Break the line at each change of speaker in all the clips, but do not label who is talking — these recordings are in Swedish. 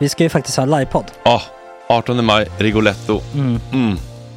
Vi ska ju faktiskt ha livepodd.
Ah, 18 maj, Rigoletto.
Mm.
Mm.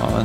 Ja,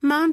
Mom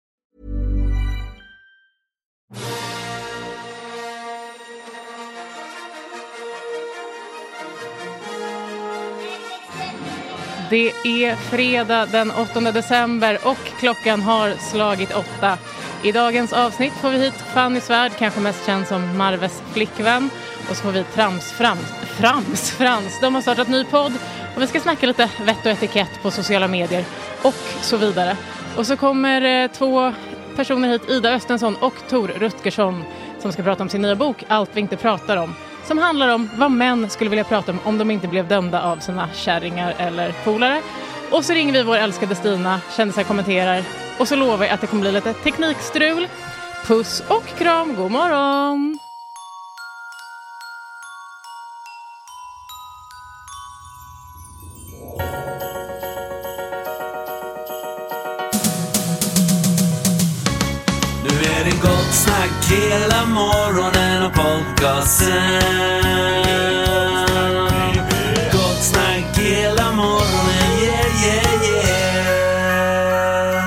Det är fredag den 8 december och klockan har slagit åtta. I dagens avsnitt får vi hit Fanny Svärd, kanske mest känd som Marves flickvän. Och så får vi Trams Frams, Frams Frans. De har startat ny podd och vi ska snacka lite vett och etikett på sociala medier och så vidare. Och så kommer eh, två personer hit, Ida Östensson och Tor Rutgersson som ska prata om sin nya bok Allt vi inte pratar om som handlar om vad män skulle vilja prata om om de inte blev dömda av sina kärringar eller polare. Och så ringer vi vår älskade Stina, kändisar kommenterar och så lovar jag att det kommer bli lite teknikstrul. Puss och kram, god morgon!
är det gott snack hela morgonen och podcasten. Gott snack hela morgonen, yeah, yeah, yeah.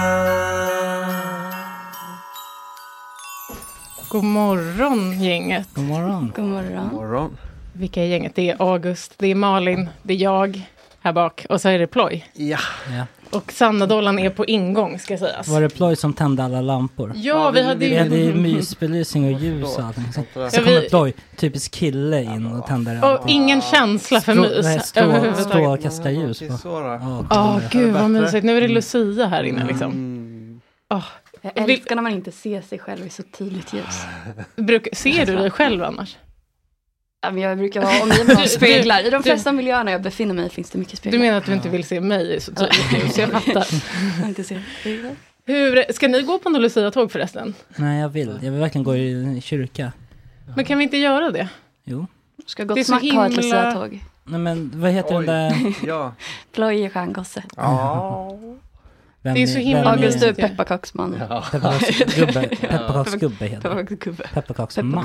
God morgon gänget.
God morgon.
God morgon.
morgon. Vilka är gänget? Det är August, det är Malin, det är jag här bak och så är det Ploj.
Ja. ja.
Och Sanna-dollarn är på ingång ska sägas.
Var det Ploy som tände alla lampor?
Ja, vi hade ju-
Vi hade ju mysbelysning och ljus och allting. Så, så
Ja, vi-
kommer Ploy, typisk kille, in och tänder
Och ingen känsla för mys
Nej, strå,
överhuvudtaget.
strålkastarljus. på.
Åh gud vad
Bättre.
mysigt. Nu är det Lucia här inne liksom.
Mm. Jag älskar när man inte ser sig själv i så tydligt ljus.
Bruk, ser du dig själv annars?
Ja, men Jag brukar vara omgiven av
Du-
speglar.
du-
I de
du-
flesta miljöerna jag befinner mig i finns det mycket speglar.
Du menar att du inte vill se mig i så tydligt ljus? Jag fattar.
Jag inte ser speglar.
Hur, ska ni gå på något Lucia-tåg förresten?
Nej, jag vill. Jag vill verkligen gå i kyrka.
Men kan vi inte göra det?
Jo.
Ska
Det är
Gott
så
Snack ha ett
himla-
Lucia-tåg?
Nej, men vad heter den där...
Ja. Ploj är stjärngosse.
Ja. Vem
Det är så
vem
himla August du är
är-
pepparkaksman.
Pepparkaksgubbe. Pepparkaksgubbe heter det.
Pepparkaksgubbe.
Pepparkaksman.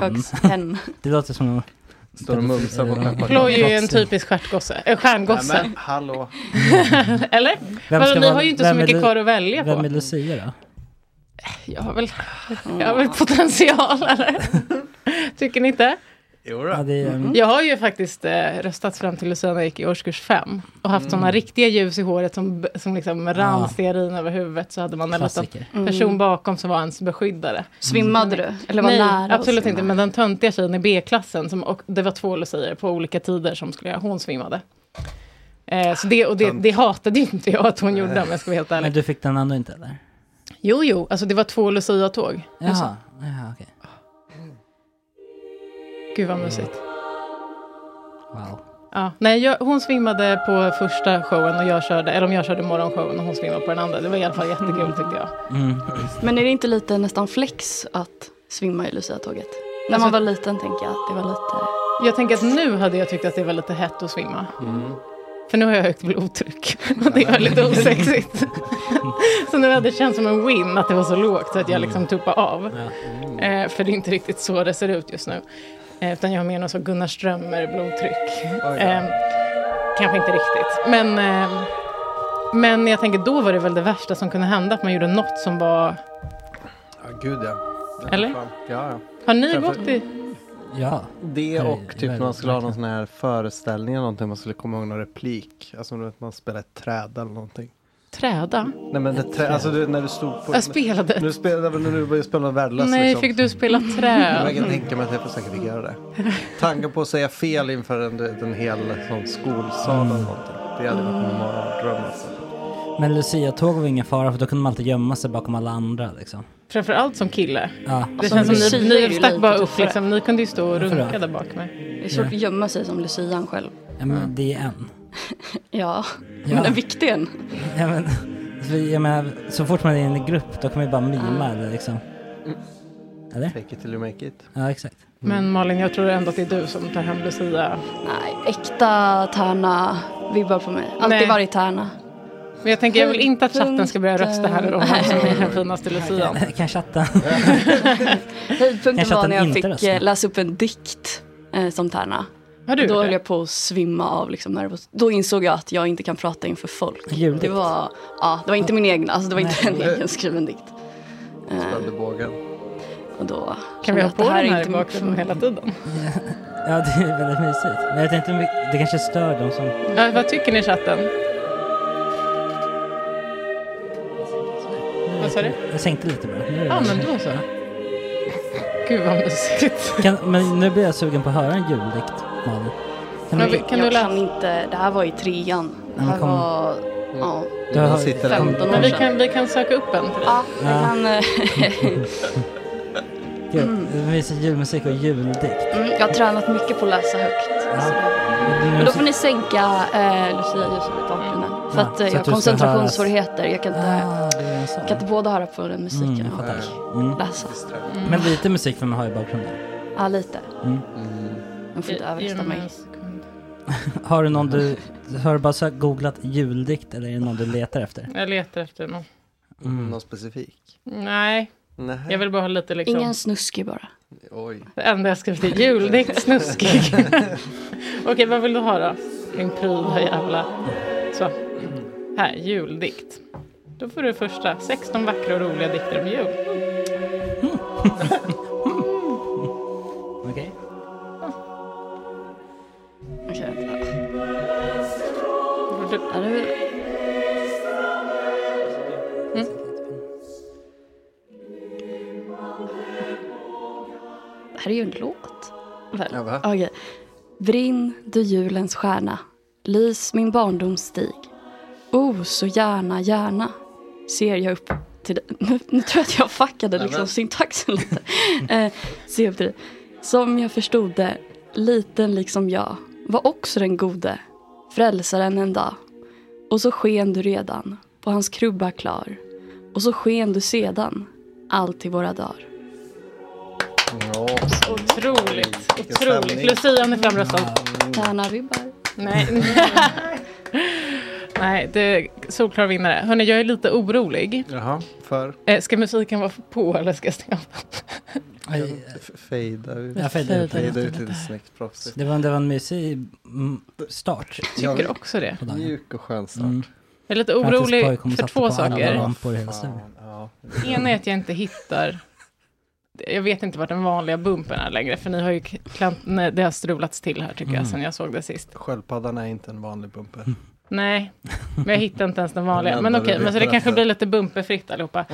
Pepparkakshen.
Det låter som en...
Står och mumsar på pepparkakor.
Ploy är ju en typisk stjärtgosse. Äh, stjärngosse.
Nej, men hallå.
Eller?
Vem
Vadå,
ska
ni
vara-
har ju inte så
vem är
mycket
Lu-
kvar att välja
Vem
på.
är Lucia då?
Jag har väl, jag har väl potential eller? Tycker ni inte?
Jo
Ja, det är, Mm.
Jag har ju faktiskt eh, röstat fram till Lucia när jag gick i årskurs fem. Och haft
Mm. Ah.
sådana riktiga ljus i håret som, som liksom rann stearin över huvudet. Så hade man en liten
Klassiker.
person
Mm.
bakom som var ens beskyddare.
Svimmade du? Eller var
Nej,
nära att
absolut
svimma?
inte. Men den töntiga tjejen i B-klassen, som, och det var två lucier på olika tider som skulle göra, hon svimmade. Eh, så det, och det, det hatade ju inte jag att hon gjorde om jag ska vara helt
Men
ärlig.
du fick den ändå inte eller?
Jo, jo, alltså det var två luciatåg. Alltså,
Jaha, jaha okej.
Gud vad mysigt.
Wow.
Ja, nej, jag, hon svimmade på första showen och jag körde, eller om jag körde morgonshowen och hon svimmade på den andra. Det var i alla fall jättekul tyckte jag.
Mm.
Men är det inte lite nästan flex att svimma i Lucia-tåget? När man
Alltså-
var liten tänker jag att det var lite...
Jag tänker att nu hade jag tyckt att det var lite hett att svimma.
Mm.
För nu har jag högt blodtryck och det var lite osexigt. så nu hade det känts som en win att det var så lågt så att jag
Mm.
liksom tuppade av. Eh, för det är inte riktigt så det ser ut just nu. Eh, utan jag har mer något så Gunnar Strömmer blodtryck. Eh, kanske inte riktigt. Men, eh, men jag tänker då var det väl det värsta som kunde hända att man gjorde något som var...
Ja, gud ja. Ja,
Eller?
fan. Ja, ja.
Har ni
Framför-
gått i...
Ja.
Det och typ när man skulle ha någon
verkligen.
sån här föreställning eller någonting, man skulle komma ihåg någon replik. Alltså du vet, man spelar ett träd eller någonting.
Träda?
Nej men det trä, alltså du, när du stod på...
Jag spelade ett-
Nu spelade, nu, nu började jag spela något värdelöst
Nej,
liksom.
fick du spela träd?
Jag kan tänka mig att jag får säkert fick göra det. Tanken på att säga fel inför en, en hel sån skolsal
Mm.
eller någonting. Det hade varit en mardröm alltså.
Men Lucia-tåg var ingen fara för då kunde man alltid gömma sig bakom alla andra liksom.
Framförallt som kille.
Mm.
Ja.
Alltså,
Det
Som
känns som
tjej
ni,
är
ni
det
stack
lite
bara upp
tuffare.
liksom. Ni kunde ju stå och
Varför då?
runka där bak mig.
Det är svårt att gömma sig som lucian själv.
Ja,
Mm.
men det är en.
Ja,
Ja.
men en viktig en.
Ja, men, vi, jag menar, så fort man är i en grupp då kan man ju bara mima eller liksom. Eller?
Take it till you make it.
Ja, exakt.
Men Malin, jag tror ändå att det är du som tar hem Lucia.
Nej, äkta tärna vibbar på mig. Alltid
Nej.
varit tärna.
Men jag tänker, jag vill inte att chatten ska börja rösta här nu om vem som är den finaste lucian.
Kan chatta?
Höjdpunkten
Kanske att
var
den
när jag
inte
fick eh,
röstar.
läsa upp en dikt eh, som tärna.
Har du
Och då
det?
höll jag på att svimma av liksom nervos. Då insåg jag att jag inte kan prata inför folk.
Juldikt.
Det var, ja, det var inte min egen, alltså det var inte en
Nej.
egen skriven dikt.
Spelade bågen.
Och då
Kan vi ha på
det här
den
är
här i
inte
bakgrunden hela tiden?
Ja, det är väldigt mysigt. Men jag tänkte, det kanske stör dem som...
Ja, vad tycker ni chatten? Vad sa du?
Jag sänkte lite bara. Nu är det
Ja, men
bra.
då så. Gud vad mysigt.
Kan, men nu blir jag sugen på att höra en juldikt, Malin. Kan
Men
du-
jag kan inte, det här var i trean. Det
men
här
kom.
var, ja,
Du har- sitter den.
15 år
Men vi
sedan.
kan, vi kan söka upp en till dig.
Ja, vi
Ja.
kan, eh,
Gud, det finns julmusik och juldikt.
mm, jag har tränat mycket på att läsa högt. Så det- Men då får ni sänka eh, Lucia ljuset i bakgrunden. För att eh,
Ja, så
jag har
att du ska Ah,
koncentrationssvårigheter. Jag kan inte,
jag
kan inte både höra på den musiken
Mm, jag
och
fattar. Mm.
läsa.
Men lite musik får man ha i bakgrunden.
Ja, lite.
Mm.
Den får inte överrösta mig.
Har du någon du... Har du bara sökt, googlat juldikt eller är det någon du letar efter? Mm.
Jag letar efter någon.
Någon specifik?
Nej, Jag vill bara ha lite liksom...
Ingen snuskig bara.
Oj.
Det enda jag skrivit är juldikt, snuskig. Okej, vad vill du ha då? Din pryda jävla... Så. Här, juldikt. Då får du första. 16 vackra och roliga dikter om jul.
Okej.
Okej, vänta.
Får du-
Är det...
Mm.
Det här är ju en låt. Väl?
Ja, va?
Okej. Brinn du julens stjärna, lys min barndoms stig. Oh, så gärna, gärna ser jag upp till dig. Nu, nu tror jag att jag fuckade
Nej,
liksom
men-
syntaxen lite. eh, ser upp till dig. Som jag förstod det, liten liksom jag, var också den gode, frälsaren en dag. Och så sken du redan, på hans krubba klar. Och så sken du sedan, allt i våra dagar.
Otroligt,
stämning.
otroligt. Lucia, ni är framröstad.
Tärnaribbar.
Nej. Nej, det är solklar vinnare. Hörni, jag är lite orolig.
Jaha, för?
Eh, Ska musiken vara på eller ska jag stänga av?
F- Fejda ut.
eh, Jag fejdar ut lite.
Fejda ut lite snyggt proffsigt.
Det var, det var en mysig mm, start.
Jag tycker också det.
Mjuk och skön start.
Mm.
Jag är lite
Francis Boy
orolig
kommer
för
sätta
två
på alla
saker.
lampor i hela studion.
Ena är att jag inte hittar... Jag vet inte vart den vanliga bumpen är längre, för ni har ju klant... Nej, det har strulats till här tycker jag,
Mm.
sen jag såg det sist.
Sköldpaddan är inte en vanlig bumper.
Mm.
Nej, men jag hittade inte ens den vanliga.
Den
Men
enda
okej,
du alltså.
men så det
letar
kanske
efter.
blir lite bumperfritt allihopa.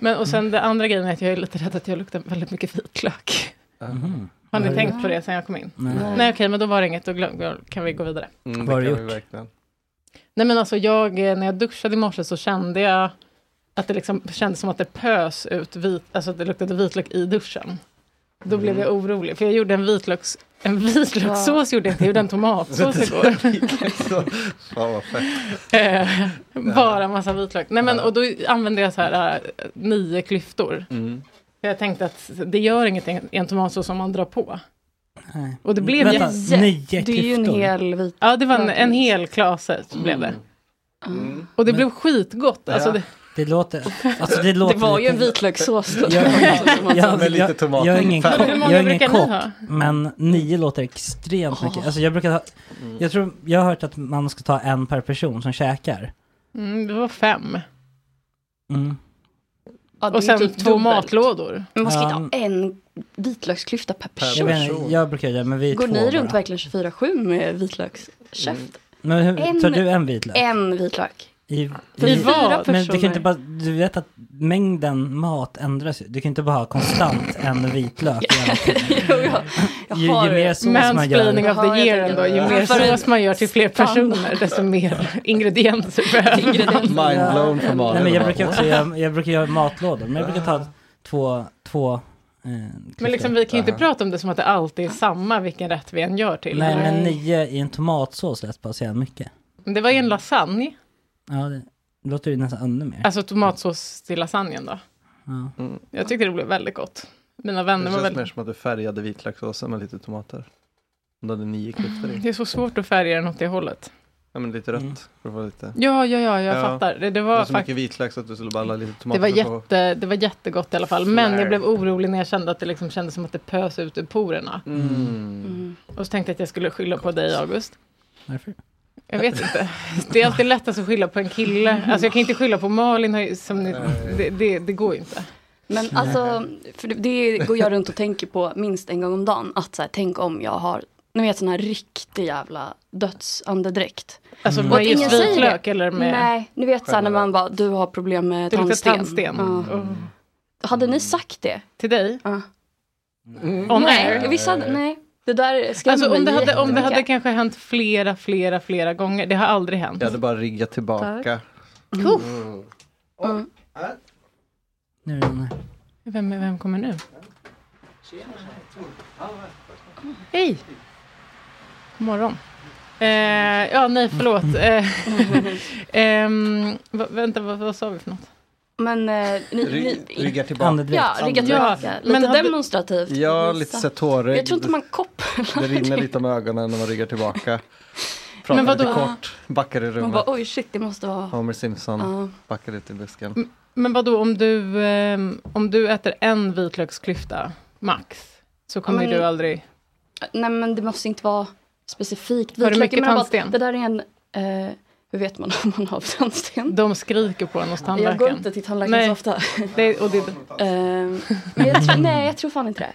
Men och sen det andra grejen är att jag är lite rädd att jag luktar väldigt mycket vitlök. Har ni
Vad
tänkt
gjort?
på det sen jag kom in?
Mm. Nej.
Nej, okej, men då var det inget. Då glöm- då kan vi gå vidare.
Mm,
Vad har
det
du
kan vi
gjort?
verkligen.
Nej, men alltså jag, eh, när jag duschade i morse så kände jag att det liksom kändes som att det pös ut vit, alltså att det luktade vitlök i duschen. Då
Mm.
blev jag orolig, för jag gjorde en vitlöks... En vitlökssås gjorde jag inte, jag gjorde en tomatsås igår.
Fan vad fett.
Eh, Bara massa vitlök. Nej, men, och då använde jag så här eh, nio klyftor.
Mm.
För jag tänkte att det gör ingenting i en tomatsås om man drar på.
Nej.
Och det blev
Vänta,
jätte-
nio
Det är ju en
klyftor. Mm.
hel vit...
Ja, det var en, en hel klase blev det. Och det blev skitgott. Alltså, det,
Det låter... Mm. Alltså det, låter
var ju en
lite-
vitlökssås då.
Jag, jag, jag,
Med lite
jag,
tomat.
är ingen,
Färg.
Hur
jag
många
är ingen
brukar ni ha?
kock, men nio låter extremt mycket. Alltså jag brukar ha,
Mm.
jag tror, jag har hört att man ska ta en per person som käkar.
mm, det var fem.
Mm.
Ja, det är
Och sen
typ
två
dubbelt.
matlådor.
Men man ska inte
Ja.
ha en vitlöksklyfta per
Jag,
person.
vet, inte, jag brukar göra men vi är
Går
två
ni runt
bara. Mm.
verkligen 24-7 med vitlökskäft?
Men hur, tar
En-
du en vitlök?
En vitlök.
I,
För fyra
Men du kan inte
personer.
bara, du vet att mängden mat ändras ju. Du kan inte bara ha konstant en vitlök. i en-
Jo, jag, jag
Ju- ju
har
mer sås man gör-
Mansplaining of
Ja,
the
jag
year
tänker
ändå. Ju
det.
mer
För en
sås man gör till fler
standard.
personer, desto mer ingredienser behöver man.
Mindblown för
Nej
Malin.
men jag brukar också göra, jag brukar göra matlådor. Men jag brukar ta två, två eh, klyftor.
Men liksom, vi kan ju inte prata om det som att det alltid är samma vilken rätt vi än gör till.
Nej men nio i en tomatsås lät bara så jävla mycket.
Men Det var ju en lasagne.
Ja, det låter ju nästan ännu mer.
Alltså tomatsås till lasagnen då.
Ja.
Jag tyckte det blev väldigt gott. Mina
Mm. Det
vänner var
känns
väldigt...
mer som att du färgade vitlökssåsen med lite tomater. Om du hade nio klyftor i.
Det är så svårt att färga den åt det hållet.
Ja men lite rött. För att få lite.
Ja, ja, ja, jag
Ja.
fattar. Det, det
Det
var
var så
faktiskt...
mycket vitlök så att du skulle balla lite tomater.
Det var,
på.
jätte, det var jättegott i alla fall, men jag blev orolig när jag kände att det liksom kändes som att det pös ut ur porerna.
Mm.
Mm. Och så tänkte jag att jag skulle skylla på dig, August.
Varför?
Jag vet inte. Det är alltid lättast att skylla på en kille. Alltså jag kan inte skylla på Malin, har ju- som ni, det, det, det går ju inte.
Men alltså, för det, det går jag runt och tänker på minst en gång om dagen. Att så här, tänk om jag har, ni vet sån här riktig jävla dödsandedräkt. Mm.
Alltså
Och
med
att
just
ingen säger
vitlök
det.
eller med...
Nej, ni vet så här när man bara, du har problem med
Det luktar
tandsten.
tandsten.
Ja.
Oh.
Hade ni sagt det?
Till dig?
Ja.
On
Nej,
air?
vissa hade, nej. Det där skrämmer
Alltså om det,
mig
hade, om det
jättemycket.
hade kanske hänt flera, flera, flera gånger. Det har aldrig hänt.
Jag hade bara riggat tillbaka.
Puff.
Mm.
Nu är det någon här.
Vem, vem kommer nu? Hej! God morgon. Eh, ja, nej, förlåt. Eh, ehm, va, vänta, vad, vad sa vi för något?
Men eh, ni,
Ry-
ni,
Ryggar tillbaka.
Ja, rygga tillbaka.
Ja, men
lite
hade-
demonstrativt.
Ja,
Visa.
lite så här tårögd.
Jag tror inte man kopplar.
Det rinner lite om ögonen när man ryggar tillbaka. Pratar
Men vadå?
lite kort, backar i
Man
rummet.
bara, oj shit, det måste vara...
Homer Simpson
Ja.
backar ut i busken.
Men vad då om du, ehm, om du äter en vitlöksklyfta, max, så kommer
men-
ju du aldrig...
Nej men det måste inte vara specifikt.
Har du
Vitlök,
mycket
jag menar bara att
tandsten?
Det där är en, eh, hur vet man om man har tandsten?
De skriker på en hos
Jag går
tandläkaren.
inte till tandläkaren så ofta.
Det, och det,
Ehm, men jag tror, nej, jag tror fan inte det.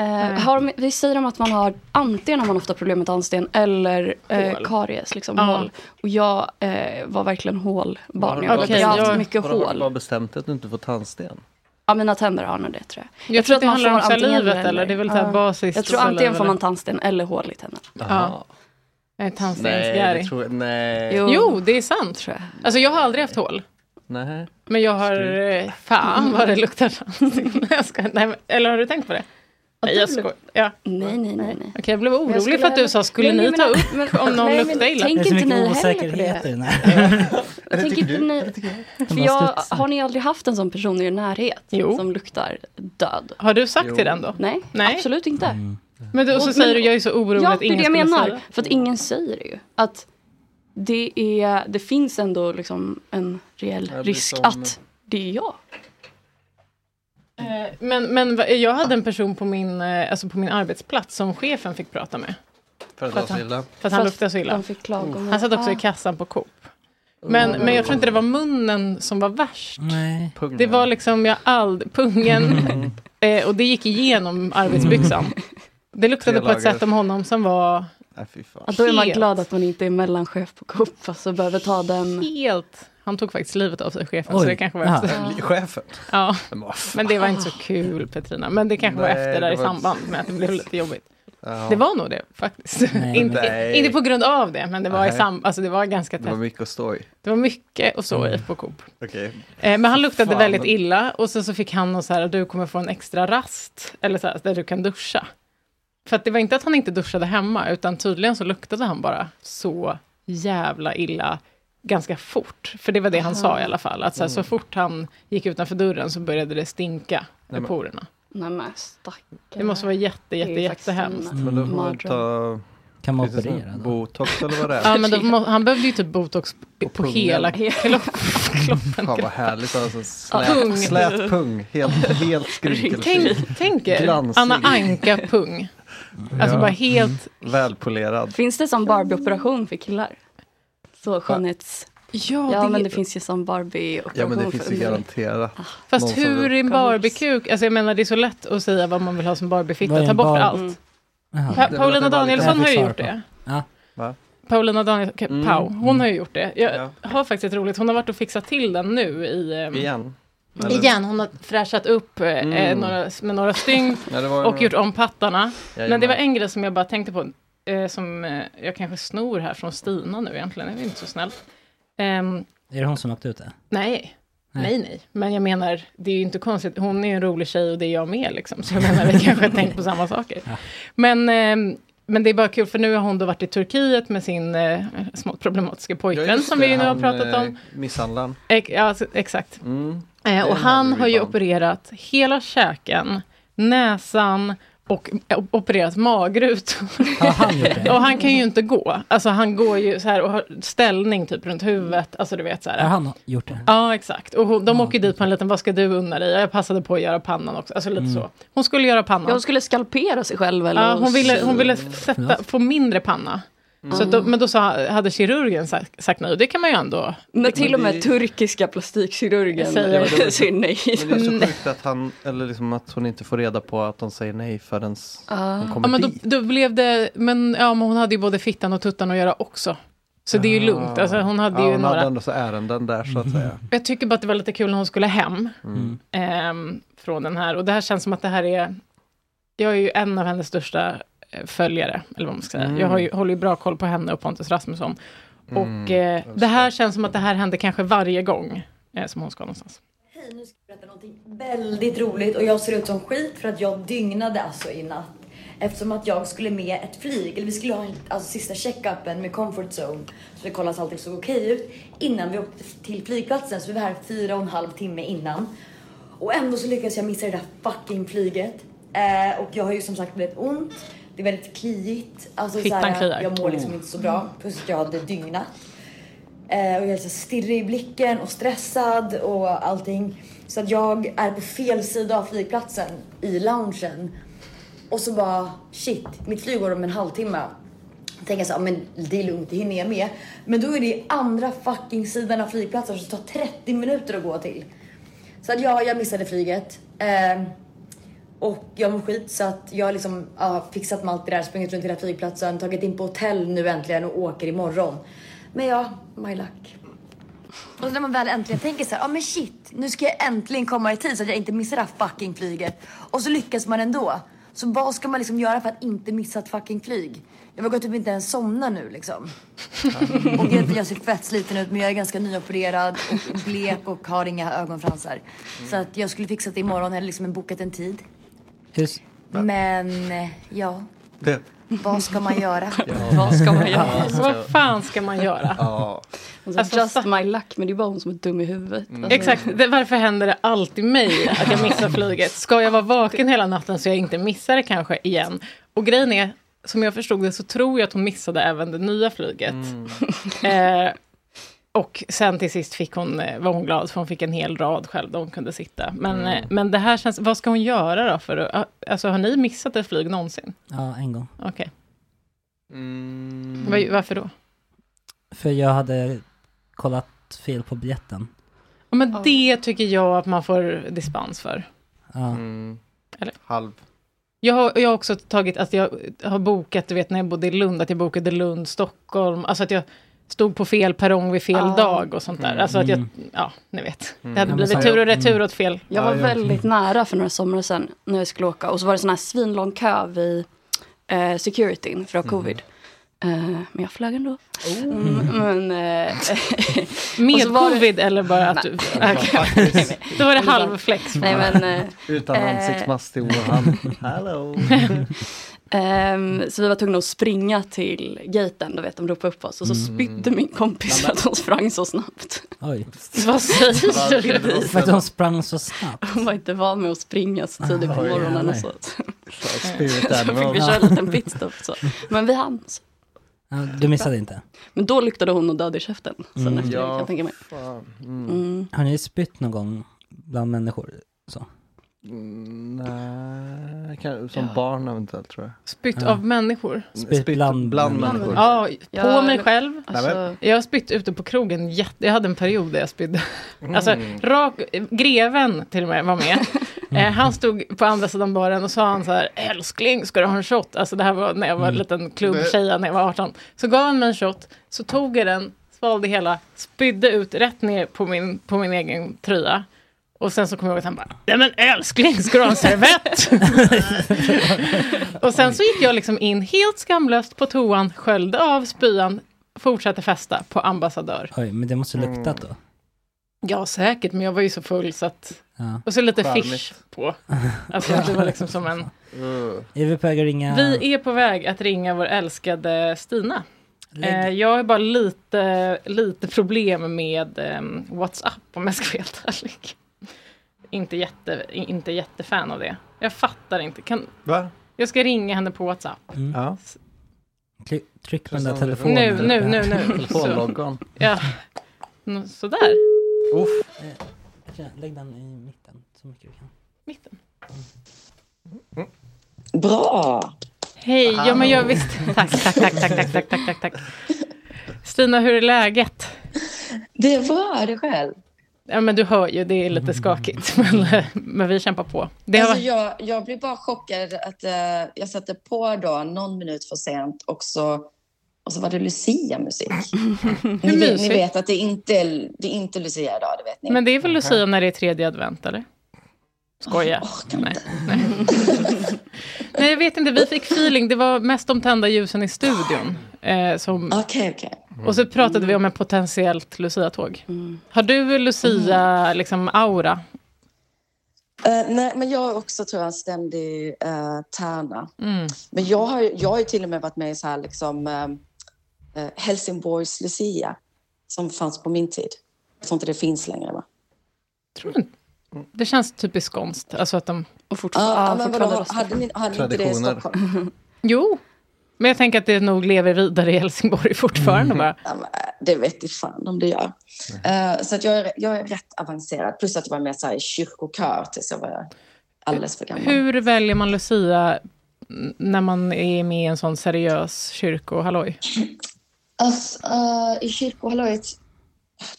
Eh, har, de- vi säger om att man har antingen har man ofta problem med tandsten eller eh,
Hål.
karies, liksom
Ja.
hål. Och jag eh, var verkligen hålbarn.
Har
Jag,
du
jag har haft
bestämt-
mycket
har du
hål.
bara bestämt att du inte får tandsten?
Ja, mina tänder har nog det tror jag.
Jag tror att det
man
handlar
får
om
antingen
salivet, eller? Det är väl så här
Ja.
basiskt
Jag tror
saliv,
antingen får
eller?
man tandsten eller hål i tänderna.
ja. Jag är
Nej, det
tandstensgärig.
tror jag Nej.
Jo. det är sant. Tror jag. Alltså jag har aldrig haft hål.
Nej.
Men jag har... eh, Fan vad det luktar tandsten. Nej, jag skojar. Nej, men- Eller har du tänkt på det? Nej, jag skojar. Ja.
Nej, nej, nej. nej.
Okej, jag blev
Men jag
orolig för
skulle-
att du sa, skulle
Nej, men
ni
jag
ta
menar-
upp
men-
om någon
nej, men
luktar illa?
Tänk
det är så
inte
mycket
ni heller på
osäkerhet i
det.
den här.
Tänk inte ni. För
Bara
jag,
studsar.
har ni aldrig haft en sån person i er närhet som luktar död?
Har du sagt Jo. Mm. till den då?
Nej,
Nej.
absolut inte.
Men du, och så
Och-
säger
men-
du, jag är så orolig
ja,
att ingen
det är det jag
skulle
menar.
säga.
För att ingen säger det ju. Att det, är, det finns ändå liksom en reell
Jag blir
risk
som-
att det är jag.
Eh, Men, men va- jag hade en person på min, eh, alltså på min arbetsplats som chefen fick prata med.
För att
För
vara
att
så
han-
illa.
För att han luktade så illa.
de fick klagomål.
Han satt också i
Ah.
kassan på Coop. Men,
Mm.
men jag tror inte det var munnen som var värst.
Nej.
Det var liksom, jag ald pungen. eh, och det gick igenom arbetsbyxan. Det luktade
Tre
på ett
lager.
sätt om honom som var
Nej, fy fan.
Ja, då är man
Helt.
glad att man inte är mellanchef på Coop. Alltså behöver ta den...
helt... Han tog faktiskt livet av sig, chefen. Så
Oj.
Alltså, det kanske var
Ja.
efter.
Chefen?
Ja.
Men vad fan.
Men det var inte så kul, Petrina. Men det kanske
Nej,
var efter där
det
i
var inte-
samband med att det blev lite jobbigt.
Ja.
Det var nog det faktiskt.
Nej,
inte,
men-
inte på grund av det, men det var, i
Nej.
sam, alltså, det var ganska
Det var
tätt.
mycket Mm. att stå i.
Det var mycket och så i på Coop.
Okej.
Eh, Men han luktade
Fan.
väldigt illa och sen så fick han någon så här, du kommer få en extra rast, eller så här, där du kan duscha. För att det var inte att han inte duschade hemma, utan tydligen så luktade han bara så jävla illa ganska fort. För det var det han sa i alla fall, att så, här, så
Mm.
fort han gick utanför dörren så började det stinka
Nej,
i
men-
porerna.
Nej men stackarn.
Det måste vara jätte, jätte,
Det är faktiskt
jättehemskt.
Men då får man
Mardröm.
ta...
Kan man
lite sån
operera då?
Botox eller vad det är.
Ja, men då, må- han behövde ju typ botox på, på
pungen.
hela kroppen.
Fan vad härligt alltså.
Pung.
Slät, slät pung. Helt, helt
Tänk,
skrynkelfri.
tänk er,
Glansig.
Anna Anka-pung. Alltså
Ja. Mm.
bara helt...
Välpolerad.
Finns det som Barbie-operation för killar? Så skönhets...
Ja,
Ja,
det-
men det finns ju som Barbie-operation
Ja men det finns
för
ju garanterat.
Ah. Fast
någon som-
hur är en Barbiekuk? Alltså jag menar det är så lätt att säga vad man vill ha som Barbiefitta. Ta bort allt.
Jaha.
Pa- Paulina Danielsson har ju gjort det.
Ja.
Va?
Paulina Danielsson,
Mm.
Pau, hon har ju gjort det. Jag
Ja.
har faktiskt ett roligt, hon har varit och fixat till den nu i... ehm,
Igen. Eller?
Igen, hon har fräschat upp eh,
Mm.
eh, några, med några stygn
Ja, det var ju
och
några-
gjort om pattarna.
Jajamän.
Men det var en grej som jag bara tänkte på, eh, som eh, jag kanske snor här från Stina nu egentligen, det är inte så snällt. Ehm,
Är det hon som åkte ut det?
Nej.
Nej.
Nej, nej. Men jag menar, det är ju inte konstigt. Hon är ju en rolig tjej och det är jag med. Liksom. Så jag menar, vi kanske har tänkt på samma saker. Men, eh, men det är bara kul, för nu har hon då varit i Turkiet med sin eh, smått problematiska pojkvän,
Ja, just
som vi
det,
nu har
han,
pratat om.
eh, Misshandlaren. Mm.
Ex- ja, alltså, exakt. Eh, och
Det
han
hade vi
har ju
fan.
opererat hela käken, näsan och eh, opererat magrutor. och han kan ju inte gå. Alltså han går ju så här och har ställning typ runt huvudet. Alltså du vet så här.
Har han gjort det?
Ja, exakt. Och hon, de åker dit på en liten, vad ska du unna dig? Jag passade på att göra pannan också. Alltså lite
Mm.
så. Hon skulle göra pannan.
Ja, hon skulle skalpera sig själv eller?
ja, hon ville, hon ville sätta, få mindre panna.
Mm.
Så att då, men då sa, hade kirurgen sagt, sagt nej, det kan man ju ändå...
Men till och med turkiska plastikkirurgen
Säger-
Ja, men det-
säger nej.
Men det är så sjukt att han, eller liksom att hon inte får reda på att de säger nej förrän
Ah.
hon
Ja,
kommer
men då,
dit.
då blev det, men, ja, men hon hade ju både fittan och tuttan att göra också. Så det är ju lugnt. Alltså, hon hade
Ah. ja,
ju
hon
några...
hade ändå så ärenden där så att säga.
Jag tycker bara att det var lite kul när hon skulle hem
Mm.
ehm, från den här. Och det här känns som att det här är... Jag är ju en av hennes största eh, följare, eller vad man ska säga.
Mm.
Jag har ju, håller ju bra koll på henne och Pontus Rasmusson.
Mm,
och eh, det här känns som att det här händer kanske varje gång eh, som hon ska någonstans.
Hej, nu ska jag berätta någonting väldigt roligt och jag ser ut som skit för att jag dygnade alltså i natt. Eftersom att jag skulle med ett flyg, eller vi skulle ha en, alltså, sista checkupen med comfort zone. Så det kollas allting såg okej ut innan vi åkte till flygplatsen. Så vi var här fyra och en halv timme innan. Och ändå så lyckades jag missa det där fucking flyget. Eh, och jag har ju som sagt blivit ont. Det är väldigt kliigt. Alltså,
Fittan
såhär,
kliar.
Jag mår liksom
Oh.
inte så bra. Plus att jag hade dygnat. Eh, och jag är så stirrig i blicken och stressad och allting. Så att jag är på fel sida av flygplatsen i loungen. Och så bara shit, mitt flyg går om en halvtimme. Tänker jag så här, men det är lugnt, det hinner jag med. Men då är det i andra fucking sidan av flygplatsen som tar 30 minuter att gå till. Så att ja, jag missade flyget. Eh, och jag mår skit så att jag har liksom, ja, fixat med allt det där, sprungit runt hela flygplatsen, tagit in på hotell nu äntligen och åker imorgon. Men ja, my luck. Och så när man väl äntligen tänker så här, ja men shit, nu ska jag äntligen komma i tid så att jag inte missar det här fucking flyget. Och så lyckas man ändå. Så vad ska man liksom göra för att inte missa ett fucking flyg? Jag vågar typ inte ens somna nu liksom. och jag, jag ser fett sliten ut men jag är ganska nyopererad och blek och har inga ögonfransar. Så att jag skulle fixat det imorgon, hade liksom bokat en tid. Men eh, ja, vad ska man göra? Vad ska man göra?
Vad fan ska man göra?
Ja.
Alltså, just my luck, men det är bara hon som är dum i huvudet. Alltså,
Mm. Exakt, det, varför händer det alltid mig att jag missar flyget? Ska jag vara vaken hela natten så jag inte missar det kanske igen? Och grejen är, som jag förstod det så tror jag att hon missade även det nya flyget. Eh, och sen till sist fick hon, eh, var hon glad för hon fick en hel rad själv där hon kunde sitta. Men,
Mm.
eh, men det här känns, vad ska hon göra då? För, att- alltså har ni missat ett flyg någonsin?
Ja, en gång.
Okej. Vad- Varför då?
För jag hade kollat fel på biljetten.
Ja, men det tycker jag att man får dispens för.
Ja.
Mm.
Eller?
Halv.
Jag har, jag har också tagit, att jag har bokat, du vet när jag bodde i Lund, att jag bokade Lund, Stockholm, alltså att jag stod på fel perrong vid fel
Ah.
dag och sånt där. Alltså att jag,
Mm.
ja, ni vet.
Mm.
Det hade
Ja, men
blivit
så-
tur och retur åt fel.
Jag var väldigt nära för några somrar sedan när jag skulle åka. Och så var det sån här svinlång kö vid eh, securityn för att ha covid. Eh, men jag flög ändå. Mm, men, eh, och
Med
så var det-
covid eller bara att du...
Nej.
Okej. Då var det halvflex.
Nej, men, eh,
Utan
eh,
ansiktsmask till Wuhan. Hello.
Ehm, så vi var tvungna att springa till gaten, du vet de ropade upp oss och så spydde min kompis att hon sprang så snabbt.
Oj.
Vad säger du, Lovisa?
För att de sprang så snabbt.
Hon var inte van med att springa så tidigt på
Oj,
morgonen och
nej.
så.
spirit
så fick
animal.
vi köra
Ja.
en liten pitstop så. Men vi hann. så.
Ja, du missade inte.
Men då luktade hon och död i käften sen
Mm.
efter det, kan
Ja,
jag tänka mig.
fan. Mm.
Mm.
Har ni spytt någon gång bland människor? Så.
Mm, Nej, kan- som barn eventuellt tror jag.
Spytt
Ja.
av människor.
Spytt bland,
bland människor.
Ja, på
Ja,
mig
eller-
själv.
Nej,
Alltså-
men-
Jag har spytt ute på krogen, jätte, jag hade en period där jag spydde.
Mm.
Alltså, rak, greven till och med var med. Eh, han stod på andra sidan baren och sa han så här, älskling, ska du ha en shot? Alltså det här var när jag var en
Mm.
liten klubbtjej, när jag var 18. Så gav han mig en shot, så tog jag den, svalde hela, spydde ut rätt ner på min, på min egen tröja. Och sen så kom jag ihåg att han bara, nej men älskling, ska du ha en servett? och sen så gick jag liksom in helt skamlöst på toan, sköljde av spyan, fortsatte festa på ambassadör.
Oj, men det måste luktat
Mm.
då.
Ja, säkert, men jag var ju så full så att...
Ja.
Och så lite
Charmigt.
fish på. Alltså det var liksom som en...
Uh.
Är vi på väg att ringa?
Vi är på väg att ringa vår älskade Stina.
Lägg-
Eh, jag har bara lite, lite problem med ehm, WhatsApp om jag ska vara helt ärlig. Inte, jätte, inte jättefan av det. Jag fattar inte. Kan,
Va?
jag ska ringa henne på WhatsApp.
Mm.
Ja.
Tryck, tryck på den där telefonen.
Nu, nu, nu, nu.
Telefonloggan.
Så- Ja. Nå, Sådär.
Eh, Lägg den i mitten så mycket du kan.
Mitten.
Bra!
Hej, ja men jag visst. Tack, tack, tack, tack, tack, tack, tack, tack, tack. Stina, hur är läget?
Det är bra, är det själv?
Ja men du hör ju, det är lite skakigt. Men, men vi kämpar på. Det har
alltså,
varit...
jag, jag blir bara chockad att eh, jag satte på då någon minut för sent och så, och så var det Lucia-musik. ni, vet- ni
mysigt.
vet att det inte är, det är inte Lucia idag, det vet ni.
Men det är väl Lucia när det är tredje advent, eller? Skoja. Nej. Nej. Nej, jag vet inte. Vi fick feeling. Det var mest de tända ljusen i studion. Eh, som...
okay, okay.
Och så pratade
Mm.
vi om ett potentiellt Lucia-tåg. Har du
Mm.
Lucia-aura? Liksom, aura?
Eh, nej, men jag är också tror jag en ständig eh, tärna.
Mm.
Men jag har, ju- jag har ju till och med varit med i så här liksom eh, eh, Helsingborgs Lucia som fanns på min tid. Jag tror inte det finns längre va?
Det känns typiskt skånskt. Alltså att de...
Och fortfar-
Ja,
ja,
men vadå,
fortfarande
hade
röstar.
ni, hade ni inte det i Stockholm?
Jo, Men jag tänker att det nog lever vidare i Helsingborg fortfarande bara.
Ja, men, äh, det vet i fan om det gör. Eh, så att jag, är, jag är rätt avancerad. Plus att jag var med så här, i kyrkokör tills jag var alldeles för gammal.
Hur väljer man Lucia n- när man är med i en sån seriös kyrkohalloj?
Alltså, eh, I kyrkohallojet,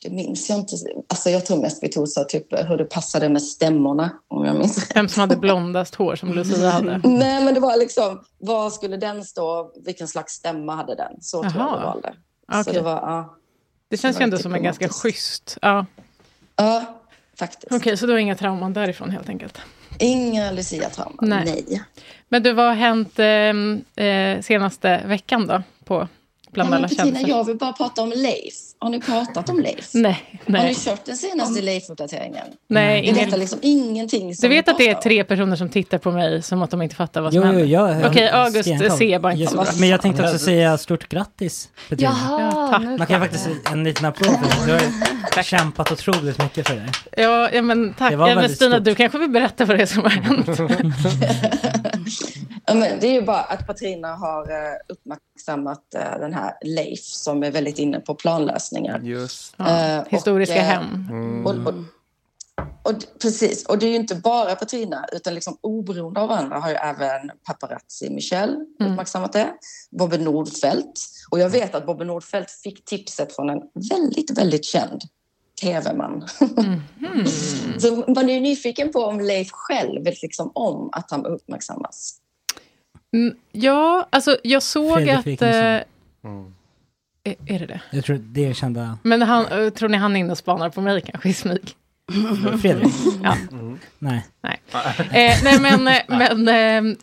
det minns jag inte. Alltså, jag tror mest vi tog så, typ, hur det passade med stämmorna, om jag minns
Vem som hade blondast hår som Lucia hade?
Nej, men det var liksom, var skulle den stå? Vilken slags stämma hade den? Så tror jag
Jaha.
det
Ah,
var det. Så
Okej.
det, var, ja.
Det känns
Det
ju
var typ
ändå som en ganska schysst... Ja,
ja faktiskt.
Okej, så du har inga trauman därifrån helt enkelt?
Inga Lucia-trauman, nej.
Men du, vad har hänt eh, eh, senaste veckan då? På,
Nej,
bland
men
alla
Petrina,
kändisar?
jag vill bara prata om Leif. Har ni pratat om Leif?
Nej,
Har ni
nej.
kört den senaste Leif-uppdateringen?
Nej,
Det är
ingen-
detta liksom ingenting som
Du vet
vi
att det är
pratar om.
tre personer som tittar på mig som att de inte fattar vad som
Jo, jo,
händer?
jag, jag
Okej, August
stenkoll.
ser bara inte
Just
så
det.
bra.
Men jag tänkte också säga stort grattis Petrina.
Jaha, Ja, tack. nu
Man kan ju
fattar
faktiskt en liten applåd för det. Du har ju kämpat otroligt mycket för det.
Ja, ja men tack.
Det var
Ja, men
väldigt
Stina,
stort.
du kanske vill berätta vad det är som har hänt?
Ja, men det är ju bara att Patrina har eh, uppmärksammat eh, den här Leif som är väldigt inne på planlösningar.
Just
Eh,
historiska
eh,
hem.
Och, och, och, d- precis, och det är ju inte bara Patrina, utan liksom oberoende av varandra har ju även paparazzi Michelle
Mm.
uppmärksammat det. Bobbe Nordfeldt. Och jag vet att Bobbe Nordfeldt fick tipset från en väldigt, väldigt känd tv-man.
Mhm.
Så man är ju nyfiken på om Leif själv vet liksom om att han uppmärksammas.
Mm, Ja, alltså jag såg
Fredrik
att...
Wikingsson.
Eh, är, är det det?
Jag tror det är kända
Men han, eh, tror ni han är inne och spanar på mig kanske i smyg?
Fredrik. Mm.
Ja.
Nej.
Nej. Eh, nej, men, eh, men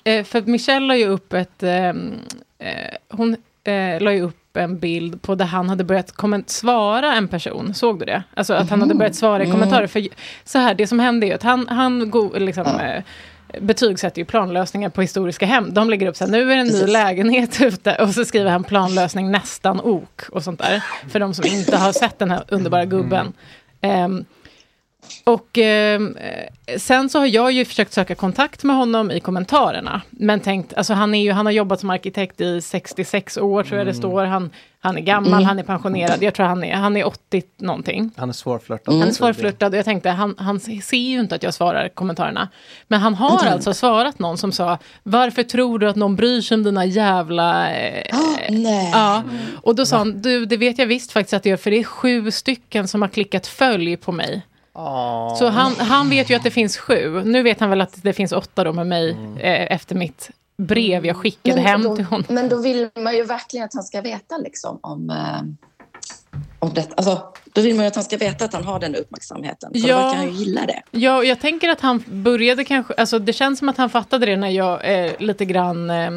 eh, eh, för att Michelle la ju upp ett... Eh, eh, hon eh, la ju upp en bild på där han hade börjat komment- svara en person. Såg du det? Alltså att han hade börjat svara i
Mm.
kommentarer. För så här, det som hände är ju att han, han go- liksom, eh, betygsätter ju planlösningar på historiska hem. De lägger upp så här, nu är det en ny
Precis.
lägenhet ute. Och så skriver han planlösning nästan ok och sånt där. För de som inte har sett den här underbara gubben.
Mm.
Ehm, och eh, sen så har jag ju försökt söka kontakt med honom i kommentarerna. Men tänkt, alltså han, är ju, han har jobbat som arkitekt i 66 år tror jag det står. Han, han är gammal,
Mm.
han är pensionerad, jag tror han är, han är 80 någonting.
Han är svårflörtad.
Mm.
Han är svårflörtad och jag tänkte, han, han ser ju inte att jag svarar kommentarerna. Men han har
Mm.
alltså svarat någon som sa, varför tror du att någon bryr sig om dina jävla... Eh,
Ah, nej. Mm.
Ja. Och då sa han, du det vet jag visst faktiskt att det gör, för det är sju stycken som har klickat följ på mig. Så han, han vet ju att det finns sju. Nu vet han väl att det finns åtta då med mig eh, efter mitt brev jag skickade hem
då,
till honom.
Mm. men då vill man ju verkligen att han ska veta liksom om, eh, om det. Alltså, då vill man ju att han ska veta att han har den uppmärksamheten. För ja. då verkar han ju gilla det.
Ja, och jag tänker att han började kanske, alltså det känns som att han fattade det när jag eh, lite grann, eh,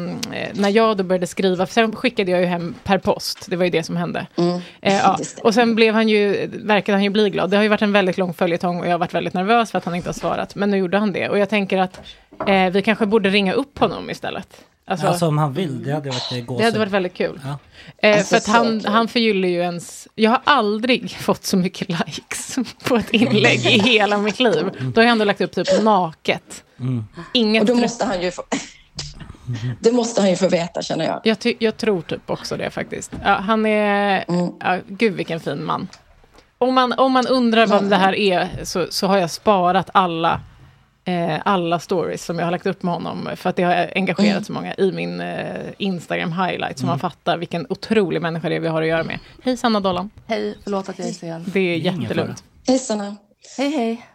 när jag då började skriva, för sen skickade jag ju hem per post, det var ju det som hände.
Mm.
Eh, ja. Och sen blev han ju, verkade han ju bli glad. Det har ju varit en väldigt lång följetong och jag har varit väldigt nervös för att han inte har svarat. Men nu gjorde han det. Och jag tänker att eh, vi kanske borde ringa upp honom istället.
Alltså,
Alltså,
om han vill, det hade varit eh, gåshud.
det hade varit väldigt kul.
Ja.
Eh,
Alltså,
för att
så
han,
kul.
han förgyller ju ens... Jag har aldrig fått så mycket likes på ett inlägg i hela mitt liv. Då har jag ändå lagt upp typ naket.
Mm.
Inget
Och då
tryck.
måste han ju få... det måste han ju få veta, känner jag.
Jag, ty- jag tror typ också det faktiskt. Ja, han är...
Mm.
Ja, gud vilken fin man. Om man, om man undrar vem det här är så, så har jag sparat alla, eh, alla stories som jag har lagt upp med honom. För att det har engagerat så många i min eh, Instagram highlight.
Mm.
Så man fattar vilken otrolig människa det är vi har att göra med. Hej Sanna Dollan.
Hej, förlåt att jag är sen.
Det är jättelugnt.
Hej, Sanna.
Hej, hej.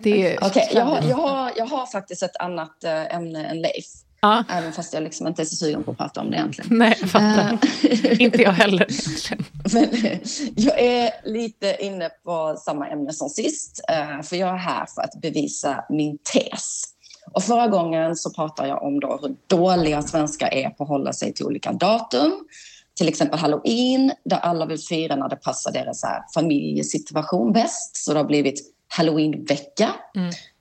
Det är...
Okej, jag, har- jag, har, jag har faktiskt ett annat eh, ämne än Leif.
Ja.
Även fast jag liksom inte är så sugen på att prata om det egentligen.
Nej, jag fattar.
Eh.
inte jag heller.
Men jag är lite inne på samma ämne som sist, eh, för jag är här för att bevisa min tes. Och förra gången så pratade jag om då hur dåliga svenskar är på att hålla sig till olika datum. Till exempel halloween, där alla vill fira när det passar deras så här familjesituation bäst. Så det har blivit halloweenvecka.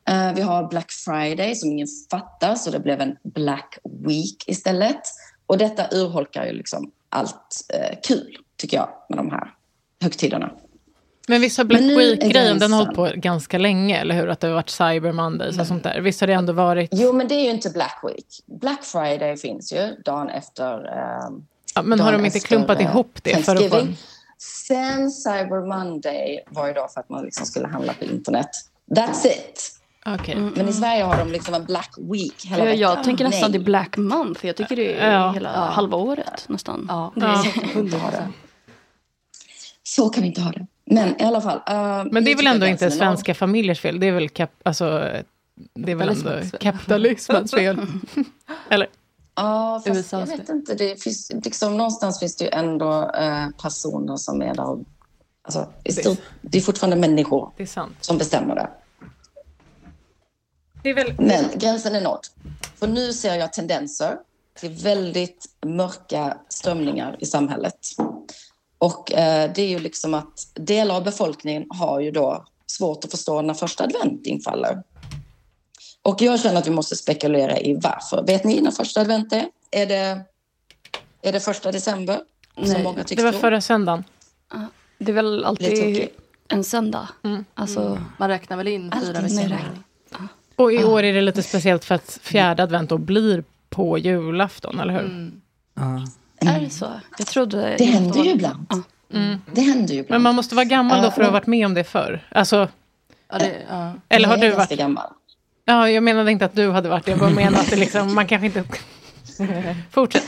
Eh, Vi har Black Friday som ingen fattar, så det blev en Black Week istället. Och detta urholkar ju liksom allt eh, kul, tycker jag, med de här högtiderna.
Men visst har Black
Men nu är
Week-grejen, den har
gränsen-
hållit på ganska länge, eller hur? Att det har varit Cyber Mondays och sånt där. Visst har det ändå varit...
Mm. Jo, men det är ju inte Black Week. Black Friday finns ju dagen efter... ehm,
Ja, men har
dagen
de inte
efter,
klumpat
eh,
ihop det? För att få en...
Thanksgiving. Sen Cyber Monday var ju då för att man liksom skulle handla på internet. That's it.
Okay.
Men i Sverige har de liksom en Black Week hela
Ja,
veckan.
jag tänker nästan det
Nej.
är Black Month. Jag tycker det är
Ja.
hela
Ja.
halva året nästan.
Ja.
Det är
Ja.
så att vi inte har det.
Så kan vi inte ha det. Men i alla fall. eh,
Men det är
jag
väl
tycker
ändå
att
inte
gränsen är nådd.
svenska familjers fel? Det är väl, kap... alltså, det är väl ändå
Kapitalismens fel.
kapitalismens fel? Eller?
Ja, fast
USAs
jag vet inte. Det finns, liksom, någonstans finns det ju ändå eh, personer som är där. och- Alltså, i
Det är-
stort, det är fortfarande människor
Det är sant.
som bestämmer det.
Det är väl...
Men gränsen är nådd. För nu ser jag tendenser till väldigt mörka strömningar i samhället. Och eh, det är ju liksom att delar av befolkningen har ju då svårt att förstå när första advent infaller. Och jag känner att vi måste spekulera i varför. Vet ni när första advent är? Är det, är det första december? Som många tycks
det var
tro?
förra söndagen.
Det är väl
Det är
alltid
tokigt.
en söndag. Alltså,
Man räknar väl in fyra
Alltid
veckor?
räknar.
Och i
Ah.
år är det lite speciellt för att fjärde advent då blir på julafton, eller hur?
Är det så? Jag trodde...
Det händer ju ibland.
Mm.
Det händer ju ibland.
Men man måste vara gammal då för att ha varit med om det förr. Alltså, Eller har
Jag är
du varit...
ganska gammal.
Ja, jag menade inte att du hade varit det. Jag bara menade att det liksom, man kanske inte... Fortsätt.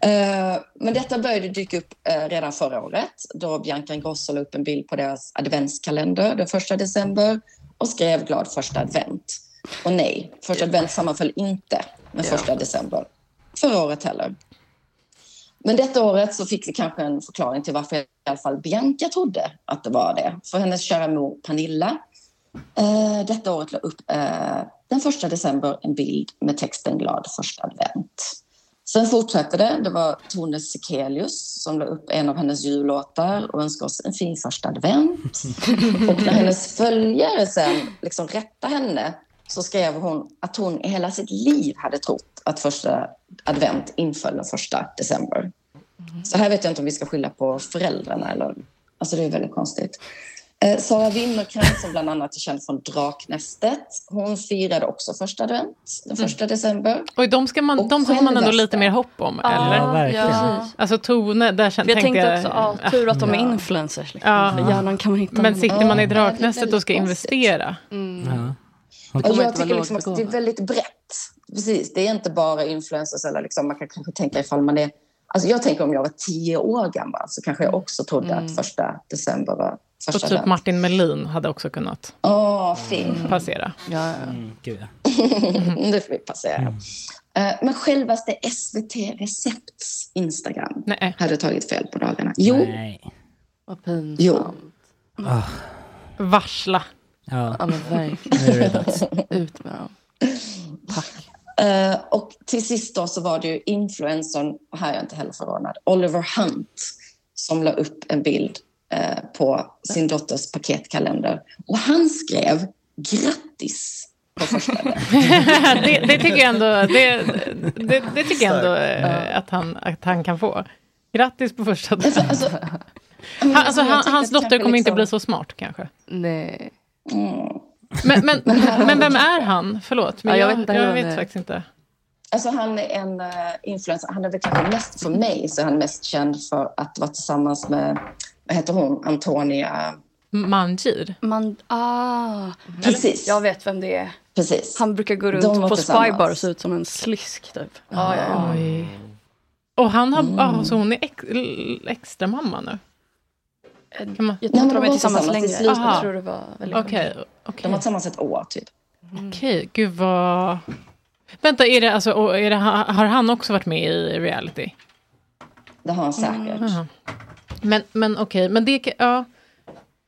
Eh, men detta började dyka upp eh, redan förra året då Bianca Ingrosso la upp en bild på deras adventskalender den första december och skrev glad första advent. Och nej, första advent sammanföll inte med första december förra året heller. Men detta året så fick vi kanske en förklaring till varför i alla fall Bianca trodde att det var det. För hennes kära mor Pernilla eh, detta året la upp eh, den första december en bild med texten glad första advent. Sen fortsatte det. Det var Tone Sekelius som la upp en av hennes jullåtar och önskade oss en fin första advent. Och när hennes följare sen liksom rättade henne så skrev hon att hon i hela sitt liv hade trott att första advent inföll den första december. Så här vet jag inte om vi ska skylla på föräldrarna. Eller, alltså det är väldigt konstigt. Eh, Sara Winnercrantz, som bland annat är känd från Draknästet, hon firade också första advent den första december.
Och Mm. de ska man, de har man ändå lite mer hopp om,
Ja,
eller?
ja, verkligen. precis.
Alltså Tone, där kände,
Jag tänkte också, ja, tur att de är
Ja.
influencers. Liksom.
Ja.
För Hjärnan kan man hitta.
Men sitter man i Draknästet
väldigt Mm.
och ska investera?
Ja,
kommer
jag
inte vara
tycker liksom att det är
lågbegåvad.
väldigt brett. Precis, det är inte bara influencers eller liksom, man kan kanske tänka ifall man är... Alltså jag tänker om jag var tio år gammal så kanske jag också trodde
Mm.
att första december var
Och
första
typ Mm.
advent.
Martin Melin hade också kunnat
Åh, fin.
passera. Mm,
det får vi passera. Eh, Men självaste SVT Recepts Instagram hade tagit fel på dagarna. Jo,
Vad pinsamt.
jo.
Mm.
Varsla.
Ja.
Ja, men
Nu är det
verkligen.
dags.
Ut med dem.
Eh, och till sist då så var det ju influencern, och här är jag inte heller förvånad, Oliver Hunt som la upp en bild eh, på sin dotters paketkalender. Och han skrev grattis.
det, det tycker jag ändå, det, det, det tycker jag ändå eh, att, han, att han kan få. Grattis på första advent. han, alltså,
Alltså, jag tänker
han, hans
att kanske
dotter kommer
liksom-
inte
Eh,
bli så smart kanske.
Nej.
Men, men, men vem är han? Förlåt,
Ja,
men
jag
jag,
vet inte
jag,
hur han
vet
är.
faktiskt inte.
Alltså han är en eh, influencer, han är väl kanske mest för mig så är han mest känd för att vara tillsammans med, vad heter hon, Antonia
Manjir?
Man, ah,
Precis.
Jag vet vem det är.
Precis.
Han brukar gå
De var
runt på
tillsammans.
Spybar och se ut som en slisk typ. Ja, ja, ja.
Oj. Och han har,
Mm.
ah, så hon är ex, l- extra mamma nu? Kan man-
Jag tror inte de är tillsammans längre. Jag
Aha.
tror det var väldigt
Okej.
De var tillsammans ett år typ.
Okej, gud vad... Vänta, är det, alltså, och är det, ha- har han också varit med i reality? Mm,
Det har han säkert.
Aha. Men, men okej, men det... ka- Ja.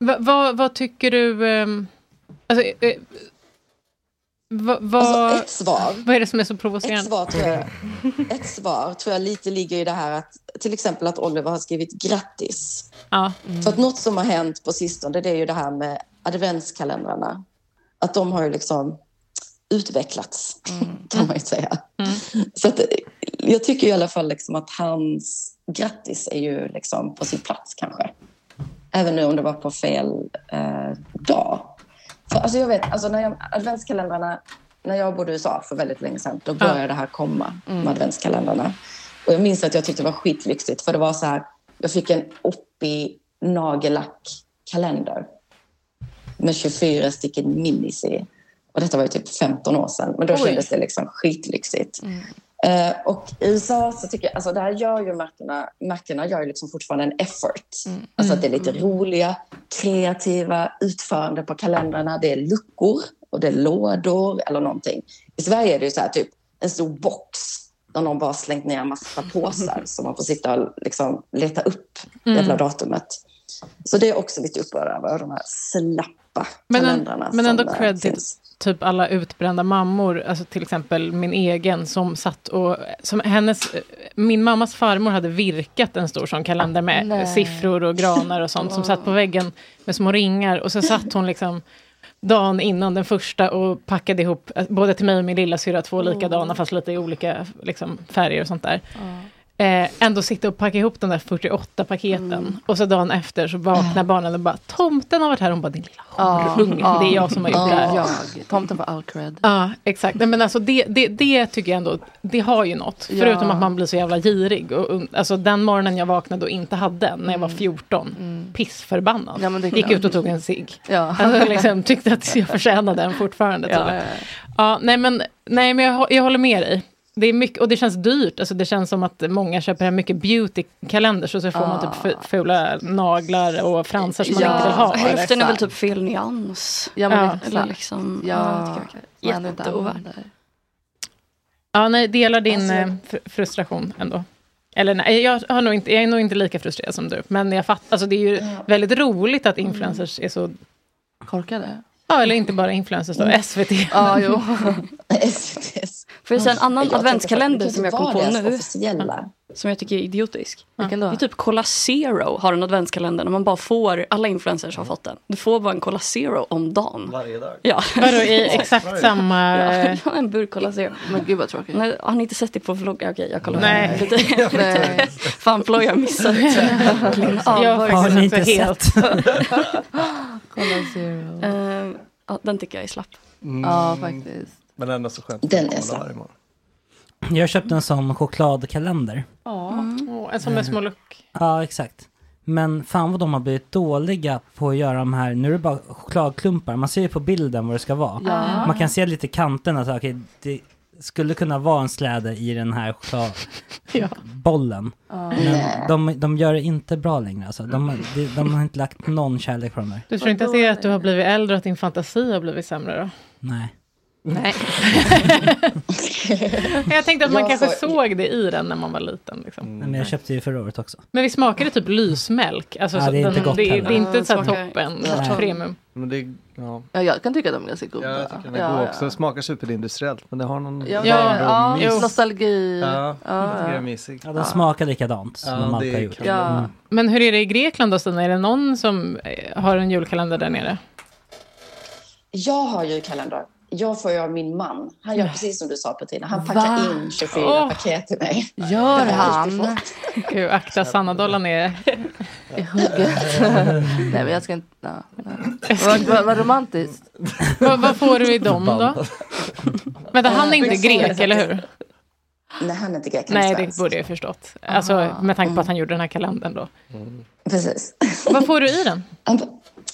Va, va, vad tycker du... ehm, alltså, eh, va, va,
Alltså, ett svar.
Vad är det som är så
Ett
provocerande?
svar, tror jag, ett svar tror jag lite ligger i det här att till exempel att Oliver har skrivit grattis.
Ja.
För att något som har hänt på sistone det är ju det här med adventskalendrarna. Att de har ju liksom utvecklats
Mm.
kan man ju säga. Så att, eh, jag tycker i alla fall liksom att hans grattis är ju liksom på sin plats kanske. Även nu om det var på fel eh, dag. För, alltså jag vet, alltså när jag, adventskalendrarna, när jag bodde i USA för väldigt länge sedan, då började det här komma
Mm.
med adventskalendrarna. Och jag minns att jag tyckte det var skitlyxigt, för det var så här, jag fick en oppig nagellackkalender med 24 stycken minis i. Och detta var ju typ 15 år sedan, men då
Oj.
kändes det liksom skitlyxigt. Eh, och i USA så tycker jag, alltså där gör ju märkena, märkena gör ju liksom fortfarande en effort. Alltså att det är lite roliga, kreativa utförande på kalendrarna. Det är luckor och det är lådor eller någonting. I Sverige är det ju så här typ en stor box där någon bara slängt ner en massa påsar som man får sitta och liksom leta upp
Mm.
jävla datumet. Så det är också lite upprörd över, de här slappa
Men, en,
kalendrarna.
men
som
ändå
det
cred till
finns.
typ alla utbrända mammor, alltså till exempel min egen som satt och... Som hennes, eh, min mammas farmor hade virkat en stor sån kalender med
Nej.
siffror och granar och sånt som satt på väggen med små ringar och så satt hon liksom dagen innan den första och packade ihop, eh, både till mig och min lilla syra två likadana fast lite i olika liksom, färger och sånt där. Eh, ändå sitta och packa ihop de där 48 paketen.
Mm.
Och så dagen efter så
Ah.
vaknar barnen och bara, tomten har varit här. Hon bara, din lilla horunge, det är jag som har gjort det här.
jag. ah. Tomten på all cred.
Ja, exakt. Nej, men alltså det, det, det tycker jag ändå, det har ju något.
Ja.
Förutom att man blir så jävla girig. Och, och, alltså den morgonen jag vaknade och inte hade, när jag var 14, pissförbannad.
Mm. Ja, men det är
Gick
klart.
ut och tog en cigg.
Ja.
Alltså, liksom, tyckte att jag förtjänade den fortfarande.
Ja,
typ.
ja, ja.
Ja, nej, men, nej, men jag, hå- jag håller med dig. Det är mycket, och det känns dyrt. Alltså, det känns som att många köper hem mycket beautykalender så, så får man typ fu- fula naglar och fransar som man inte vill ha.
Hälften är väl typ fel nyans.
Ja, men exakt.
Eller liksom,
Ja,
det tycker
man
jag
ändå
kan-
inte
jätteovärt.
Ja, nej, delar din
Alltså-
eh, fr- frustration ändå. Eller nej, jag, har nog inte, jag är nog inte lika frustrerad som du. Men jag fatt, alltså, det är ju väldigt roligt att influencers är så...
Korkade?
Ja, eller inte bara influencers då,
Mm.
SVT.
Ja, jo.
eh,
Får jag säga en annan
Jag tänker
adventskalender
faktiskt
som jag kom
vad
på
deras
nu?
Officiella.
Som jag tycker är idiotisk.
Vilken
Det
då?
är typ Cola Zero har en adventskalender när man bara får, alla influencers har fått den. Du får bara en Cola Zero om dagen.
Varje dag?
Ja.
Vadå, i exakt Varje dag. samma-
Ja, ja, en burk Cola Zero.
Men gud vad tråkigt.
Nej, har ni inte sett det på vloggen? Okej, jag kollar.
Nej.
Lite-
Nej.
Fan, Ploy har missat det. Verkligen
Jag
avvarit
har
mig
inte
så helt.
Kolla Zero.
Eh, ja, den tycker jag är slapp.
Mm.
Ja, faktiskt.
Men ändå så skönt.
Den
att
är
kolla
så.
varje morgon.
Jag köpte en sån chokladkalender.
Ja, Mm. Åh, en sån med små luckor.
Ja, exakt. Men fan vad de har blivit dåliga på att göra de här, nu är det bara chokladklumpar, man ser ju på bilden vad det ska vara.
Ja.
Man kan se lite kanterna, så, här, okej, det skulle kunna vara en släde i den här chokladbollen.
Ja.
Men de, de gör det inte bra längre alltså. de, de, de har inte lagt någon kärlek på de där.
Du tror inte att det är att du har blivit äldre och att din fantasi har blivit sämre då?
Nej.
Nej. jag tänkte att man
Jag
kanske
får-
såg det i den när man var liten. Liksom.
Nej, Men jag köpte ju förra året också.
Men vi smakade typ lysmjölk. Alltså,
Ja,
så
det är
den,
inte gott
det, är- det
heller.
är inte
Ja,
så här
smakar-
toppen,
Nej.
premium.
Men det, ja.
Ja, jag kan tycka att de är ganska goda.
Jag tycker den är god också. Den smakar superindustriellt men det har någon
Ja, ja,
barndommys.
jo. nostalgi.
Ja,
Ja,
jag tycker
ja.
det är mysigt.
Ja, de smakar likadant som
Ja,
de alltid
det
har gjort.
kan man-
Mm.
Men hur är det i Grekland då, Stina? Är det någon som eh, har en julkalender där nere?
Jag har ju kalender. Jag får ju av min man. Han gör precis som du sa Petrina. Han
Va?
packar in 24
Åh.
paket till mig.
Gör
Det har jag alltid
han?
fått.
Gud, akta Sanna-dollarn är...
I hugget. nej, men jag ska inte... Ja, nej. Vad vad- vad romantiskt.
Vad, vad får du i dem då? Vänta, han är inte
Jag får
grek,
faktiskt-
eller hur?
Nej, han är inte grek. Han är
Nej, det
svensk.
borde jag ju förstått. Alltså, med tanke på att han
Mm.
gjorde den här kalendern då.
Precis.
Vad får du i den?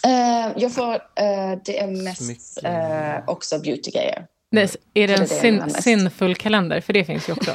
Eh, jag får, eh, det är mest eh, också beautygrejer.
Nej, s- är det
För
en
det är den
sin,
mest.
sinfull kalender? För det finns ju också.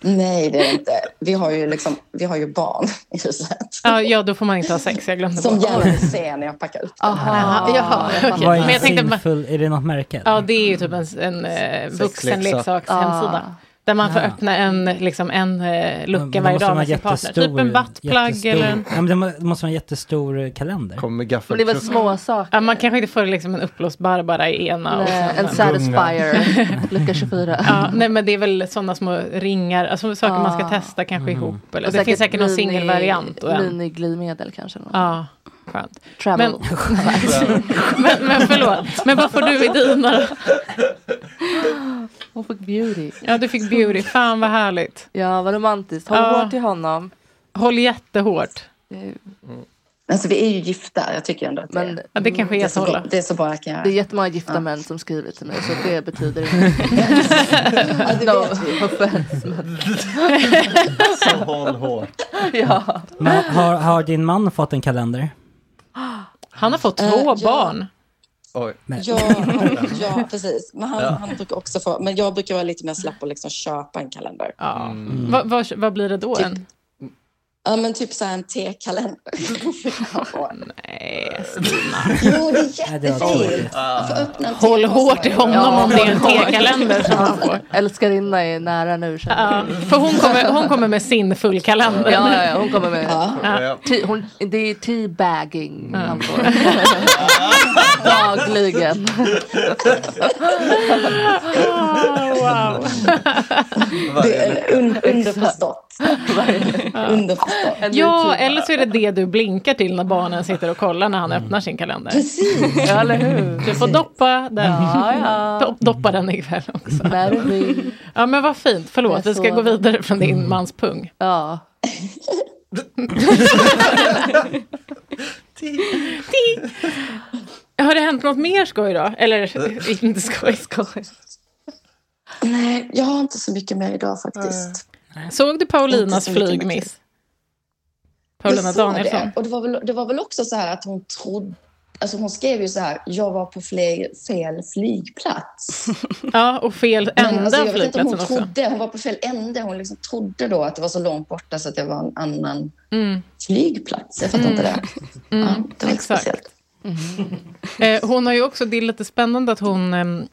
Nej, det är det inte. Vi har ju, liksom, vi har ju barn i huset
Ja, ja, då får man inte ha sex. Jag glömde
som
bort.
gärna vill se när jag packar upp den
Aha, jaha, okej.
Vad
Men
är
jag tänkte bara-
sinfull, är det något märke?
Ja, det är ju typ en, en eh, vuxenleksaks hemsida. Där man får
Ah.
öppna en, liksom, en eh, lucka
Men
varje
måste
dag
man
med sin partner. Typ en buttplug
jättestor-
eller en...
Ja, men det må- det måste vara en jättestor eh, kalender.
Kommer
Men det var små saker.
Ja, man kanske inte får liksom en uppblåsbar bara i ena. och
Nej,
sen
en Satisfyer. Lucka 24.
Ja, nej men det är väl sådana små ringar, alltså saker man ska
Ah.
testa kanske
Mm.
Mm.
ihop. Eller.
Och
Det finns säkert någon
mini-
singelvariant. och en-
Mini-glidmedel kanske. något.
Ja, skönt.
Travel.
Men, men, men förlåt, men vad får du i dina då?
Hon fick beauty.
Ja, du fick beauty. Fan vad härligt.
Ja, vad romantiskt. Håll
Ja.
hårt i honom.
Håll jättehårt.
Det är ju-
Alltså vi är ju gifta, jag tycker ändå att det,
Men- Ja, det kanske är
det är så
så
bra,
då.
det är så bra jag kan göra.
Det är jättemånga gifta
Ja. Mm.
män som skriver till mig så det betyder ingenting. no offense. men-
Så håll hårt.
ja.
Men har, har din man fått en kalender?
Han har fått
Eh,
två
ja.
barn.
Oj.
Ja, ja, precis. Men han,
Ja.
han brukar också få, men jag brukar vara lite mer slapp och liksom köpa en kalender. Typ-
Ja. Vad, vad, vad blir det då? En?
Ja, men typ så här en tekalender.
Nej,
Jo, det är
det var
jättefint.
tråkigt.
Man får öppna en
Håll
te-
hårt i honom om det är en tekalender som han får.
Älskarinna är nära nu.
Ja, för hon kommer, hon kommer med sin fullkalender.
Ja, ja, ja, hon kommer med.
Ja.
Te- hon, det är teabagging han får. Dagligen.
Ah, wow.
Det är un, underförstått. underförstått.
Ja, eller så är det det du blinkar till när barnen sitter och kollar när han öppnar sin kalender.
Precis.
Ja, eller hur? Du får doppa den,
Ja, ja.
Dop- doppa den ikväll också.
När du vill.
Ja, men vad fint.
Jag
Förlåt, vi ska
sover.
gå vidare från din mans pung.
Ja.
Ting. Har det hänt något mer skoj då? Eller inte skoj, skoj.
Nej, jag har inte så mycket mer idag faktiskt.
Såg du
Inte
Paulinas
så mycket
flygmiss?
Jag
Paulina
sa
Danielsson.
Det. Och det var, väl, det var väl också så här att hon trodde... Alltså hon skrev ju så här, jag var på fel, fel flygplats.
Ja, och fel
Men alltså,
ända
jag vet inte om
flygplatsen
hon
också.
trodde, hon var på fel ände. Hon liksom trodde då att det var så långt borta så att det var en annan
Mm.
flygplats. Jag fattar inte det.
Mm,
Ja, det var lite
exakt.
speciellt.
Eh, hon har ju också, det är lite spännande att hon... ehm,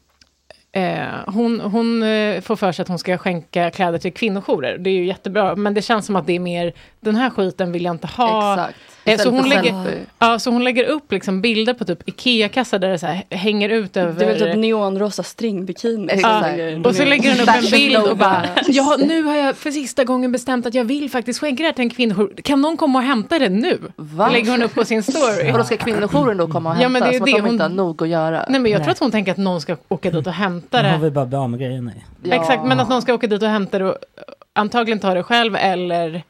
Eh, hon hon eh, får för sig att hon ska skänka kläder till kvinnojourer. Det är ju jättebra, men det känns som att det är mer, den här skiten vill jag inte ha.
Exakt.
Eh, så,
Istället
hon
för
lägger,
selfie.
ja, så hon lägger upp liksom bilder på typ Ikea-kassar där det så här hänger ut över...
Det är väl typ neonrosa stringbikinis.
Ja, och så lägger hon upp en
Fashion
bild och bara,
Nova.
ja nu har jag för sista gången bestämt att jag vill faktiskt skänka det här till en kvinnojour. Kan någon komma och hämta det nu?
Va?
Lägger hon upp på sin story.
Och då ska kvinnojouren då komma och hämta?
Ja, men det är
som
det
att de
hon-
inte har nog att göra.
Nej men jag tror att hon tänker att någon ska åka dit och hämta
Då har
det.
vi bara blivit av med grejen nu.
Ja.
Exakt, men att någon ska åka dit och hämta det och antagligen ta det själv eller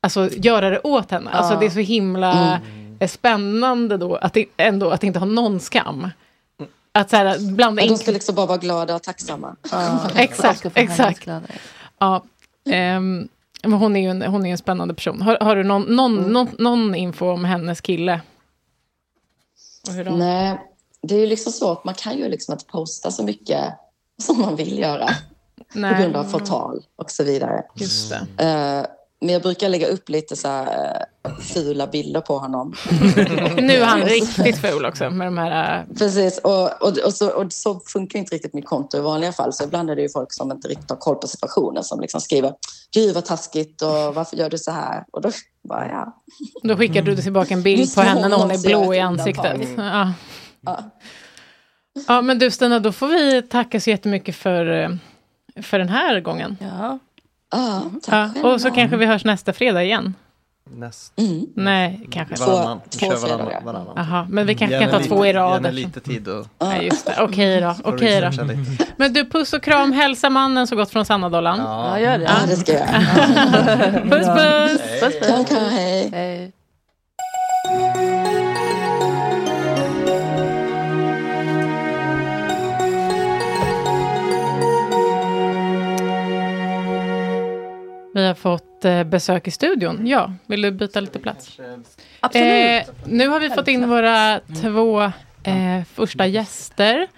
alltså, göra det åt henne. Alltså det är så himla
Mm.
eh, spännande då att, det, ändå, att inte ha någon skam. Att så här, blanda
Men
in...
de ska liksom bara vara glada och tacksamma.
Exakt, exakt. Ja, ehm, men hon är ju en, hon är ju en spännande person. Har, har du någon, någon, någon, någon info om hennes kille? Och hur de-
Nej, det är ju liksom svårt. Man kan ju liksom inte posta så mycket som man vill göra på
Nej.
grund av förtal och så vidare.
Just det.
Eh, Men jag brukar lägga upp lite så här eh, fula bilder på honom. Alltså,
Nu är han riktigt ful också med de här... äh,
Precis, och, och, och, så, och så funkar ju inte riktigt mitt konto i vanliga fall. Så ibland är det ju folk som inte riktigt har koll på situationen som liksom skriver Gud vad taskigt och varför gör du så här? Och då bara ja.
Då skickar du tillbaka en bild
Just
på
det,
henne när hon är
någon ser
blå i
ett
ansiktet.
undantag.
Ja. ja, men du Stina, då får vi tacka så jättemycket för, eh, för den här gången.
Ja.
Ja,
Ja,
tack
och så kanske vi hörs nästa fredag igen.
Näst.
Nej, kanske.
Varannan. Vi
Mm. två
kör
fredagar.
varannan. varannan.
Aha, men vi kanske
Ge
kan ta
henne
två i
lite- ge
rad.
henne
eftersom-
lite tid och...
Nej, just det. Okej då.
och
Okej
researcha
då.
lite.
Men du, puss och kram. Hälsa mannen så gott från Sannadollan.
Ja, gör det.
Ja, det ska jag göra.
Puss, puss!
Puss, puss.
Kram, kram, hej.
Hej.
Vi har fått eh, besök i studion. Ja, vill du byta lite plats?
Absolut.
Eh, nu har vi fått in våra två eh, första gäster.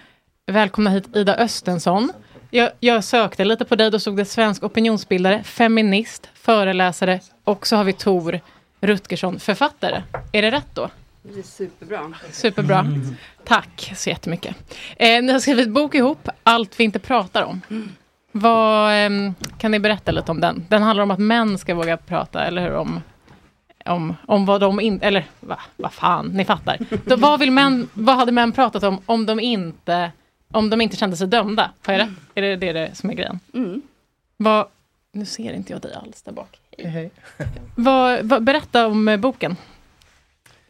Välkomna hit Ida Östensson. Jag, jag sökte lite på dig, då stod det svensk opinionsbildare, feminist, föreläsare och så har vi Tor Rutgersson, författare. Är det rätt då?
Det är superbra.
Superbra. Tack så jättemycket. Eh, ni har skrivit bok ihop, Allt vi inte pratar om. Vad, ehm, kan ni berätta lite om den? Den handlar om att män ska våga prata, eller hur? Om, om, om vad de inte... Eller va, vad fan, ni fattar. Då, vad, vill män, vad hade män pratat om om de inte, om de inte kände sig dömda? Har jag rätt? Är det, det är det som är grejen?
Mm.
Vad, nu ser inte jag dig alls där bak. Vad, vad, berätta om eh, boken.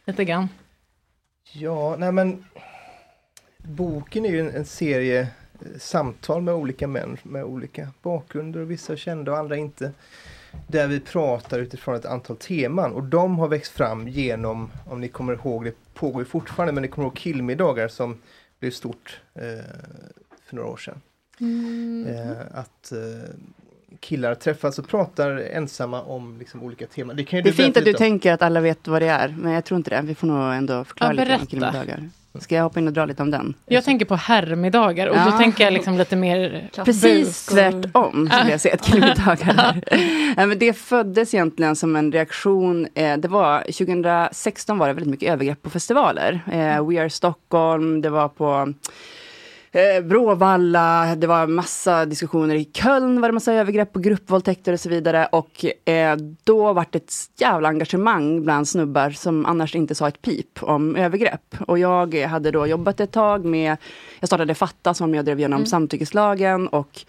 Lite grann.
Ja, nej men boken är ju en, en serie eh, samtal med olika män med olika bakgrunder och vissa kända och andra inte. Där vi pratar utifrån ett antal teman och de har växt fram genom, om ni kommer ihåg, det pågår ju fortfarande, men ni kommer ihåg Killmiddagar som blev stort eh, för några år sedan.
Mm.
Eh, att eh, killar träffas och pratar ensamma om liksom, olika teman. Det, kan ju
Det är
du
fint
berätta
att du
lite om.
tänker att alla vet vad det är, men jag tror inte det. Vi får nog ändå förklara
Ja,
lite om
berätta.
krimdagar. Ska jag hoppa in och dra lite om den?
Jag tänker på herrmiddagar och
Ja.
då tänker jag liksom lite mer...
Precis
buk och-
tvärtom skulle jag säga att krimdagar är. Nej, men det föddes egentligen som en reaktion. eh, Det var 2016 var det väldigt mycket övergrepp på festivaler. Eh, We Are Stockholm, det var på eh, Bråvalla, det var massa diskussioner i Köln, var det massa övergrepp och gruppvåldtäkter och så vidare. Och eh, då var det ett jävla engagemang bland snubbar som annars inte sa ett pip om övergrepp. Och jag hade då jobbat ett tag med, jag startade Fatta som jag drev genom
Mm.
samtyckeslagen och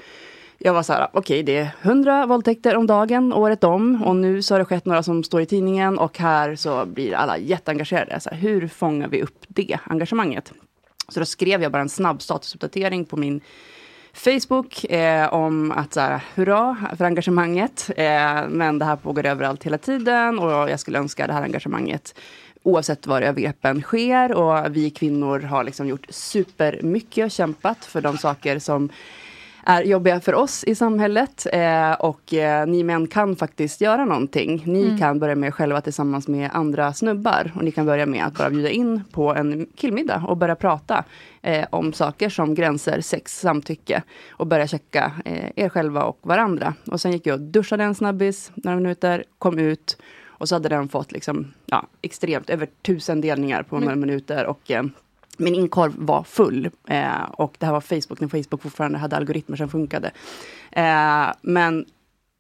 jag var så här, okej det är 100 våldtäkter om dagen året om och nu så har det skett några som står i tidningen och här så blir alla jätteengagerade. Så här, hur fångar vi upp det engagemanget? Så då skrev jag bara en snabb statusuppdatering på min Facebook eh, om att så här, hurra för engagemanget. Eh, men det här pågår överallt hela tiden och jag skulle önska det här engagemanget oavsett var övergreppen sker. Och vi kvinnor har liksom gjort supermycket och kämpat för de saker som är jobbiga för oss i samhället. Eh, och eh, ni män kan faktiskt göra någonting. Ni
Mm.
kan börja med er själva tillsammans med andra snubbar. Och ni kan börja med att bara bjuda in på en killmiddag och börja prata eh, om saker som gränser, sex, samtycke. Och börja checka eh, er själva och varandra. Och sen gick jag och duschade en snabbis några minuter, kom ut. Och så hade den fått liksom, ja, extremt över tusen delningar på några minuter. Och eh, min inkorv var full. Eh, och det här var Facebook, när Facebook fortfarande hade algoritmer som funkade. Eh, men,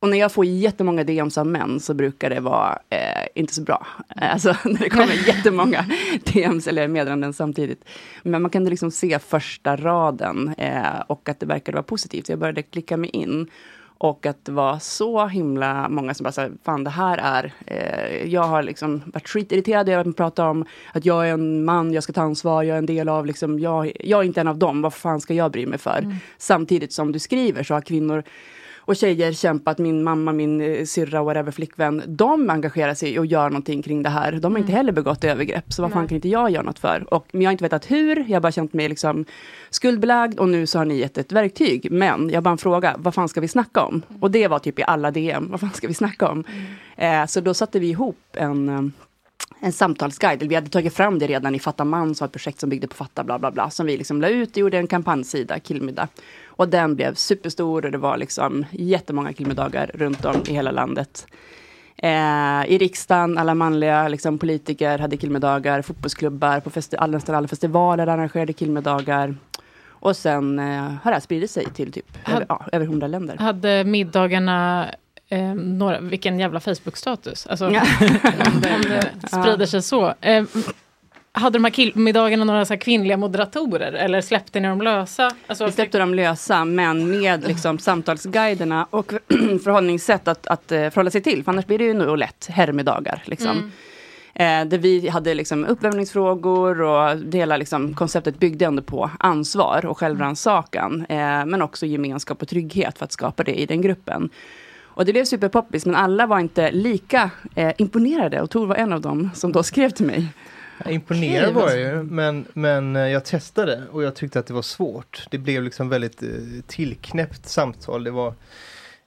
och när jag får jättemånga DMs av män så brukar det vara eh, inte så bra. Eh, Alltså när det kommer jättemånga DMs eller meddelanden samtidigt. Men man kunde liksom se första raden eh, och att det verkade vara positivt. Så jag började klicka mig in. Och att det var så himla många som bara sa, fan det här är, eh, jag har liksom varit skitirriterad över att man pratar om att jag är en man, jag ska ta ansvar, jag är en del av, liksom, jag, jag är inte en av dem, vad fan ska jag bry mig för?
Mm.
Samtidigt som du skriver så har kvinnor och tjejer kämpat, min mamma, min eh, syrra, whatever, flickvän, de engagerar sig och gör någonting kring det här. De har inte heller begått övergrepp, så vad fan
Nej.
kan inte jag göra något för? Och, men jag har inte vetat hur, jag har bara känt mig liksom skuldbelagd och nu så har ni gett ett verktyg. Men jag har bara en fråga, vad fan ska vi snacka om? Och det var typ i alla DM, vad fan ska vi snacka om? Eh, så då satte vi ihop en eh, en samtalsguide. Eller Vi hade tagit fram det redan i Fatta man, som var ett projekt som byggde på Fatta bla bla bla, som vi liksom la ut och gjorde en kampanjsida, Killmiddag. Och den blev superstor och det var liksom jättemånga killmiddagar runt om i hela landet. Eh, I riksdagen, alla manliga liksom, politiker hade killmiddagar, fotbollsklubbar, på festi- all- nästan alla festivaler arrangerade killmiddagar. Och sen eh, har det här spridit sig till typ över, ja, över 100 länder.
Hade middagarna eh, några, vilken jävla Facebook-status? Alltså,
Ja.
om det, om det sprider sig så. Eh, hade de här killmiddagarna några så här kvinnliga moderatorer eller släppte ni dem lösa? Alltså,
Vi släppte dem lösa, men med liksom samtalsguiderna och förhållningssätt att, att eh, förhålla sig till. För annars blir det ju nog lätt herrmiddagar. Liksom.
Mm.
Eh, där vi hade liksom uppvärmningsfrågor och det hela liksom, konceptet byggde ändå på ansvar och självrannsakan. Eh, men också gemenskap och trygghet för att skapa det i den gruppen. Och det blev superpoppis, men alla var inte lika eh, imponerade. Och Tor var en av dem som då skrev till mig.
Imponerad var jag ju, men, men eh, jag testade och jag tyckte att det var svårt. Det blev liksom väldigt eh, tillknäppt samtal. Det var,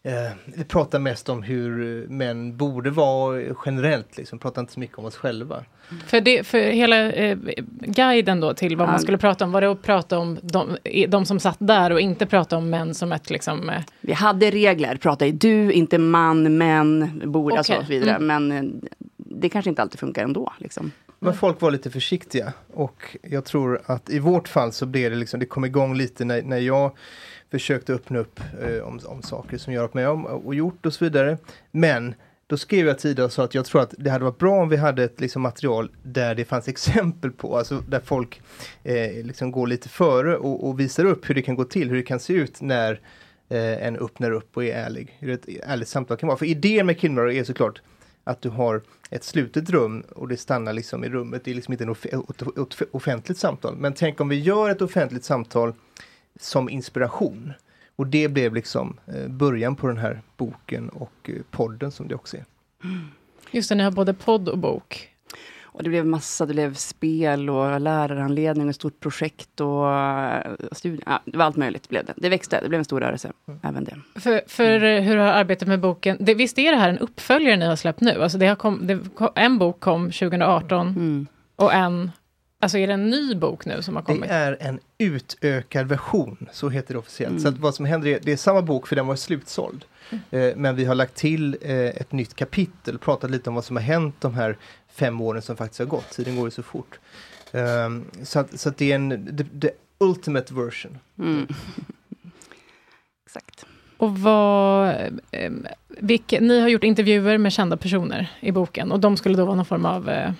eh, vi pratade mest om hur eh, män borde vara eh, generellt, liksom. pratade inte så mycket om oss själva.
För, det, för hela eh, guiden då till vad
Ja.
man skulle prata om, var det att prata om de, de som satt där och inte prata om män som ett liksom... Eh,
Vi hade regler, prata i du, inte man, men, borde alltså,
Okej,
och så vidare.
mm.
Men eh, det kanske inte alltid funkar ändå. Liksom.
Men folk var lite försiktiga och jag tror att i vårt fall så blev det liksom, det kom igång lite när, när jag försökte öppna upp eh, om, om saker som jag har varit med om och gjort och så vidare. Men då skrev jag tidigare och sa att jag tror att det hade varit bra om vi hade ett liksom, material där det fanns exempel på, alltså där folk eh, liksom går lite före och, och visar upp hur det kan gå till, hur det kan se ut när eh, en öppnar upp och är ärlig. Hur ett ärligt samtal kan vara. För idén med Killmore är såklart att du har ett slutet rum och det stannar liksom i rummet. Det är liksom inte ett off- off- off- offentligt samtal. Men tänk om vi gör ett offentligt samtal som inspiration. Och det blev liksom eh, början på den här boken och eh, podden som det också är.
Just det, ni har både podd och bok.
Och det blev massa, det blev spel och lärarhandledning och ett stort projekt och eh, studie, ja, det var allt möjligt. Blev det. det växte, det blev en stor rörelse,
Mm.
även det.
För, för
Mm.
eh, hur har arbetet med boken... Det, visst är det här en uppföljare ni har släppt nu? Alltså det har kom, det, kom- en bok kom 2018
Mm.
och en... Alltså är det en ny bok nu som har kommit?
Det är en utökad version, så heter det officiellt.
Mm.
Så att vad som händer är, det är samma bok för den var slutsåld. Eh, Men vi har lagt till eh, ett nytt kapitel, pratat lite om vad som har hänt de här fem åren som faktiskt har gått. Tiden går ju så fort. Ehm, Så att, så att det är en, the, the ultimate version.
Mm. Och vad... Eh, vilka, ni har gjort intervjuer med kända personer i boken och de skulle då vara någon form av... Eh,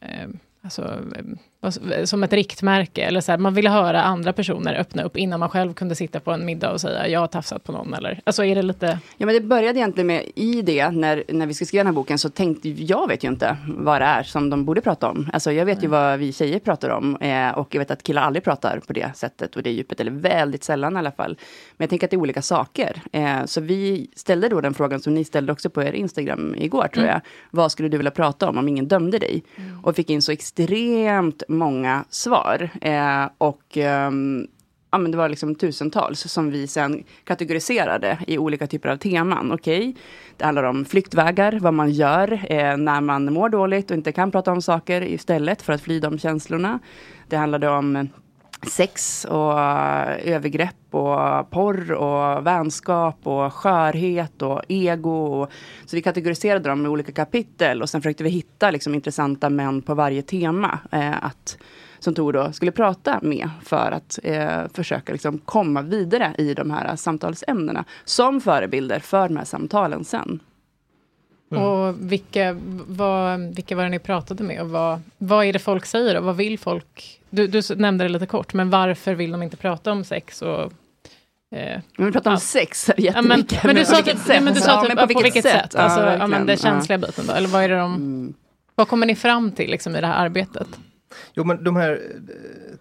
eh, alltså, eh, vad- som ett riktmärke, eller så här, man ville höra andra personer öppna upp innan man själv kunde sitta på en middag och säga jag har tafsat på någon eller... Alltså är det lite...
Ja, men det började egentligen med, i det, när, när vi skulle skriva den här boken, så tänkte jag vet ju inte vad det är som de borde prata om. Alltså jag vet ju vad vi tjejer pratar om, eh, och jag vet att killar aldrig pratar på det sättet och det djupet, eller väldigt sällan i alla fall. Men jag tänker att det är olika saker. Eh, så vi ställde då den frågan som ni ställde också på er Instagram igår, tror
Mm.
jag. Vad skulle du vilja prata om, om ingen dömde dig? Och fick in så extremt många svar. Eh, och... ehm, ja, men det var liksom tusentals som vi sen kategoriserade i olika typer av teman. Okej, det handlar om flyktvägar, vad man gör eh, när man mår dåligt och inte kan prata om saker istället för att fly de känslorna. Det handlade om sex och eh, övergrepp och porr och vänskap och skörhet och ego. Och, så vi kategoriserade dem i olika kapitel och sen försökte vi hitta liksom, intressanta män på varje tema. Eh, att, som Tor då skulle prata med för att eh, försöka liksom, komma vidare i de här samtalsämnena. Som förebilder för de här samtalen sen.
Och vilka, vad, vilka var det ni pratade med? Och vad, vad är det folk säger och vad vill folk? Du, du nämnde det lite kort, men varför vill de inte prata om sex? Och, eh,
Men vi pratar om
ja.
sex här
Ja, men,
jättemycket.
men du
på
sa
vilket
typ,
sätt?
nej, men du sa
Ja,
typ, ja, på vilket, sätt? Alltså, ja, men
verkligen.
den känsliga
Ja. Mm.
biten då, eller vad är det de... Vad kommer ni fram till liksom, i det här arbetet?
Jo, men de här eh,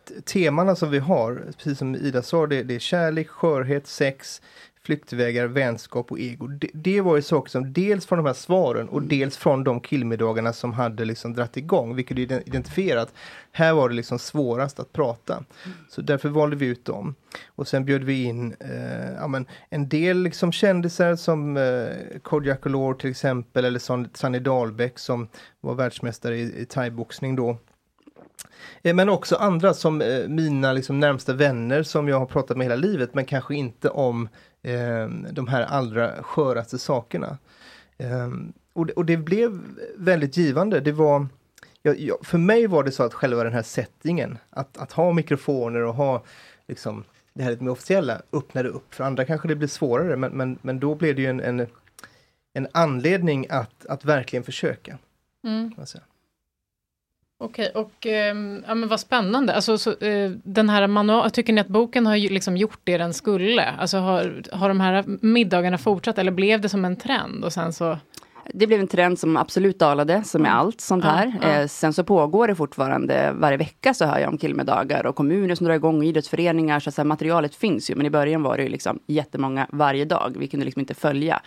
t- temana som vi har, precis som Ida sa, det, det är kärlek, skörhet, sex, flyktvägar, vänskap och ego. Det, det var ju saker som dels från de här svaren och dels från de killmiddagarna som hade liksom dratt igång, vilket är ident- identifierat. Här var det liksom svårast att prata. Så därför valde vi ut dem. Och sen bjöd vi in eh, ja, men en del liksom kändisar som eh, Kodjo Akolor till exempel, eller Son- Sanny Dahlbäck som var världsmästare i, i thaiboxning då. Eh, Men också andra som eh, mina liksom närmsta vänner som jag har pratat med hela livet men kanske inte om eh, de här allra sköraste sakerna. Eh, och, det, och det blev väldigt givande. Det var, jag, jag, för mig var det så att själva den här settingen, att, att ha mikrofoner och ha liksom, det här lite mer officiella öppnade upp. För andra kanske det blir svårare men, men, men då blev det ju en, en, en anledning att, att verkligen försöka.
Mm.
kan man säga.
Okej, och ehm, ja, men vad spännande. Alltså, så, eh, den här manualen, tycker ni att boken har ju liksom gjort det den skulle? Alltså, har, har de här middagarna fortsatt eller blev det som en trend? Och sen så...
Det blev en trend som absolut dalade, som med allt sånt
Ja,
här.
ja.
Eh, sen så pågår det fortfarande, varje vecka så hör jag om killmiddagar och kommuner som drar igång, och idrottsföreningar, så, att så här, materialet finns ju. Men i början var det ju liksom jättemånga varje dag, vi kunde liksom inte följa.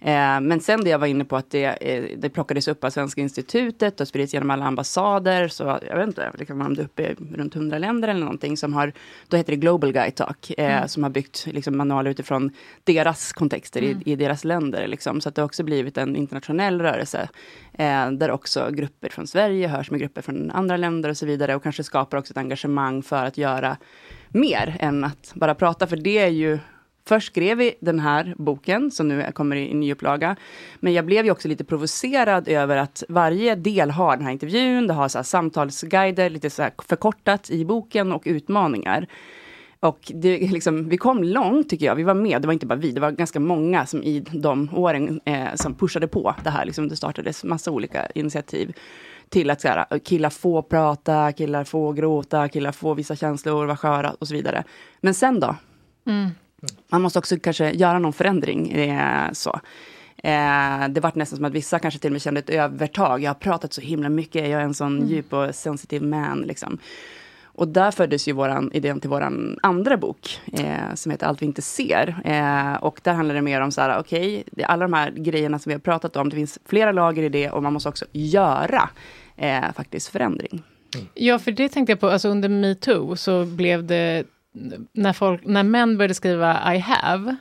Eh, Men sen det jag var inne på att det, eh, det plockades upp av Svenska institutet och sprids genom alla ambassader. Så jag vet inte, det kan vara om det är uppe i runt 100 länder eller någonting som har, då heter det Global Guide Talk, eh,
Mm.
som har byggt liksom, manualer utifrån deras kontexter
Mm.
i, i deras länder. Liksom. Så att det har också blivit en internationell rörelse, eh, där också grupper från Sverige hörs med grupper från andra länder och så vidare, och kanske skapar också ett engagemang för att göra mer än att bara prata, för det är ju Först skrev vi den här boken, som nu kommer i en ny upplaga. Men jag blev ju också lite provocerad över att varje del har den här intervjun, det har så här samtalsguider, lite så här förkortat i boken och utmaningar. Och det, är liksom, vi kom långt tycker jag, vi var med, det var inte bara vi, det var ganska många som i de åren eh, som pushade på det här. Liksom, det startades massa olika initiativ till att så här, killar får prata, killar får gråta, killar får vissa känslor, vara sköra och så vidare. Men sen då?
Mm.
Man måste också kanske göra någon förändring. Eh, så. Eh, det vart nästan som att vissa kanske till och med kände ett övertag. Jag har pratat så himla mycket, jag är en sån
Mm.
djup och sensitiv man. Liksom. Och där föddes ju våran, idén till vår andra bok, eh, som heter Allt vi inte ser. Eh, och där handlar det mer om så här, okej, det- alla de här grejerna som vi har pratat om, det finns flera lager i det och man måste också göra eh, faktiskt förändring.
Ja, för det tänkte jag på, alltså under metoo så blev det, när, folk, när män började skriva I have,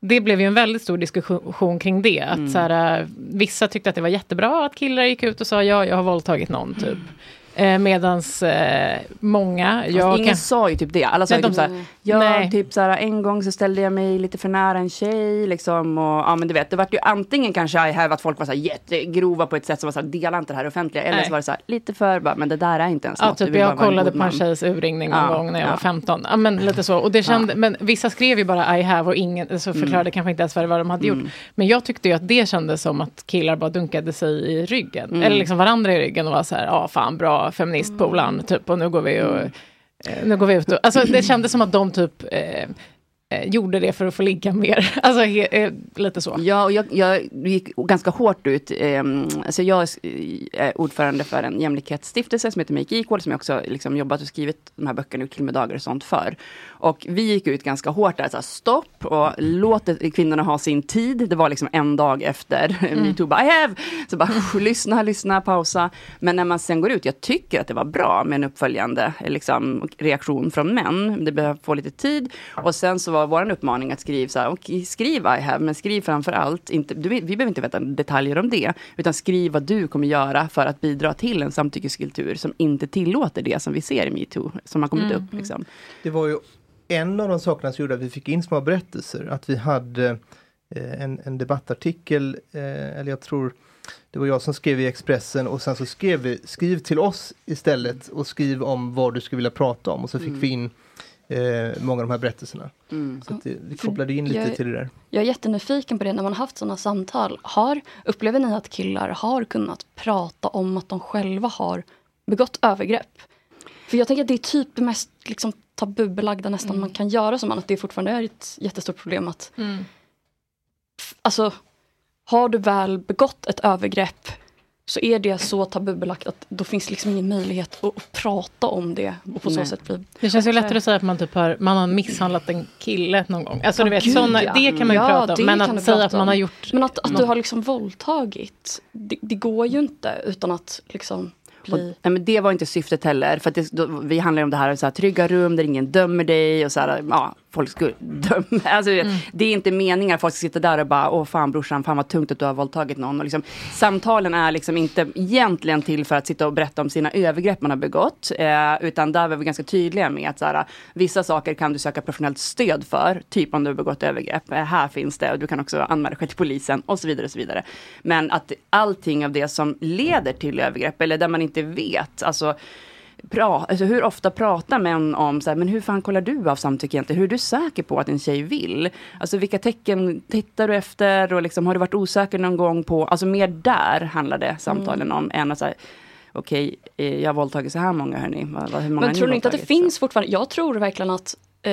det blev ju en väldigt stor diskussion kring det. Att
Mm.
så här, eh, vissa tyckte att det var jättebra att killar gick ut och sa ja, jag har våldtagit någon, typ. Eh, medans eh, många...
Fast ingen sa ju typ det, alla sa ju typ så här, jag typ så här, en gång så ställde jag mig lite för nära en tjej liksom och ja men du vet, det vart ju antingen kanske I have att folk var så här jättegrova på ett sätt som var så här, dela inte det här offentliga, eller
Nej.
så var det så här, lite för bara, men det där är inte ens
Ja,
något, du
typ
vill
jag
bara vara en
kollade
god
på en
man."
tjejs urringning någon
Ja,
gång när jag
ja.
var 15. Ja, men lite så. Och det kände, Men vissa skrev ju bara I have och ingen så förklarade
Mm.
kanske inte ens vad det var de hade
Mm.
gjort. Men jag tyckte ju att det kändes som att killar bara dunkade sig i ryggen.
Mm.
Eller liksom varandra i ryggen och var så här, ja fan bra
Mm.
feministpolaren, typ och nu går vi och eh, nu går vi ut och, alltså det kändes som att de typ eh, eh, gjorde det för att få ligga mer. Alltså he, eh, lite så.
Ja, och jag, jag gick ganska hårt ut. ehm, Alltså jag är ordförande för en jämlikhetsstiftelse som heter Make Equal, som jag också liksom jobbat och skrivit de här böckerna, gjort krimmedagar och sånt för. Och vi gick ut ganska hårt där, så här, stopp och låt det- kvinnorna ha sin tid. Det var liksom en dag efter
Mm.
metoo, bara I have! Så bara lyssna, lyssna, pausa. Men när man sen går ut, jag tycker att det var bra med en uppföljande eh, liksom, reaktion från män. Det behöver få lite tid. Och sen så var vår uppmaning att skriva så här, okej, skriv I have, men skriv framför allt, inte, du, vi behöver inte veta detaljer om det, utan skriv vad du kommer göra för att bidra till en samtyckeskultur som inte tillåter det som vi ser i metoo, som har kommit
Mm.
upp. Liksom.
Det var ju en av de sakerna som gjorde att vi fick in små berättelser. Att vi hade eh, en, en debattartikel, eh, eller jag tror det var jag som skrev i Expressen och sen så skrev vi skriv till oss istället och skriv om vad du skulle vilja prata om. Och så fick
Mm.
vi in eh, många av de här berättelserna. Så att det, vi kopplade in lite
Jag-
till det där.
Jag är jättenyfiken på det när man har haft sådana samtal. Har, upplever ni att killar har kunnat prata om att de själva har begått övergrepp? För jag tänker att det är typ det mest liksom, tabubelagda nästan man kan göra som man. Att det fortfarande är ett jättestort problem att
Mm.
alltså, har du väl begått ett övergrepp så är det så tabubelagt att då finns liksom ingen möjlighet att, att prata om det och på så
Nej.
sätt bli...
Det känns ju lättare att säga att man, typ har, man har misshandlat en kille någon gång. Alltså, du
Ja,
vet,
gud,
såna,
ja.
Det kan man ju
Ja,
prata
det
om. Men
kan du
att säga
prata
att man har
om.
gjort...
Men att, att du
något-
har liksom våldtagit, det, det går ju inte utan att liksom
Och,
bli...
nej, men det var inte syftet heller. För att det, då, vi handlar ju om det här, så här trygga rum där ingen dömer dig och så här, ja, folk skulle döma. Alltså, du vet, Det är inte meningen att folk ska sitta där och bara, åh fan brorsan, fan vad tungt att du har våldtagit någon. Och liksom, samtalen är liksom inte egentligen till för att sitta och berätta om sina övergrepp man har begått. Eh, utan där var vi ganska tydliga med att så här, vissa saker kan du söka professionellt stöd för, typ om du har begått övergrepp. Eh, här finns det och du kan också anmäla själv till polisen och så vidare. Och så vidare. Men att allting av det som leder till övergrepp eller där man inte vet, alltså Pra, alltså hur ofta pratar män om så här, men hur fan kollar du av samtycke egentligen? Hur är du säker på att en tjej vill? Alltså vilka tecken tittar du efter och liksom, har du varit osäker någon gång på, alltså mer där handlar det samtalen om än att så här, okej, eh, jag har våldtagit så här många hörni. Vad- vad- Hur många har
Men tror ni inte att det
våldtagit?
finns fortfarande? Jag tror verkligen att eh,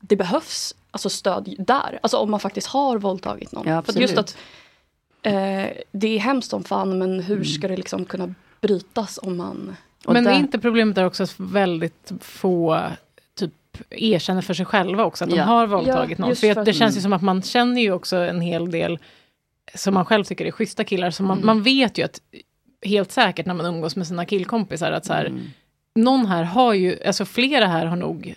det behövs alltså stöd där. Alltså om man faktiskt har våldtagit någon.
Ja,
För att just
absolut.
att eh, det är hemskt som fan men hur ska det liksom kunna brytas om man...
Men är inte problemet där också att väldigt få typ erkänner för sig själva också att de
Ja.
har våldtagit
Ja,
någon.
just
För
för
att det
att-
känns ju
Mm.
som att man känner ju också en hel del som man själv tycker är schyssta killar. Så man,
Mm.
man vet ju att helt säkert när man umgås med sina killkompisar att så här, någon här har ju, alltså flera här har nog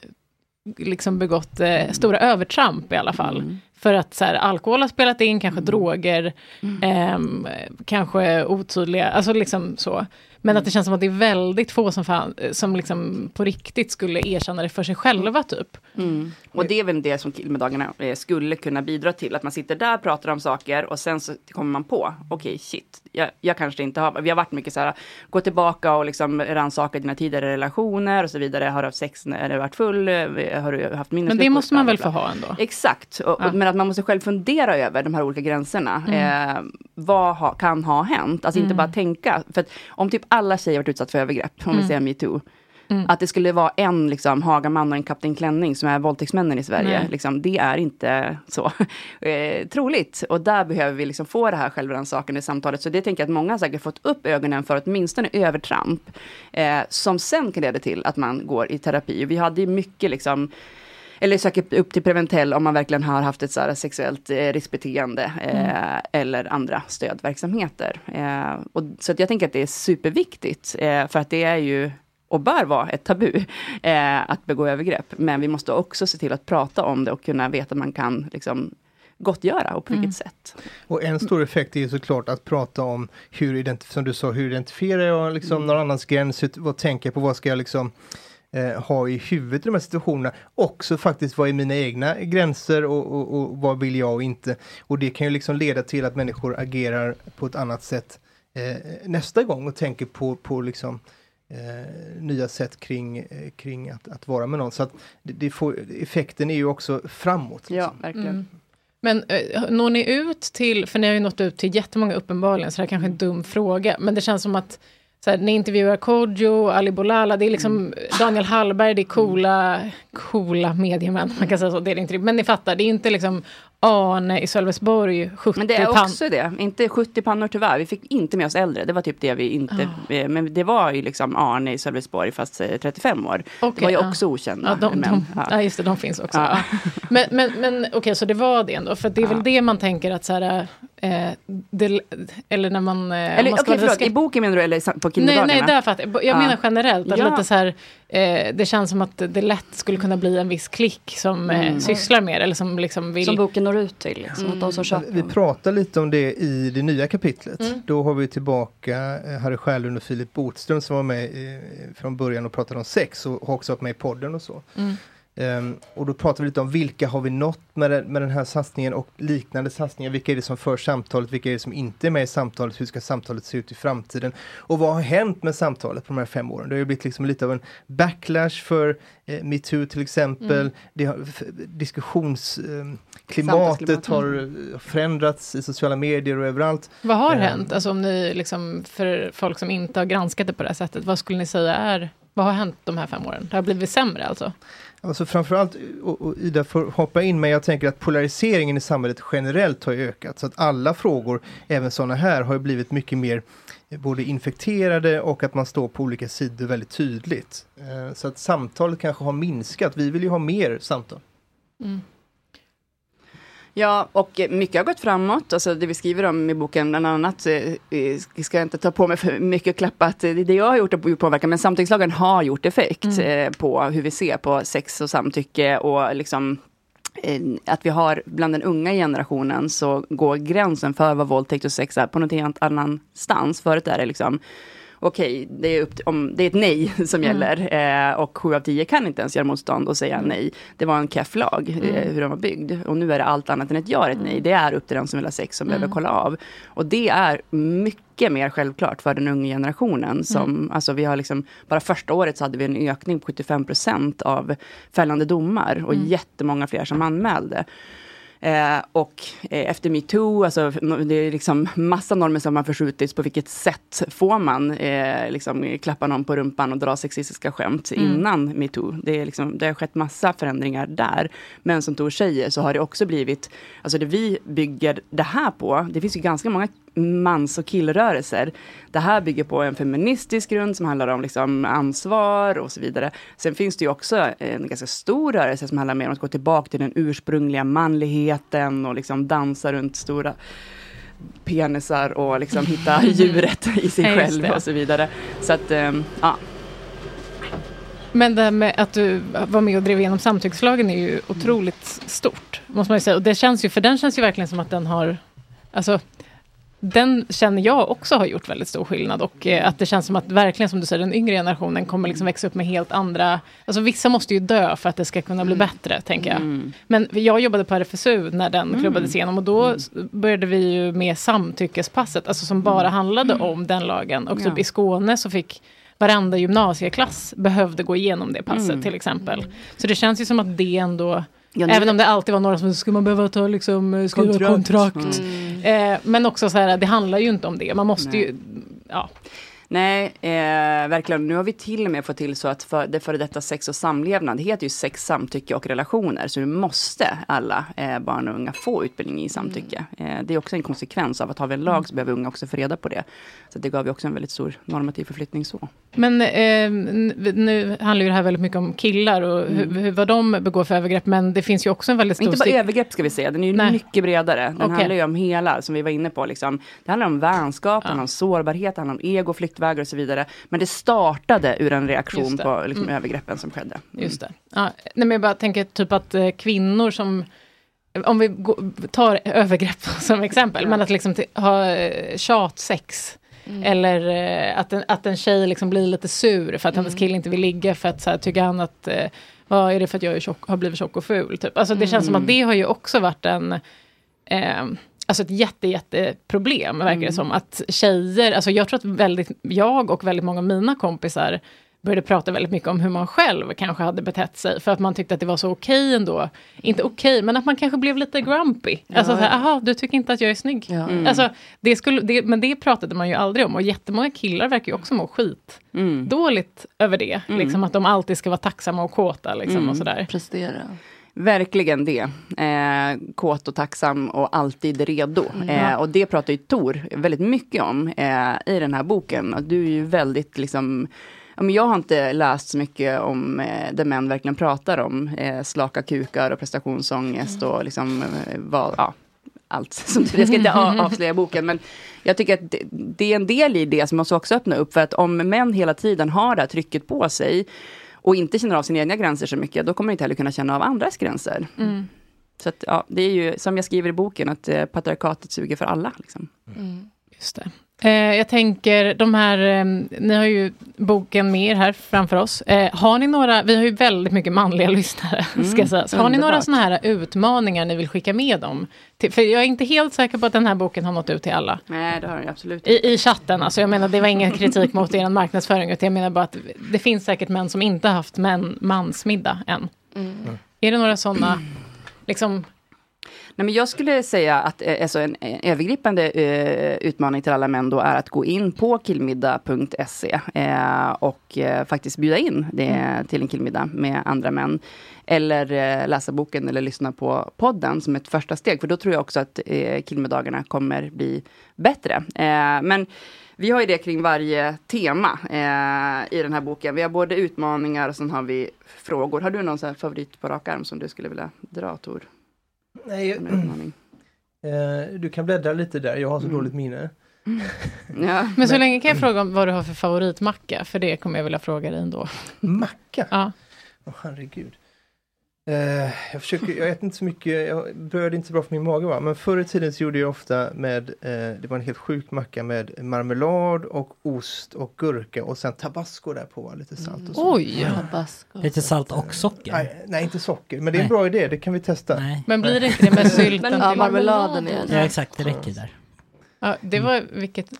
liksom begått eh, stora övertramp i alla fall. För att så här, alkohol har spelat in, kanske droger, ehm, kanske otydliga, alltså liksom så. Men att det känns som att det är väldigt få som, fan, som liksom på riktigt skulle erkänna det för sig själva typ.
Och det är väl det som killmiddagarna eh, skulle kunna bidra till. Att man sitter där, pratar om saker och sen så kommer man på, okej shit, jag, jag kanske inte har, vi har varit mycket så här, gå tillbaka och liksom rannsaka dina tidigare relationer och så vidare. Har du haft sex när du varit full? Eh, Har du haft minnesluckor?
Men det måste
Bla,
man
bla,
väl få
bla.
ha ändå?
Exakt, och,
Ja.
och, men att man måste själv fundera över de här olika gränserna.
Mm.
Eh, vad ha, kan ha hänt? Alltså inte
Mm.
bara tänka. För att om typ alla tjejer varit utsatt för övergrepp, om
Mm.
vi säger metoo, Att det skulle vara en liksom, Hagaman och en Kapten Klänning som är våldtäktsmännen i Sverige.
Nej.
Liksom, det är inte så eh, troligt. Och där behöver vi liksom få det här självrannsakande samtalet. Så det tänker jag att många har säkert fått upp ögonen för, åtminstone övertramp. Eh, som sen kan leda till att man går i terapi. Och vi hade ju mycket liksom eller söker upp till Preventell om man verkligen har haft ett så här sexuellt eh, riskbeteende eh, eller andra stödverksamheter. Eh, och, så att jag tänker att det är superviktigt eh, för att det är ju och bör vara ett tabu eh, att begå övergrepp. Men vi måste också se till att prata om det och kunna veta att man kan liksom, gottgöra och på vilket sätt.
Och en stor effekt är ju såklart att prata om hur, identif- som du sa, hur identifierar jag liksom någon annans gräns, hur- vad tänker jag på, vad ska jag liksom eh, ha i huvudet i de här situationerna. Också faktiskt vad är mina egna gränser och, och, och vad vill jag och inte. Och det kan ju liksom leda till att människor agerar på ett annat sätt eh, nästa gång och tänker på, på liksom eh, nya sätt kring, eh, kring att, att vara med någon. Så att det, det får, effekten är ju också framåt. liksom.
Ja, verkligen.
Mm. Men eh, når ni ut till, för ni har ju nått ut till jättemånga uppenbarligen, så det här kanske är en dum fråga, men det känns som att så här, ni intervjuar Kodjo, Ali Bolala, det är liksom
Mm.
Daniel Hallberg, det är coola, coola mediemän, man kan säga så, det är det inte, riktigt. men ni fattar, det är inte liksom Arne i Sölvesborg, 70
Men det är
pan-
också det. Inte 70 pannor tyvärr. Vi fick inte med oss äldre. Det var typ det vi inte...
Ah.
eh, Men det var ju liksom Arne i Sölvesborg fast eh, 35 år. det var ju
ja.
också okända
ah. Ja, de,
män.
de,
Ja.
ja. just det, de finns också. Eh,
Ja.
Ja. Men, men, men okej, så det var det ändå, för det är väl det man tänker att så här, eh, det, eller när man... eh, om
Eller
man ska
okej,
vara lite
förlåt.
skep-
I boken menar du eller i sam- på
Nej,
kinderdagarna?
nej, där fattar jag. Jag
Ja.
menar generellt, att
Ja.
lite så här, eh, det känns som att det lätt skulle kunna bli en viss klick som eh,
Mm.
sysslar med det, eller som liksom vill... Mm.
Som boken når ut till. Liksom, att de som köper
Vi pratar lite om det i det nya kapitlet. Då har vi tillbaka eh, Harry Sjölund och Filip Botström som var med eh, från början och pratade om sex och har också varit med i podden och så. Ehm, och då pratar vi lite om vilka har vi nått med den, med den här satsningen och liknande satsningar. Vilka är det som för samtalet? Vilka är det som inte är med i samtalet? Hur ska samtalet se ut i framtiden? Och vad har hänt med samtalet på de här fem åren? Det har ju blivit liksom lite av en backlash för eh, metoo till exempel.
Mm.
Det har, f- diskussions... ehm,
Samtalsklimatet.
klimatet har eh, förändrats i sociala medier och överallt.
Vad har
Eh,
hänt? Alltså om ni liksom, för folk som inte har granskat det på det här sättet, vad skulle ni säga är, vad har hänt de här fem åren? Det har blivit sämre alltså?
Alltså framförallt, och, och Ida får hoppa in, men jag tänker att polariseringen i samhället generellt har ju ökat. Så att alla frågor, även sådana här, har ju blivit mycket mer eh, både infekterade och att man står på olika sidor väldigt tydligt. Eh, Så att samtalet kanske har minskat. Vi vill ju ha mer samtal.
Ja, och eh, mycket har gått framåt. Alltså det vi skriver om i boken, bland annat, eh, eh, ska jag inte ta på mig för mycket och klappa att eh, det jag har gjort har gjort påverkan, men samtyckeslagen har gjort effekt
Mm.
eh, på hur vi ser på sex och samtycke och liksom eh, att vi har bland den unga generationen så går gränsen för vad våldtäkt och sex är på något helt annan stans. Förut är det liksom okej, det, är upp till- om- det är ett nej
Mm.
som gäller. Eh, och sju av tio kan inte ens göra motstånd och säga nej. Det var en keff lag, eh,
Mm.
hur den var byggd. Och nu är det allt annat än ett ja, och ett nej. Det är upp till den som vill ha sex som
Mm.
behöver kolla av. Och det är mycket mer självklart för den unga generationen. Som,
Mm.
alltså vi har liksom, bara första året så hade vi en ökning på 75 procent av fällande domar. Och
Mm.
jättemånga fler som anmälde. Eh, och eh, efter metoo, alltså, no- det är liksom massa normer som har förskjutits. På vilket sätt får man eh, liksom, klappa någon på rumpan och dra sexistiska skämt
Mm.
innan metoo? Det, är liksom, det har skett massa förändringar där. Men som Tor säger så har det också blivit, alltså det vi bygger det här på, det finns ju ganska många mans och killrörelser. Det här bygger på en feministisk grund som handlar om liksom ansvar och så vidare. Sen finns det ju också en ganska stor rörelse som handlar mer om att gå tillbaka till den ursprungliga manligheten och liksom dansa runt stora penisar och liksom hitta djuret i sig
Mm. Ja, just
själv
det.
och så vidare. Så att, ehm, ja.
Men det här med att du var med och drev igenom samtyckslagen är ju otroligt stort, måste man ju säga. Och det känns ju, för den känns ju verkligen som att den har, alltså, den känner jag också har gjort väldigt stor skillnad och eh, att det känns som att verkligen som du säger, den yngre generationen kommer liksom växa upp med helt andra, alltså vissa måste ju dö för att det ska kunna bli bättre, tänker
Mm.
jag. Men jag jobbade på RFSU när den
Mm. Mm.
klubbades igenom och då s- började vi ju med samtyckespasset, alltså som bara handlade om den lagen. Och typ
Ja.
i Skåne så fick varenda gymnasieklass behövde gå igenom det passet
Mm.
till exempel. Så det känns ju som att det ändå
Ja, nu-
Även om det alltid var några som skulle man behöva ta liksom, eh, skriva kontrakt.
Kontrakt.
Mm.
Mm.
Eh, men också så här, det handlar ju inte om det. Man måste
Nej.
ju... Ja.
Nej, eh, verkligen. Nu har vi till och med fått till så att för, det före detta sex och samlevnad heter ju sex, samtycke och relationer. Så nu måste alla eh, barn och unga få utbildning i samtycke. Eh, det är också en konsekvens av att har vi en lag så behöver unga också få reda på det. Så det gav ju också en väldigt stor normativ förflyttning så.
Men eh, n- nu handlar ju det här väldigt mycket om killar och
Mm.
hur, hur, vad de begår för övergrepp. Men det finns ju också en väldigt stor...
Men inte bara
styck-
övergrepp ska vi säga, den är ju mycket bredare. Den
Okej.
handlar ju om hela, som vi var inne på. Liksom. Det handlar om vänskap, det handlar om sårbarhet, det handlar om ego, flyktvägar och så vidare. Men det startade ur en
Just
reaktion
det.
på liksom,
Mm.
övergreppen som skedde. Mm.
Just det. Ja, nej, men jag bara tänker typ att eh, kvinnor som om vi gå- tar övergrepp som exempel, men att liksom t- ha eh, tjatsex.
Mm.
Eller eh, att en, att en tjej liksom blir lite sur för att
Mm.
hennes kille inte vill ligga för att så här, tycker han att eh, vad är det för att jag är tjock, har blivit tjock och ful. Typ. Alltså, det känns som att
Mm.
det har ju också varit en eh, Alltså ett jätte, jätteproblem verkar det
Mm.
som. Att tjejer, alltså jag tror att väldigt, jag och väldigt många av mina kompisar började prata väldigt mycket om hur man själv kanske hade betett sig. För att man tyckte att det var så okej ändå. Inte okej, men att man kanske blev lite grumpy. alltså
Ja,
så här,
ja.
aha, du tycker inte att jag är snygg.
Mm.
Alltså, det skulle, det, men det pratade man ju aldrig om. Och jättemånga killar verkar ju också må skit dåligt över det.
Mm.
Liksom att de alltid ska vara tacksamma och kåta. Liksom, och sådär.
Prestera. Verkligen det. Eh, kåt och tacksam och alltid redo. Eh,
Ja.
och det pratar ju Tor väldigt mycket om eh, i den här boken. Och du är ju väldigt liksom ja, men jag har inte läst så mycket om eh, där män verkligen pratar om eh, slaka kukar och prestationsångest och liksom eh, vad, ja, allt. Som, jag ska inte a- avslöja boken, men jag tycker att det, det är en del i det som måste också öppna upp. För att om män hela tiden har det här trycket på sig och inte känner av sina egna gränser så mycket, då kommer de inte heller kunna känna av andras gränser.
Mm.
Så att, ja, det är ju, som jag skriver i boken, att eh, patriarkatet suger för alla. Liksom.
Mm. Just det. Eh, jag tänker, de här, eh, ni har ju boken med er här framför oss. Eh, har ni några, vi har ju väldigt mycket manliga lyssnare,
Mm,
ska jag säga. Så har ni några
underbart.
sådana här utmaningar ni vill skicka med dem? Till, för jag är inte helt säker på att den här boken har nått ut till alla.
Nej, det har jag absolut
I, I chatten, alltså jag menar det var ingen kritik mot er marknadsföring, utan jag menar bara att det finns säkert män som inte haft män, mansmiddag än.
Mm.
Är det några sådana, liksom,
Nej, men jag skulle säga att eh, alltså, en, en övergripande eh, utmaning till alla män då är att gå in på killmiddag.se eh, och eh, faktiskt bjuda in det till en killmiddag med andra män. Eller eh, läsa boken eller lyssna på podden som ett första steg. För då tror jag också att eh, killmiddagarna kommer bli bättre. Eh, men vi har ju det kring varje tema eh, i den här boken. Vi har både utmaningar och sen har vi frågor. Har du någon sån här favorit på rak arm som du skulle vilja dra Tor?
Nej,
Som en utmaning?
Mm. eh, du kan bläddra lite där, jag har så dåligt minne.
men så länge kan jag fråga om vad du har för favoritmacka, för det kommer jag vilja fråga dig ändå.
Macka?
Ja.
Åh, herregud. Eh, jag, försöker, jag äter inte så mycket, jag bröd är inte så bra för min mage va? Men förr i tiden så gjorde jag ofta med, eh, det var en helt sjuk macka med marmelad och ost och gurka och sen tabasco där på, va? lite salt och så.
Oj!
Tabasco.
Lite salt och socker.
Nej, nej, inte socker, men det är en
Nej.
bra idé, det kan vi testa.
Men blir det inte det med sylten?
Ja,
till-
marmeladen är
Ja exakt, det räcker där.
Ja, det var vilket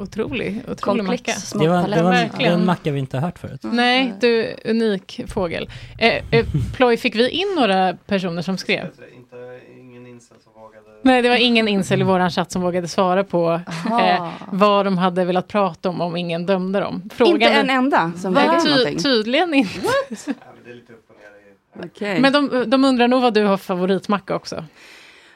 otrolig, otrolig
Komplex
macka.
Det var, det var, en, det var
Verkligen.
en macka vi inte har hört förut.
Nej, du unik fågel. Eh, eh, Ploy, fick vi in några personer som skrev? Nej, det var ingen incel i våran chatt som vågade svara på
Aha.
eh, vad de hade velat prata om, om ingen dömde dem.
Inte en enda som
Va?
vägde
Ty-
någonting?
Tydligen inte.
Okej.
Men de, de undrar nog vad du har för favoritmacka också.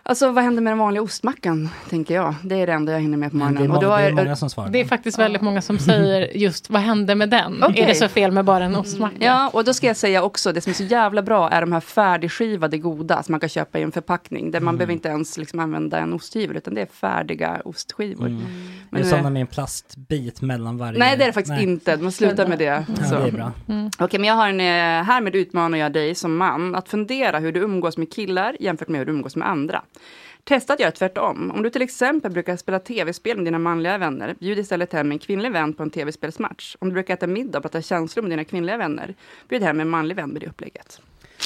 Alltså vad händer med den vanliga ostmackan, tänker jag. Det är det enda jag hinner med på morgonen.
det är
Mm. Och då
många- det är
jag-
många som svarar.
Det är faktiskt väldigt många som säger just vad hände med den?
Okej.
Är det så fel med bara en ostmacka?
Ja, och då ska jag säga också, det som är så jävla bra är de här färdigskivade goda som man kan köpa i en förpackning. Där man
Mm.
behöver inte ens liksom använda en osthyvel, utan det är färdiga ostskivor.
Mm.
Men
är det
nu-
sådana med en plastbit mellan varje?
Nej, det är det faktiskt inte. Man slutar med det.
Ja,
Så.
det är bra.
Okej, men jag har en, eh, härmed utmanar jag dig som man att fundera hur du umgås med killar jämfört med hur du umgås med andra. Testa att göra tvärtom. Om du till exempel brukar spela tv-spel med dina manliga vänner, bjud istället hem en kvinnlig vän på en tv-spelsmatch. Om du brukar äta middag och prata känslor med dina kvinnliga vänner, bjud hem en manlig vän med det upplägget.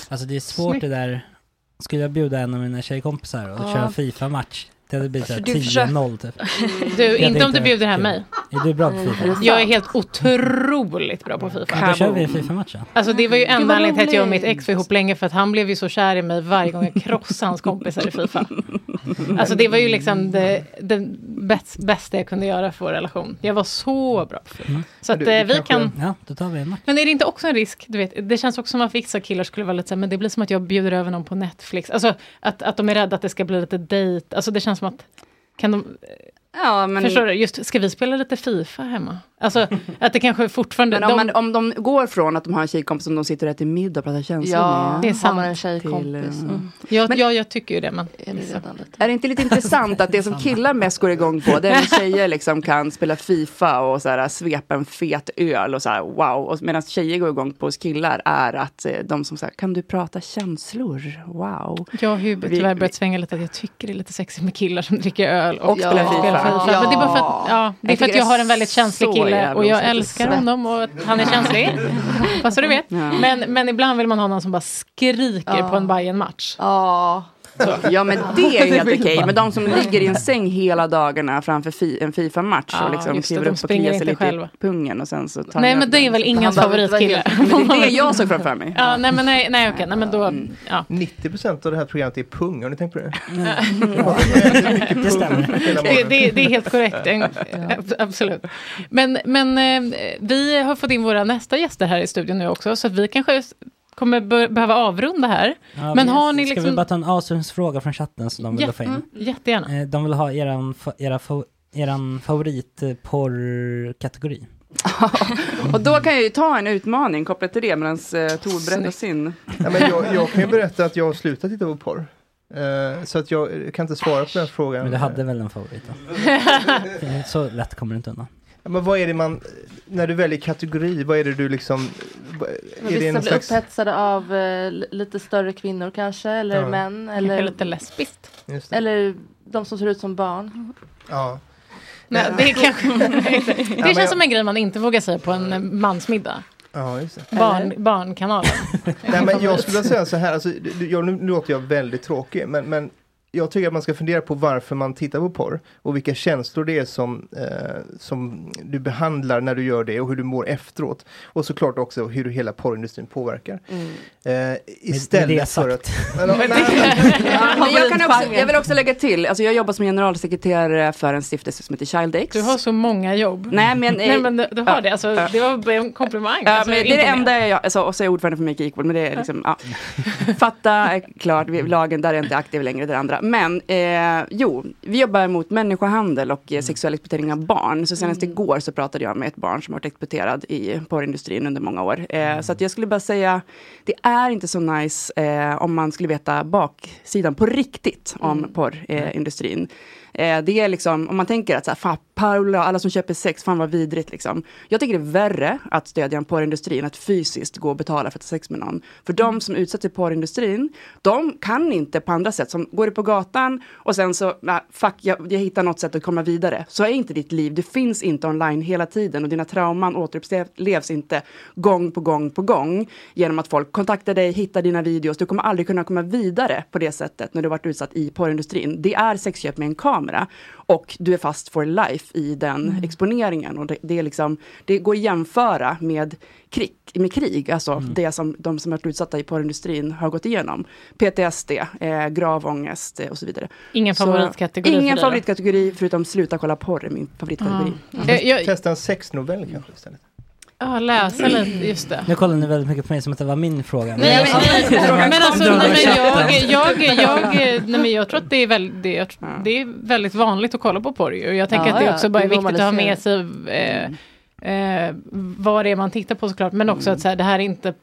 Alltså det är svårt
Snyggt.
det där. Skulle jag bjuda en av mina tjejkompisar och
Ja.
köra Fifa-match, det hade blivit såhär
För du försöker-
10-0 typ.
Mm. Du,
Det hade
inte om du
varit
bjuder hem
kul.
mig.
Är du bra på
Mm.
Fifa?
Jag är helt otroligt bra på Fifa.
Ja, då kör vi en Fifa-match då.
Alltså det var ju
Gud,
enda
vad
anledningen till att jag och mitt
Mm. roligt.
ex var ihop länge för att han blev ju så kär i mig varje gång jag krossade hans kompisar i Fifa. Alltså det var ju liksom det, det bäst, bästa jag kunde göra för vår relation. Jag var så bra.
Mm.
Så att
Du- du
eh, vi
kanske-
kan...
Ja, då tar vi en match.
Men är det inte också en risk, du vet, det känns också som att vissa killar skulle vara lite så här, men det blir som att jag bjuder över någon på Netflix. Alltså att, att de är rädda att det ska bli lite dejt, alltså det känns som att, kan de...
Ja, men-
Förstår du? Just, ska vi spela lite Fifa hemma? Alltså att det kanske fortfarande...
Men om,
de-
man, om de går från att de har en tjejkompis som de sitter och äter middag och pratar känslor
Ja,
med.
det är sant.
har man en
tjejkompis. Mm. Jag, jag, jag tycker ju det, men... Alltså,
Är det inte lite intressant att det som killar mest går igång på, det är när tjejer liksom kan spela Fifa och så här, svepa en fet öl och så här, wow. Och Medan tjejer går igång på hos killar är att eh, de som säger, kan du prata känslor? Wow.
Jag och Hubert
Vi-
tyvärr börjat svänga lite att jag tycker det är lite sexigt med killar som dricker öl
Och spelar Fifa. Ja.
Men det är bara för att, ja, det är
Jag
för att
tycker
jag
det
har
är
en väldigt känslig
så
kille
jävla
och jag
osexigt.
älskar honom och att han är känslig. Fast så du vet. Men, men ibland vill man ha någon som bara skriker
Ja.
på en bayern match
Ja men det är ju helt okej. Men de som ligger i en säng hela dagarna framför fi, en Fifa-match
Ja,
och liksom
just det,
kliver
de
upp och
springer
kliar sig
inte
lite
själva.
i pungen och sen så tar
Nej
ni
men
upp
det
den.
är väl
Han
ingens
behöver inte vara
favoritkille.
helt- Men det är det jag såg framför mig. Mm.
Ja, nej men nej, nej okej, nej men då, ja.
90% av det här programmet är pung, har ni tänkt på det?
Mm. Det stämmer.
Det, det, det är helt korrekt, en, ab- absolut. Men, men eh, vi har fått in våra nästa gäster här i studion nu också, så att vi kanske s- kommer be- behöva avrunda här.
Ja,
men
vi-
har ni
Ska vi bara
liksom...
ta en avslutningsfråga från chatten som de vill
Ja,
få in?
mm, jättegärna.
Eh, De vill ha eran, fa- era, fa- eran favoritporrkategori.
Och då kan jag ju ta en utmaning kopplat till det medan eh, Tor berättar
Snyggt.
sin.
Ja, men jag, jag kan ju berätta att jag har slutat titta på porr. Eh, så att jag eh, kan inte svara på den frågan.
Men du hade väl en favorit då? Eh, Så lätt kommer du inte undan.
Ja, men vad är det man, när du väljer kategori, vad är det du liksom... vad-
Men
Är det
vissa
någon
blir
slags...
upphetsade av eh, li- lite större kvinnor kanske, eller
Ja.
män.
Kanske
Eller
lite lesbiskt.
Just
Eller de som ser ut som barn.
Ja.
Nej, det, är kanske,
Ja,
det
men
känns
jag-
som en grej man inte vågar säga på en eh, mansmiddag.
Ja, just det.
Barn, barnkanalen.
Nej, men jag skulle vilja säga så här, alltså, du- jag, nu, nu låter jag väldigt tråkig, men, men jag tycker att man ska fundera på varför man tittar på porr och vilka känslor det är som, eh, som du behandlar när du gör det och hur du mår efteråt. Och såklart också hur hela porrindustrin påverkar.
Mm.
Eh, istället för att... Men, men,
Men jag, kan också, jag vill också lägga till, alltså jag jobbar som generalsekreterare för en stiftelse som heter Child X.
Du har så många jobb.
Nej men, eh,
Nej, men du, du har
ja,
det, alltså,
ja.
det var en komplimang.
Ja,
alltså,
men det är
inte
det
mer.
enda jag, alltså, och så är jag ordförande för Make Equal, men det är liksom, ja. Fatta, är klart, vi- lagen, där är jag inte aktiv längre, det andra. Men, eh, jo, vi jobbar mot människohandel och eh, sexuell exploatering av barn. Så senast igår så pratade jag med ett barn som har varit exploaterad i porrindustrin under många år. Eh, Så att jag skulle bara säga, det är inte så nice eh, om man skulle veta baksidan på riktigt om porrindustrin. Eh, industrin. Eh, det är liksom, om man tänker att så här, fan, Paula, alla som köper sex, fan vad vidrigt liksom. Jag tycker det är värre att stödja en porrindustri än att fysiskt gå och betala för att ha sex med någon. För de som utsätts i porrindustrin, de kan inte på andra sätt. Som går du på gatan och sen så, nej, fuck, jag, jag hittar något sätt att komma vidare. Så är inte ditt liv, det finns inte online hela tiden och dina trauman återupplevs inte gång på gång på gång genom att folk kontaktar dig, hittar dina videos. Du kommer aldrig kunna komma vidare på det sättet när du varit utsatt i porrindustrin. Det är sexköp med en kamera och du är fast for life i den
Mm.
exponeringen. Och det, det, är liksom, det går att jämföra med krig, med krig alltså
Mm.
det som de som varit utsatta i porrindustrin har gått igenom. PTSD, eh, grav ångest eh, och så vidare.
Ingen
Så-
favoritkategori för dig
Ingen
då?
favoritkategori förutom sluta kolla porr är min favoritkategori.
Ja. Eh, jag-
Testa en sexnovell kanske istället.
Ja, läsa lite, just det.
Nu kollar ni väldigt mycket på mig som att det var min fråga.
Nej, men, nej, men alltså, nej, men jag,
Chatten.
jag, jag, nej, men jag tror att det är, väl, det, jag, tror- det är väldigt vanligt att kolla på porr. ju. Och jag tänker
Ja,
att det
ja,
också bara är
det
viktigt att ha med sig
normaliserar.
eh, eh, vad det är man tittar på såklart. Men också att så här, det här är inte...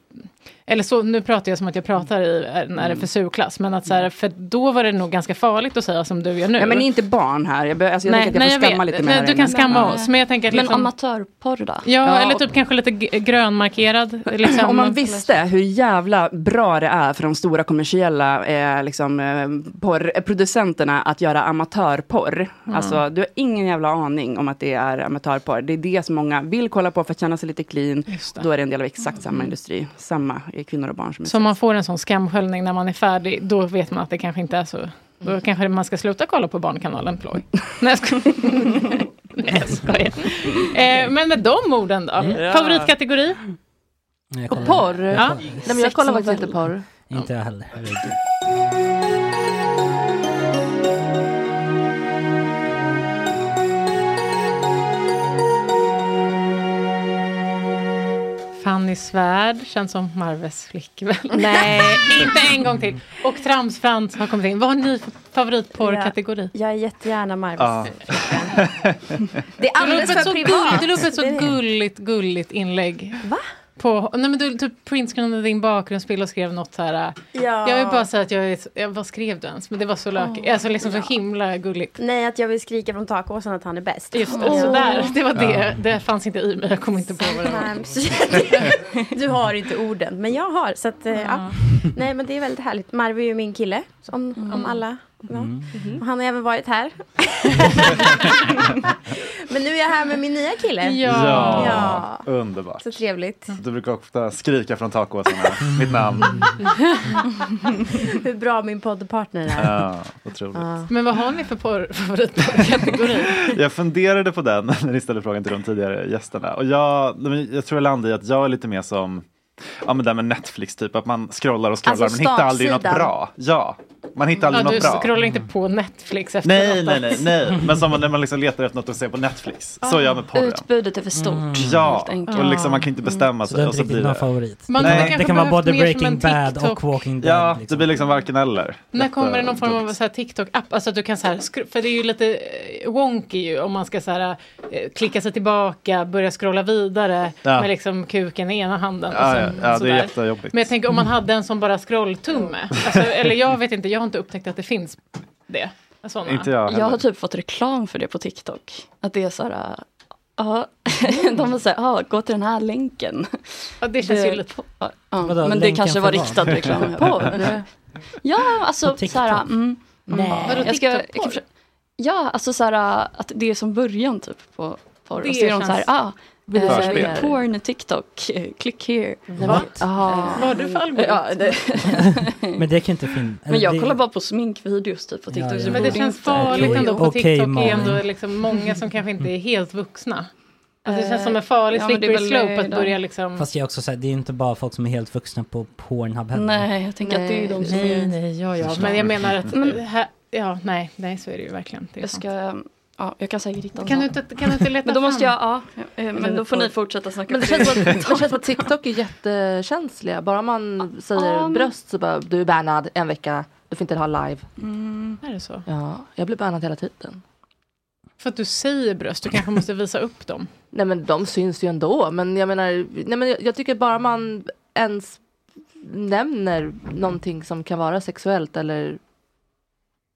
Eller så, nu pratar jag som att jag pratar i en
Mm.
RFSU-klass. Men att så här, för då var det nog ganska farligt att säga som du gör nu.
Ja, men ni är inte barn här. Jag, be, alltså, jag
Nej,
tänker att
nej,
jag
jag
får skamma
vet.
lite mer.
Nej,
här
du
inne.
kan skamma oss, men jag tänker att
Men
liksom-
amatörporr då?
Ja, eller typ kanske lite g- grönmarkerad. Liksom.
Alltså, Om man visste hur jävla bra det är för de stora kommersiella eh, liksom, eh, porr, eh, producenterna att göra amatörporr.
Mm.
Alltså, du har ingen jävla aning om att det är amatörporr. Det är det som många vill kolla på för att känna sig lite clean. Då är det en del av exakt
Mm.
samma industri. Samma eh, kvinnor och barn som är
Så om man får en sån skamsköljning när man är färdig, då vet man att det kanske inte är så. Då
Mm.
kanske man ska sluta kolla på Barnkanalen ploj. Nej, jag skojar. Nej, jag skojar. Eh, men med de orden då.
Ja.
Favoritkategori?
Jag
Och
kollar-
porr?
Ja.
Nej men jag kollar faktiskt inte porr.
Inte jag heller. herregud.
Thank
Fanny Svärd, känns som Marves flickvän. Nej, inte en gång till. Och Trams-Frans har kommit in. Vad har ni för favoritporrkategori?
Jag är jättegärna Marvis.
Ja.
Det är alldeles för
så
privat.
gull- Du la upp ett så
Det är det.
gulligt, gulligt inlägg. Va? På, nej men du typ printscreenade din bakgrundsbild och skrev något så här. äh,
Ja.
Jag vill bara säga att jag är... ja, Vad skrev du ens? Men det var så lökigt.
Åh,
alltså liksom
ja.
så himla gulligt.
Nej, att jag vill skrika från takåsen att han är bäst.
Just det, så där. Det var det. Det fanns inte i mig. Jag kom inte på vad det var.
Sometimes. du har inte orden, men jag har. Så att, eh, ja. Nej, men det är väldigt härligt. Marv är ju min kille, om, om alla. Ja.
Mm.
Och han har även varit här. men nu är jag här med min nya kille. ja.
Ja, Underbart.
Så trevligt.
Du brukar ofta skrika från takåsarna, mitt namn.
Hur bra min poddpartner är.
Ja, otroligt.
Men vad har ni för porr- favoritporrkategori?
Jag funderade på den när ni ställde frågan till de tidigare gästerna. Och jag, nej, men jag tror jag landade i att jag är lite mer som Ja men det här med Netflix typ, att man scrollar och scrollar
Alltså,
men hittar aldrig något
startsidan.
bra. Ja, man hittar
Ja,
aldrig
du
något bra. Mm.
scrollar inte på Netflix efter
Nej,
något
nej, nej,
annat.
nej. Men som när man liksom letar efter något att se på Netflix. Så
Ah.
gör jag med porren.
Utbudet är för stort.
Mm.
Ja,
enkelt.
och liksom man kan inte Mm, bestämma
det
sig.
är
och
inte
så
riktigt
blir
någon
det-
favorit. Man hade Nej. kanske Det kan vara behövt både mer som Breaking en Bad och TikTok. Walking Dead,
Ja, det blir liksom varken eller.
När kommer det
Detta-
någon form av så här TikTok-app? Alltså att du kan så här, skru- för det är ju lite eh, wonky ju om man ska så här, eh, klicka sig tillbaka, börja scrolla vidare
Ja.
med liksom kuken i ena handen. och
Ja, ja,
sen
ja, det är
sådär.
jättejobbigt. Mm.
Men jag tänker om man hade en som bara scrolltumme. Alltså, eller jag vet inte, jag har inte upptäckt att det finns det. Alltså, Såna.
jag har typ fått reklam för det på TikTok. Att det är så här, eh, ja, de var så här, ja, gå till den här länken.
Ja, det känns ju lite-
Ja,
Vadå,
men det
länken
kanske var
för vad?
riktad reklam.
På?
Det- ja, alltså så här, mm,
Nej.
mm.
Vadå,
jag ska, jag
TikTok-porr?
kan försöka- ja, alltså så här, att det är som början typ på porr.
Det
och så är de så här,
känns-
ah,
Förspel.
eh, porn, TikTok, eh, click here.
What?
Ja.
Vad har du för algoritm?
Ja, det-
Men det kan ju inte finnas.
men jag
det...
kollar bara på sminkvideos typ på TikTok.
Ja, ja.
så
Men det
borde
känns
inte-
farligt ändå. På
Okej,
TikTok är
Malin.
ändå liksom många som kanske inte är helt vuxna. Alltså det känns som en farlig
Ja, men det är
slippery
väl
slope att
det.
börja liksom...
Fast jag också säger, det är ju inte bara folk som är helt vuxna på Pornhub heller.
Nej, jag tänker att det är de som
nej,
är-
Nej, ja, ja. Men jag menar att...
Mm.
Här, ja, nej, nej, så är det ju verkligen. Det är
Jag
sant.
ska, ja, jag kan säkert hitta en
Kan
sån.
du inte- kan du inte leta
Men då måste jag,
fram?
ja, eh, men då får ni fortsätta snacka.
Men det känns som att torsk på TikTok är jättekänsliga. Bara man säger
ja, men-
bröst så bara du är bannad en vecka. Du får inte ha live.
Mm.
Är det så?
Ja, jag blir bannad hela tiden.
För att du säger bröst, du kanske måste visa upp dem.
Nej men de syns ju ändå. Men jag menar, nej, men jag, jag tycker bara man ens nämner någonting som kan vara sexuellt eller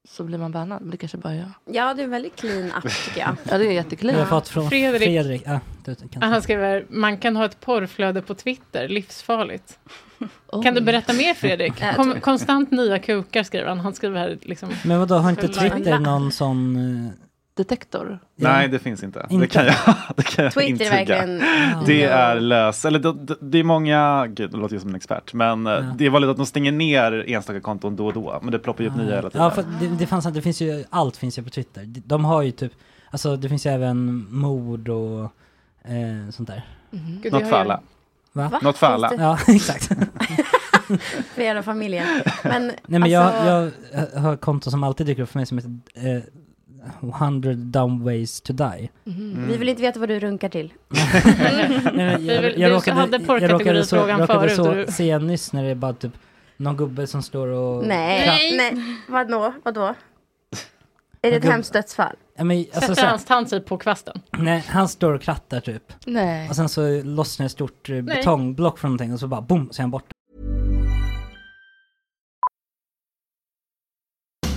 så blir man bannad. Men det kanske bara är jag.
Ja, det är en väldigt clean app tycker jag.
Ja, det är jättekliv.
Jag har fått från
Fredrik. Ah.
Fredrik. Ja, du, kan.
Han skriver, man kan ha ett porrflöde på Twitter, livsfarligt. Kan du berätta mer Fredrik?
Nej, jag tror
Kom,
inte.
konstant nya kukar skriver han. Han skriver här liksom...
Men vadå, har inte
Förlag.
Twitter någon sån... eh,
Detektor?
Nej, det finns inte.
Inte.
Det kan jag, det kan jag
Twitter är
intyga.
verkligen-
Det
Ja.
är lös... Eller det, det- det är många... Gud, det låter ju som en expert. Men eh, det är vanligt att de stänger ner enstaka konton då och då. Men det ploppar ju upp typ nya hela tiden.
Ah. Ja, för det, det, fanns, det finns ju, allt finns ju på Twitter. De, de har ju typ, alltså det finns ju även mord och eh, sånt där.
Mhm.
Något för alla.
Va?
Något för alla.
Ja, exakt.
För hela familjen. Men,
Nej men
alltså,
jag, jag har ett konto som alltid dyker upp för mig som heter eh, 100 dumb ways to die. Mm.
Mhm. Vi vill inte veta vad du runkar till.
Nej,
Vi vill- du hade porrkategorifrågan
jag råkade
förut och
så
du-
se nyss när det är bara typ någon gubbe som står och...
Nej,
Klapp-
nej. Vadå? Vadå? Är det ett
Vadå?
hemskt dödsfall?
Ja, men, alltså, så
Sätter
här,
hans tand typ på kvasten?
nej, han står och krattar typ.
Nej.
Och sen så lossnar ett stort eh,
Nej.
betongblock från någonting och så bara boom, så är han borta.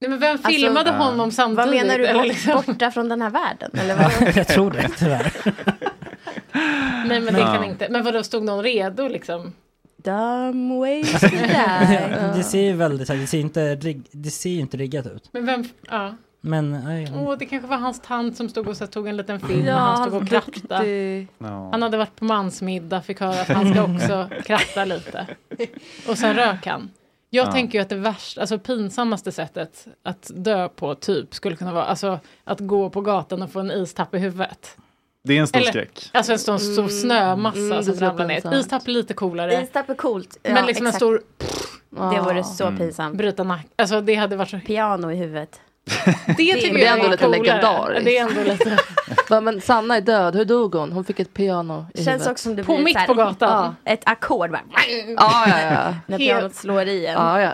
Nej, men vem filmade
Alltså,
honom samtidigt?
Vad menar du?
eller
Bort,
liksom?
Borta från den här världen? Eller vad?
Jag tror det, tyvärr.
Nej men det
Ja.
kan inte. Men vadå, stod någon redo liksom?
Dumb ways to die.
det ser ju väldigt, det ser ju inte, rigg- det ser ju inte riggat ut.
Men vem, ja.
Men, nej.
Åh, det kanske var hans tant som stod och så tog en liten film
Ja,
när han stod
han
och
alltså,
krattade.
Ja.
Han hade varit på mansmiddag, fick höra att han ska också kratta lite. Och sen rök han. Jag
Ja.
tänker ju att det värsta, alltså pinsammaste sättet att dö på typ skulle kunna vara alltså att gå på gatan och få en istapp i huvudet.
Det är en stor
Eller-
skräck.
Alltså en stor, stor
Mm.
snömassa
Mm, det
som
låter
ramlar ner.
pinsamt.
Istapp är lite coolare.
Istapp är coolt.
Men liksom en stor...
Det vore så
Mm.
pinsamt.
Bryta nacken. Alltså det hade varit så...
Piano i huvudet.
Det tycker
det
jag
är ändå lite
coolare.
legendariskt.
Det är ändå lite...
Va, men Sanna är död, hur dog hon? Hon fick ett piano i
Känns
huvudet.
också som det
På
blir
mitt
så här,
på gatan.
Ja, ett ackord bara.
Ja, ja, ja.
När pianot slår i en.
Ja, ja,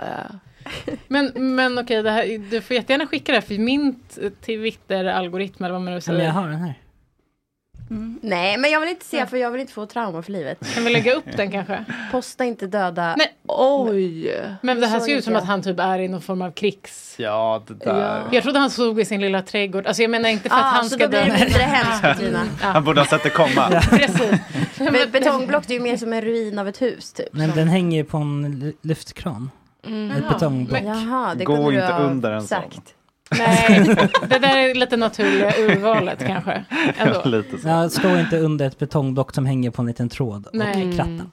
Men, men okej, det här, du får jättegärna skicka det här för min t- Twitter-algoritm eller vad man nu säger.
Men jag har den här.
Mm. Nej, men jag vill inte se för jag vill inte få trauma för livet.
Kan vi lägga upp den kanske?
Posta inte döda.
Nej.
Oj!
Men det här
Så
ser ut som
gjorde
att han typ är i någon form av krigs...
Ja, det där.
Jag trodde han såg i sin lilla trädgård. Alltså jag menar inte för att
Ah,
han
så
ska
då blir
dö.
det mindre hemskt, Tina.
Han borde ha sett det komma.
Men betongblock det är ju mer som en ruin av ett hus typ.
Nej, men den hänger ju på en ly- lyftkran.
Mm.
Ett betongblock.
Jaha, det
Gå
kunde
inte
du ha
under en sån.
sagt.
Nej, det där är lite naturliga urvalet kanske. Ändå.
Lite så.
Ja, stå inte under ett betongblock som hänger på en liten tråd och
Nej.
kratta.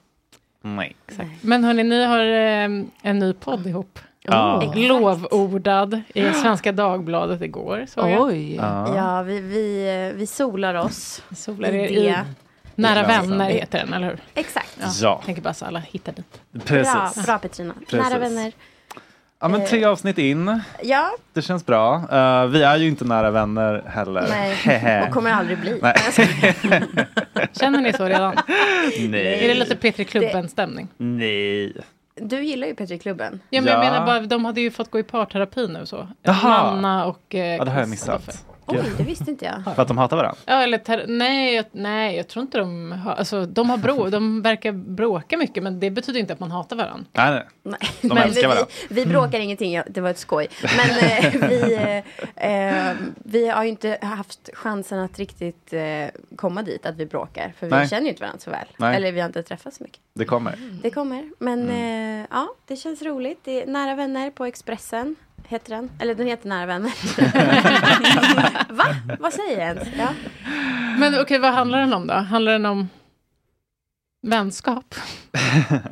Nej.
Men hörni, ni har eh, en ny podd ihop.
Ja.
Exakt. Lovordad i Svenska Dagbladet igår. såg jag.
Oj.
Ja.
Ja, vi, vi, eh, vi solar oss.
Solar er i Nära vänner heter den, eller hur?
Exakt.
Ja.
Tänker bara så alla hittar dit.
Precis.
Bra, bra Petrina.
Precis.
Nära vänner.
Ja, men tre avsnitt in.
Ja,
Det känns bra. Eh, vi är ju inte nära vänner heller.
nej. Och kommer aldrig bli.
Nej.
Känner ni så redan?
Nej.
Är det lite Petri Klubben-stämning?
Nej.
Du gillar ju Petri Klubben.
Ja, men jag
Ja.
menar bara, de hade ju fått gå i parterapi nu så.
Jaha.
Nanna och... Eh,
Ja, det har jag missat.
Oj,
Gud.
det visste inte jag.
För att de hatar varandra?
Ja, eller ter- nej, jag, nej, jag tror inte de har... Alltså, de, har brå- de verkar bråka mycket, men det betyder inte att man hatar varandra.
Nej, nej. De
Men
älskar Mm. varandra.
Vi, vi bråkar ingenting, ja, det var ett skoj. Men eh, vi, eh, eh, vi har ju inte haft chansen att riktigt eh, komma dit, att vi bråkar. För vi
Nej.
känner ju inte varandra så väl.
Nej.
Eller Mm. vi har inte träffats så mycket.
Det kommer.
Det kommer. Men eh, ja, det känns roligt. Det är Nära vänner på Expressen. Heter den? Eller den heter Nära vänner. Va? Vad säger jag ens? Ja.
Men okej, vad handlar den om då? Handlar den om vänskap?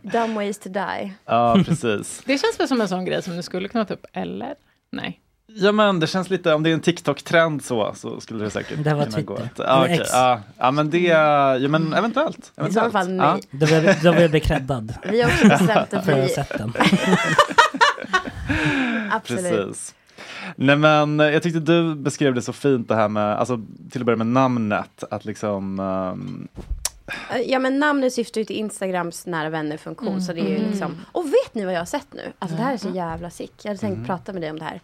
Dumb ways to die.
Ja, precis.
Det känns väl som en sån grej som du skulle kunna ta upp, eller? Nej.
Ja, men det känns lite, om det är en TikTok-trend så, så skulle det säkert
Det här var typ
kunna
Twitter.
gå. att- Ja,
Eller
okej.
X.
ja, ja, men det, ja, men eventuellt. eventuellt.
fall nej.
Ja.
Då vill jag- då vill jag bli creddad.
Vi har också bestämt att
För jag har
vi-
sett den.
Absolut.
Precis. Nej men eh, jag tyckte du beskrev det så fint det här med, alltså till att börja med namnet, att liksom ehm,
Eh, Ja men namnet syftar ju till Instagrams nära vänner-funktion. Så det är ju
Mm.
liksom. Och vet ni vad jag har sett nu? Alltså det här är så jävla sick. Jag hade tänkt prata med dig om det här.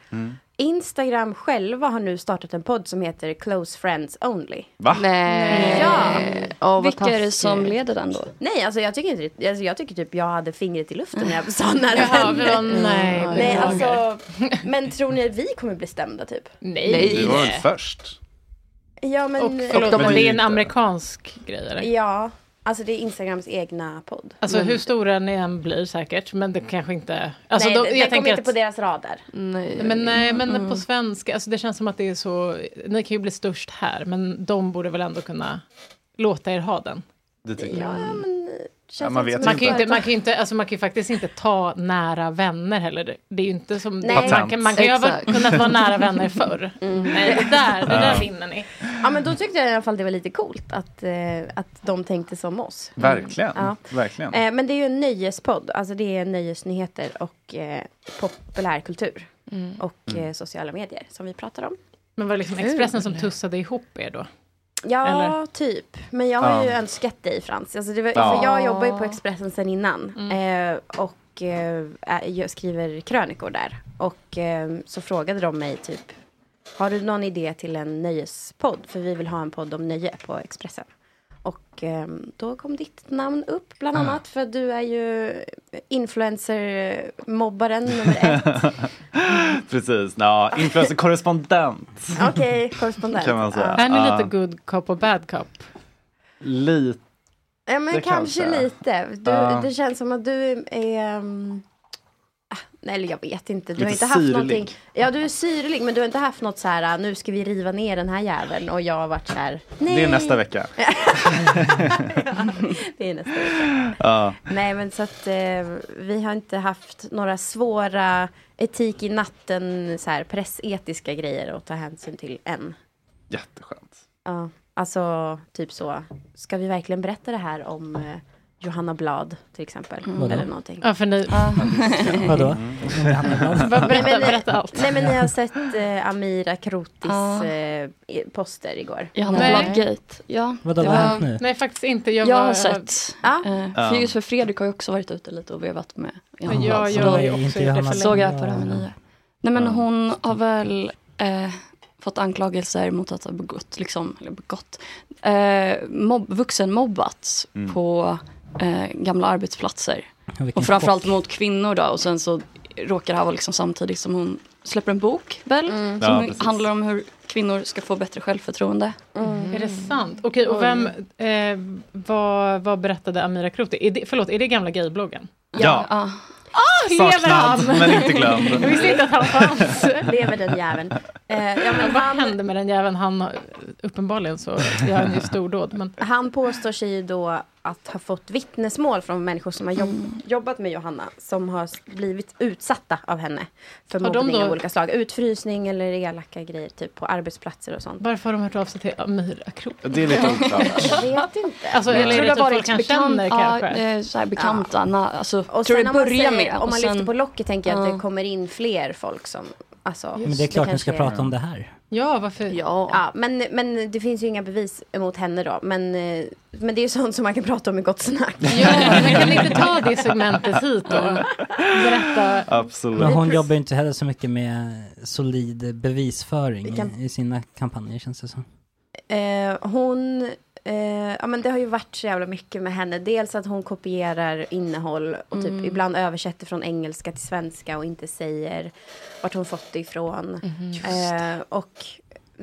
Instagram själva har nu startat en podd som heter Close Friends Only.
Va?
Nej. Ja.
vad Vilka är det taskigt. som leder den då?
Nej, alltså jag tycker, inte, det- alltså jag tycker typ jag hade fingret i luften när jag sa när
Jaha, vi var- nej,
Mm. nej
beklagar.
alltså, men tror ni att vi kommer bli stämda typ?
Du var väl först?
Ja, men,
Och förlåt,
de
men
har
det
ju
är en
inte-
amerikansk grej eller?
Ja, Mm. alltså det är Instagrams egna podd.
Alltså hur stora ni än blir säkert, men det kanske inte... Alltså,
Alltså, Mm. nej,
då-
det- det
jag
kommer
tänker
inte
att-
på deras rader.
Nej,
Men nej, men
Mm.
på svenska, alltså det känns som att det är så, ni kan ju bli störst här, men de borde väl ändå kunna låta er ha den.
Det tycker jag.
eh, känns
man vet
Man kan ju
inte.
inte, man kan ju inte, alltså man kan ju faktiskt inte ta nära vänner heller. Det är ju inte som,
Nej.
man kan, man kan ju ha
Exakt. Mm.
kunnat vara nära vänner förr. Nej, det där, det där
Ja.
vinner ni.
Ja, men då tyckte jag i alla fall det var lite coolt att, eh, att de tänkte som oss. Mm.
Verkligen.
Ja.
Verkligen.
Eh, men det är ju en nöjespodd, alltså det är nöjesnyheter och eh, populärkultur
Mm.
och
Mm.
eh, sociala medier som vi pratar om.
Men var det liksom Expressen som tussade ihop er då?
Ja,
Eller?
typ. Men jag har ju
Ja.
önskat dig Frans. Alltså det var,
Ja.
för jag jobbar ju på Expressen sedan innan eh, och eh, är- jag skriver krönikor där. Och eh, så frågade de mig typ, har du någon idé till en nöjespodd? För vi vill ha en podd om nöje på Expressen. Och eh, då kom ditt namn upp bland
Ah.
annat för du är ju influencer-mobbaren nummer ett.
Precis. Ja, influencer-korrespondent
Okej, korrespondent.
kan man säga.
Är ni
Alltså, Ja.
lite good cop och bad cop?
Lite.
Ja, men
Det
kanske,
kanske.
lite. Du,
Ja.
Det känns som att du är... ehm, ah, nej, eller jag vet inte. Du
Lite
har inte haft
syrlig.
någonting. Ja, du är syrlig, men du har inte haft något så här, ah, nu ska vi riva ner den här jäveln. Och jag har varit så här, nej.
Det är nästa vecka.
Det är nästa vecka.
Ja.
Nej, men så att eh, vi har inte haft några svåra etik i natten, så här pressetiska grejer att ta hänsyn till än.
Jätteskönt.
Ja, alltså typ så. Ska vi verkligen berätta det här om eh, Johanna Blad till exempel?
Mm.
Vadå?
Eller någonting.
Ja, för ni...
Vadå?
Nej, men, ni-
berätta allt.
Nej men ni har sett eh, Amira Krotis eh, i- poster igår.
Johanna
Nej.
Blad-gate. Ja,
Vadå,
det
vad har
var-
hänt nu?
Nej, faktiskt inte.
Jag,
Jag, var,
har sett.
Ja.
Eh,
Ja.
för just för Fredrik har ju också varit ute lite och vevat med Johanna
Ja,
Blad. Så
jag
då
har ju också gjort det för länge.
Såg jag på det här med nya. Nej men hon har väl eh, fått anklagelser mot att ha begått, liksom, eller begått, eh, mobb, vuxenmobbats
Mm.
på eh, gamla arbetsplatser.
vilken
Och framförallt
chock.
mot kvinnor då. Och sen så råkar det här vara liksom samtidigt som hon släpper en bok väl?
Mm.
Ja,
Som
precis.
handlar om hur kvinnor ska få bättre självförtroende.
Mm.
Är det sant? Okej, och vem, eh, vad, vad berättade Amira Kroti? Är det, förlåt, är det gamla gaybloggen?
Ja.
Ja.
Ah, lever han?
Saknad, men inte glömd.
Jag visste inte att han fanns.
Lever den jäveln. Eh, ja, men
vad hände med den jäveln? Han, har- uppenbarligen så gör han ju stordåd. Men
Han påstår sig ju då att ha fått vittnesmål från människor som har jobb,
Mm.
jobbat med Johanna. Som har s- blivit utsatta av henne. För
Har de
mobbning
då-
av olika slag. Utfrysning eller elaka grejer typ på arbetsplatser och sånt.
varför har de hört av sig till Amira Kroti?
Det är lite oklart.
Jag vet inte.
Alltså,
Jag
eller är det
tror det
typ
har
folk han
varit
känner
bekant- ja,
kanske?
eh, så här bekanta. na- Alltså,
Och
tror
sen
det
om man,
börjar
säger,
med.
om
och
man
sen,
lyfter på locket tänker jag att
Ja.
det kommer in fler folk som... Alltså,
Men det är klart ni ska
kanske-
prata om det här.
Ja, varför?
Ja. men, men det finns ju inga bevis emot henne då. Men, eh, men det är ju sånt som man kan prata om i Gott Snack.
Ja, men kan ni inte ta det segmentet hit då? Berätta.
Absolut.
Men hon jobbar ju inte heller så mycket med solid bevisföring
Vi kan-
i, i sina kampanjer känns det som.
Eh, hon, eh, ja men det har ju varit så jävla mycket med henne. Dels att hon kopierar innehåll och typ
Mm.
ibland översätter från engelska till svenska och inte säger vart hon fått det ifrån.
Mhm.
Mm-hmm.
Just
Eh, och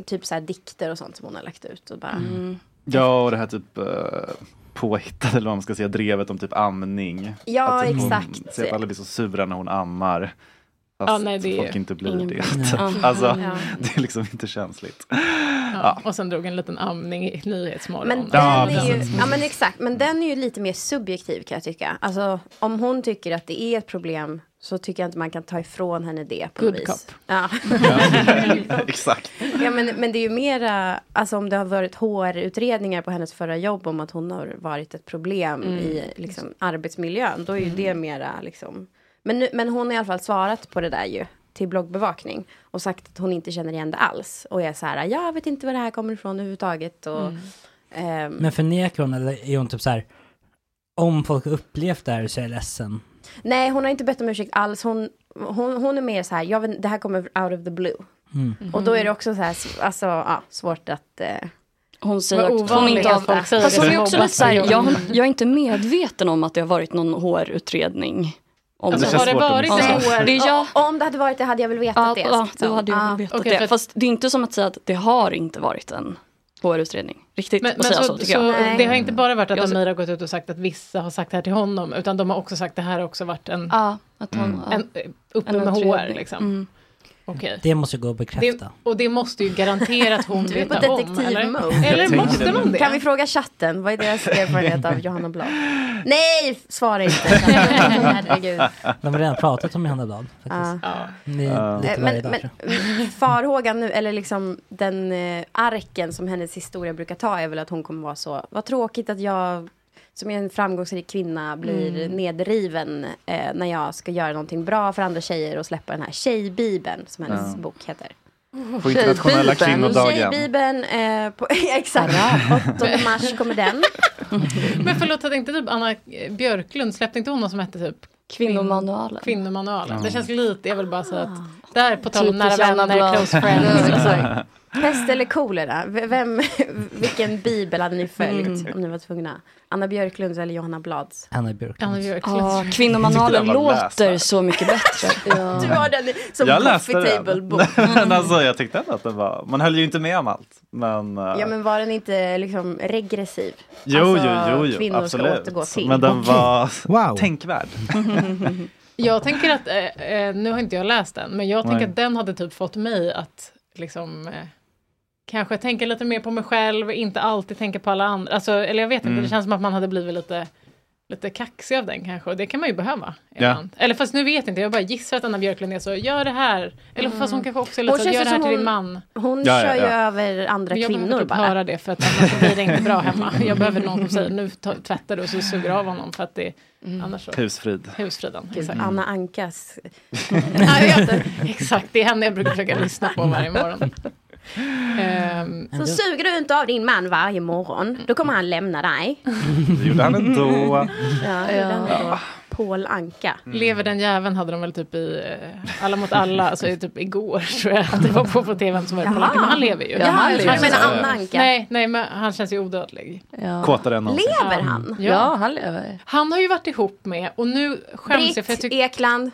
typ så här dikter och sånt som hon har lagt ut och bara.
Mm.
Ja, och det här typ eh, påhittade, eller vad man ska säga, drevet om typ amning.
Ja,
att typ Hon,
exakt.
ser att alla blir så sura när hon ammar. Fast
Ja, nej, det är-
folk inte blir
ingen-
det.
Nej.
Alltså,
Ja.
det är liksom inte känsligt.
Ja. Och sen drog en liten amning i Nyhetsmorgon.
Men den
Ja,
är ju,
precis.
ja men exakt, men den är ju lite mer subjektiv kan jag tycka. Alltså om hon tycker att det är ett problem så tycker jag inte man kan ta ifrån henne det på
Good
något vis.
cop.
Ja.
Exakt.
Ja, men, men det är ju mera, alltså om det har varit HR-utredningar på hennes förra jobb om att hon har varit ett problem
Mm.
i liksom, arbetsmiljön, då är ju
Mm.
det mera liksom. Men, nu, men hon har i alla fall svarat på det där ju till bloggbevakning och sagt att hon inte känner igen det alls och är så här, jag vet inte var det här kommer ifrån överhuvudtaget och
Mm.
ehm,
Men förnekar hon eller är hon typ så här, om folk har upplevt det här så är jag ledsen.
Nej, hon har inte bett om ursäkt alls. Hon, hon, hon är mer så här, jag vet, det här kommer out of the blue.
Mm.
Och då är det också så här, s- alltså, ja, svårt att... Eh,
Hon säger att hon inte har folk säger Fast hon är också lite så här, jag, har- jag är inte medveten om att det har varit någon HR-utredning. Om
Alltså, har det varit
Ja.
en HR?
Det är jag,
O- Om det hade varit det hade jag väl vetat
ja,
det.
ja,
liksom.
du hade ju
Ja.
vetat det. Fast det är inte som att säga att det har inte varit en HR-utredning. Riktigt
Men,
att
men
säga
så,
så, tycker jag.
så eh, det har inte bara varit att
Jag-
Amir har gått ut och sagt att vissa har sagt det här till honom, utan de har också sagt det här har också varit en...
Ja, att
hon- ja.
en uppe
En
med HR
utredning.
liksom.
Mm.
Okej.
Det måste gå att
Det,
bekräfta.
och det måste ju garanterat hon
Du är på
veta om. Eller,
detektivmode.
eller måste man det?
Kan vi fråga chatten, vad är deras erfarenhet av Johanna Blad? Nej, svara inte. Herregud.
De har redan pratat om Johanna Blad. Faktiskt.
Ja.
Ni,
Eh,
lite varje
Men,
dag,
men
tror
farhågan nu, eller liksom den eh, arken som hennes historia brukar ta är väl att hon kommer vara så, vad tråkigt att jag som är en framgångsrik kvinna blir
Mm.
nedriven eh, när jag ska göra någonting bra för andra tjejer och släppa den här tjejbibeln som hennes
Ja.
bok heter.
På internationella
Tjejbibeln.
kvinnodagen.
Tjejbibeln, eh, på, exakt. 8 mars kommer den.
Men förlåt, jag tänkte typ Anna Björklund, släppte inte hon någon som hette typ
Kvinnomanualen.
Kvinnomanualen.
Ja.
Det känns lite, jag vill bara säga att där på tal om nära
Typiskt Johanna
vänner,
Blad.
close friends.
Ja, exakt. Pest eller kolera? V- Vem, vilken bibel hade ni följt
Mm.
om ni var tvungna? Anna Björklunds eller Johanna Blads?
Anna Björklund.
Anna Björklund.
Ja, kvinnomanualen
Jag tyckte den var läst
låter så mycket bättre.
Du har den som
jag läste
coffee table Mm.
den.
bok.
Men alltså, jag tyckte ändå att den var, man höll ju inte med om allt. Men, eh,
Ja men var den inte liksom regressiv? Alltså,
jo, jo, jo, jo,
kvinnor ska
absolut.
återgå till.
Men den var tänkvärd.
Jag tänker att, eh, eh, nu har inte jag läst den, men jag
Nej.
tänker att den hade typ fått mig att liksom eh, kanske tänka lite mer på mig själv, inte alltid tänka på alla andra. Alltså, eller jag vet inte,
Mm.
det känns som att man hade blivit lite, lite kaxig av den kanske, och det kan man ju behöva.
Ja.
Eller fast nu vet jag inte, jag bara gissar att Anna Björklund är så, gör det här. Eller fast hon kanske också är
Mm. Hon
lite så,
känns
gör det
ju
här
som
till din
hon-
man.
Hon
Ja, ja,
kör ju
ja.
över andra
Men jag behöver
kvinnor
typ
bara.
höra det för att annars så blir det inte bra hemma. Jag behöver någon som säger nu ta- tvättar du och så suger jag av honom för att det annars så.
Husfrid.
Husfriden,
Mm. Gud,
exakt.
Anna Ankas.
Ja, jag vet inte. Exakt, det är henne jag brukar försöka lyssna på varje morgon. Ehm,
Så suger du inte av din man varje morgon, då kommer han lämna dig.
Det gjorde han ändå.
Ja,
Ja.
den då. Paul Anka.
Mm. Lever den jäveln hade de väl typ i eh, Alla mot alla, alltså i typ igår tror jag att det var på, på tvn som var på
Jaha.
Men han lever ju.
Ja, han lever. Jag menar Anna Anka.
Nej, nej, men han känns ju odödlig.
Kåtare än någonsin.
Lever
han?
Ja, han lever.
Han har ju varit ihop med, och nu skäms
Britt
jag för jag tycker...
Ekland.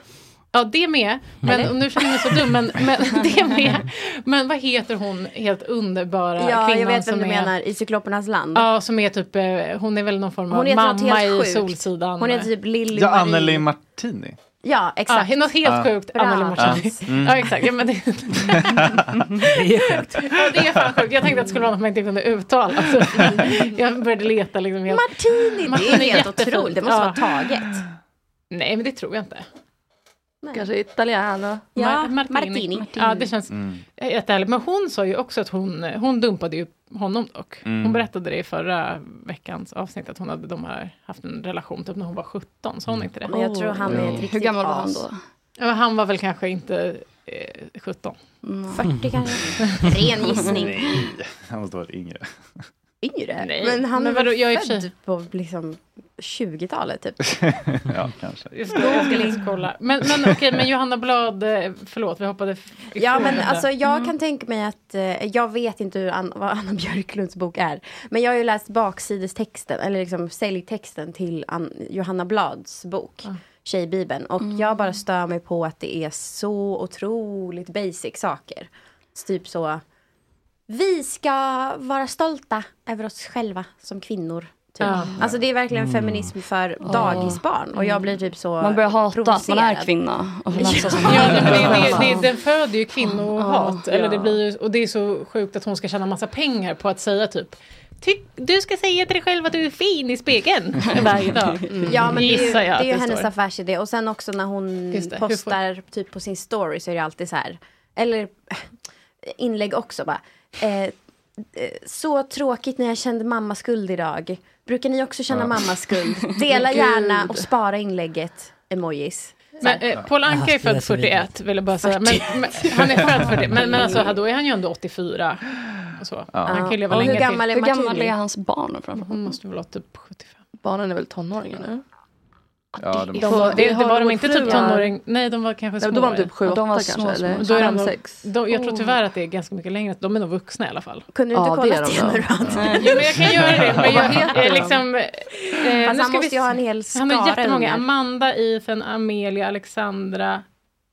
Ja, det med. Men
Eller?
och nu känner jag mig så dum, men, men det med. Men vad heter hon, helt underbara
Ja, jag
kvinnan
vet vem
som
du
är...
menar, i Cyklopernas land.
Ja, som är typ, eh, hon är väl någon form av
Hon heter något
mamma
helt
i
sjukt.
Solsidan.
Hon heter typ Lilly
Ja,
Marie.
Anneli Martini.
Ja, exakt.
Ja, något helt
Ja.
sjukt.
Bra.
Anneli Martini.
Ja. Mm.
Ja, exakt. Ja, men det, ja, det är fan sjukt. Jag tänkte att det skulle vara något man inte kunde uttala. Alltså, jag började leta liksom helt.
Martini, det är helt
jättefint.
otroligt. Det måste
Ja.
vara taget.
Nej, men det tror jag inte.
Kanske italiano.
Ja,
Mar-
Martini. Ja, det känns
Mm.
jättehärligt. Men hon sa ju också att hon, hon dumpade ju honom dock.
Mm.
Hon berättade det i förra veckans avsnitt att hon hade de här, haft en relation typ när hon var 17.
Mm.
Sa hon inte det?
Men jag tror han är ett riktigt
Hur gammal var han
as.
då?
Ja, men han var väl kanske inte eh, 17.
40 Mm, kanske. Ren gissning.
Mm. Nej, han måste ha varit yngre.
Yngre?
Nej.
Men han
Men
är
vadå,
väl
jag är i och för
född på liksom 20-talet typ.
ja, kanske.
Just det, jag ska liksom kolla. Men, men okej, men Johanna Blad, eh, förlåt, vi hoppade f- ifrån
Ja men
detta.
alltså jag
Mm.
Mm.
kan tänka mig att, eh, jag vet inte hur Ann- vad Anna Björklunds bok är. Men jag har ju läst baksidestexten, eller liksom säljtexten till Ann- Johanna Blads bok. Tjejbibeln. Och
Mm.
jag bara stör mig på att det är så otroligt basic saker. Så Typ så, vi ska vara stolta över oss själva som kvinnor. Typ.
Ja. Mm.
Alltså det är verkligen feminism för dagisbarn. Och jag blir typ så
Man börjar hata att man är
provocerad.
kvinna. Och
Ja.
låtsas
Ja,
man är
nej, men det, det,
kvinna.
det, den föder ju kvinnohat.
Ja.
eller det blir ju, och det är så sjukt att hon ska tjäna massa pengar på att säga typ Tyck, du ska säga till dig själv att du är fin i spegeln varje dag.
Mm. Ja men det är ju, det
Mm. Gissar jag
är
att
ju
det
hennes
står.
affärsidé och sen också när hon
Just det, hur får-
postar typ på sin story så är det alltid så här. Eller eh, inlägg också bara. Eh, eh, så tråkigt när jag kände mammaskuld idag. Brukar ni också känna
Ja.
mammaskuld? Dela
Gud.
gärna och spara inlägget. Emojis. Så
Men,
här.
eh, Paul Anka är
Ah, det är
född
så
41, vill jag bara säga. Men, men, han är född 41, men, men alltså då är han ju ändå 84. Och så. Han kan ju leva
Och
länge
hur gammal
till. Mm.
är, hur gammal är hans barn?
Hon måste väl vara typ
Barnen är väl tonåringar nu?
Ja, de...
De var,
det
det,
har
var de
nog
inte
fruar.
typ tonåring? Nej, de var kanske
Nej,
små.
då var de typ sju, Ja, de var åtta kanske, små, eller? små.
Då är de,
Fem,
nog-
sex.
de, jag tror
Oh.
tyvärr att det är ganska mycket längre. De är nog vuxna i alla fall.
Kunde du inte kolla det nu då?
Jo, men jag kan göra det. Men jag,
Vad heter
eh,
de?
liksom, eh, nu
han
ska vi
måste ju
se.
ha en hel
Han har
skara
jättemånga.
ungar.
Amanda, Ethan, Amelia, Alexandra.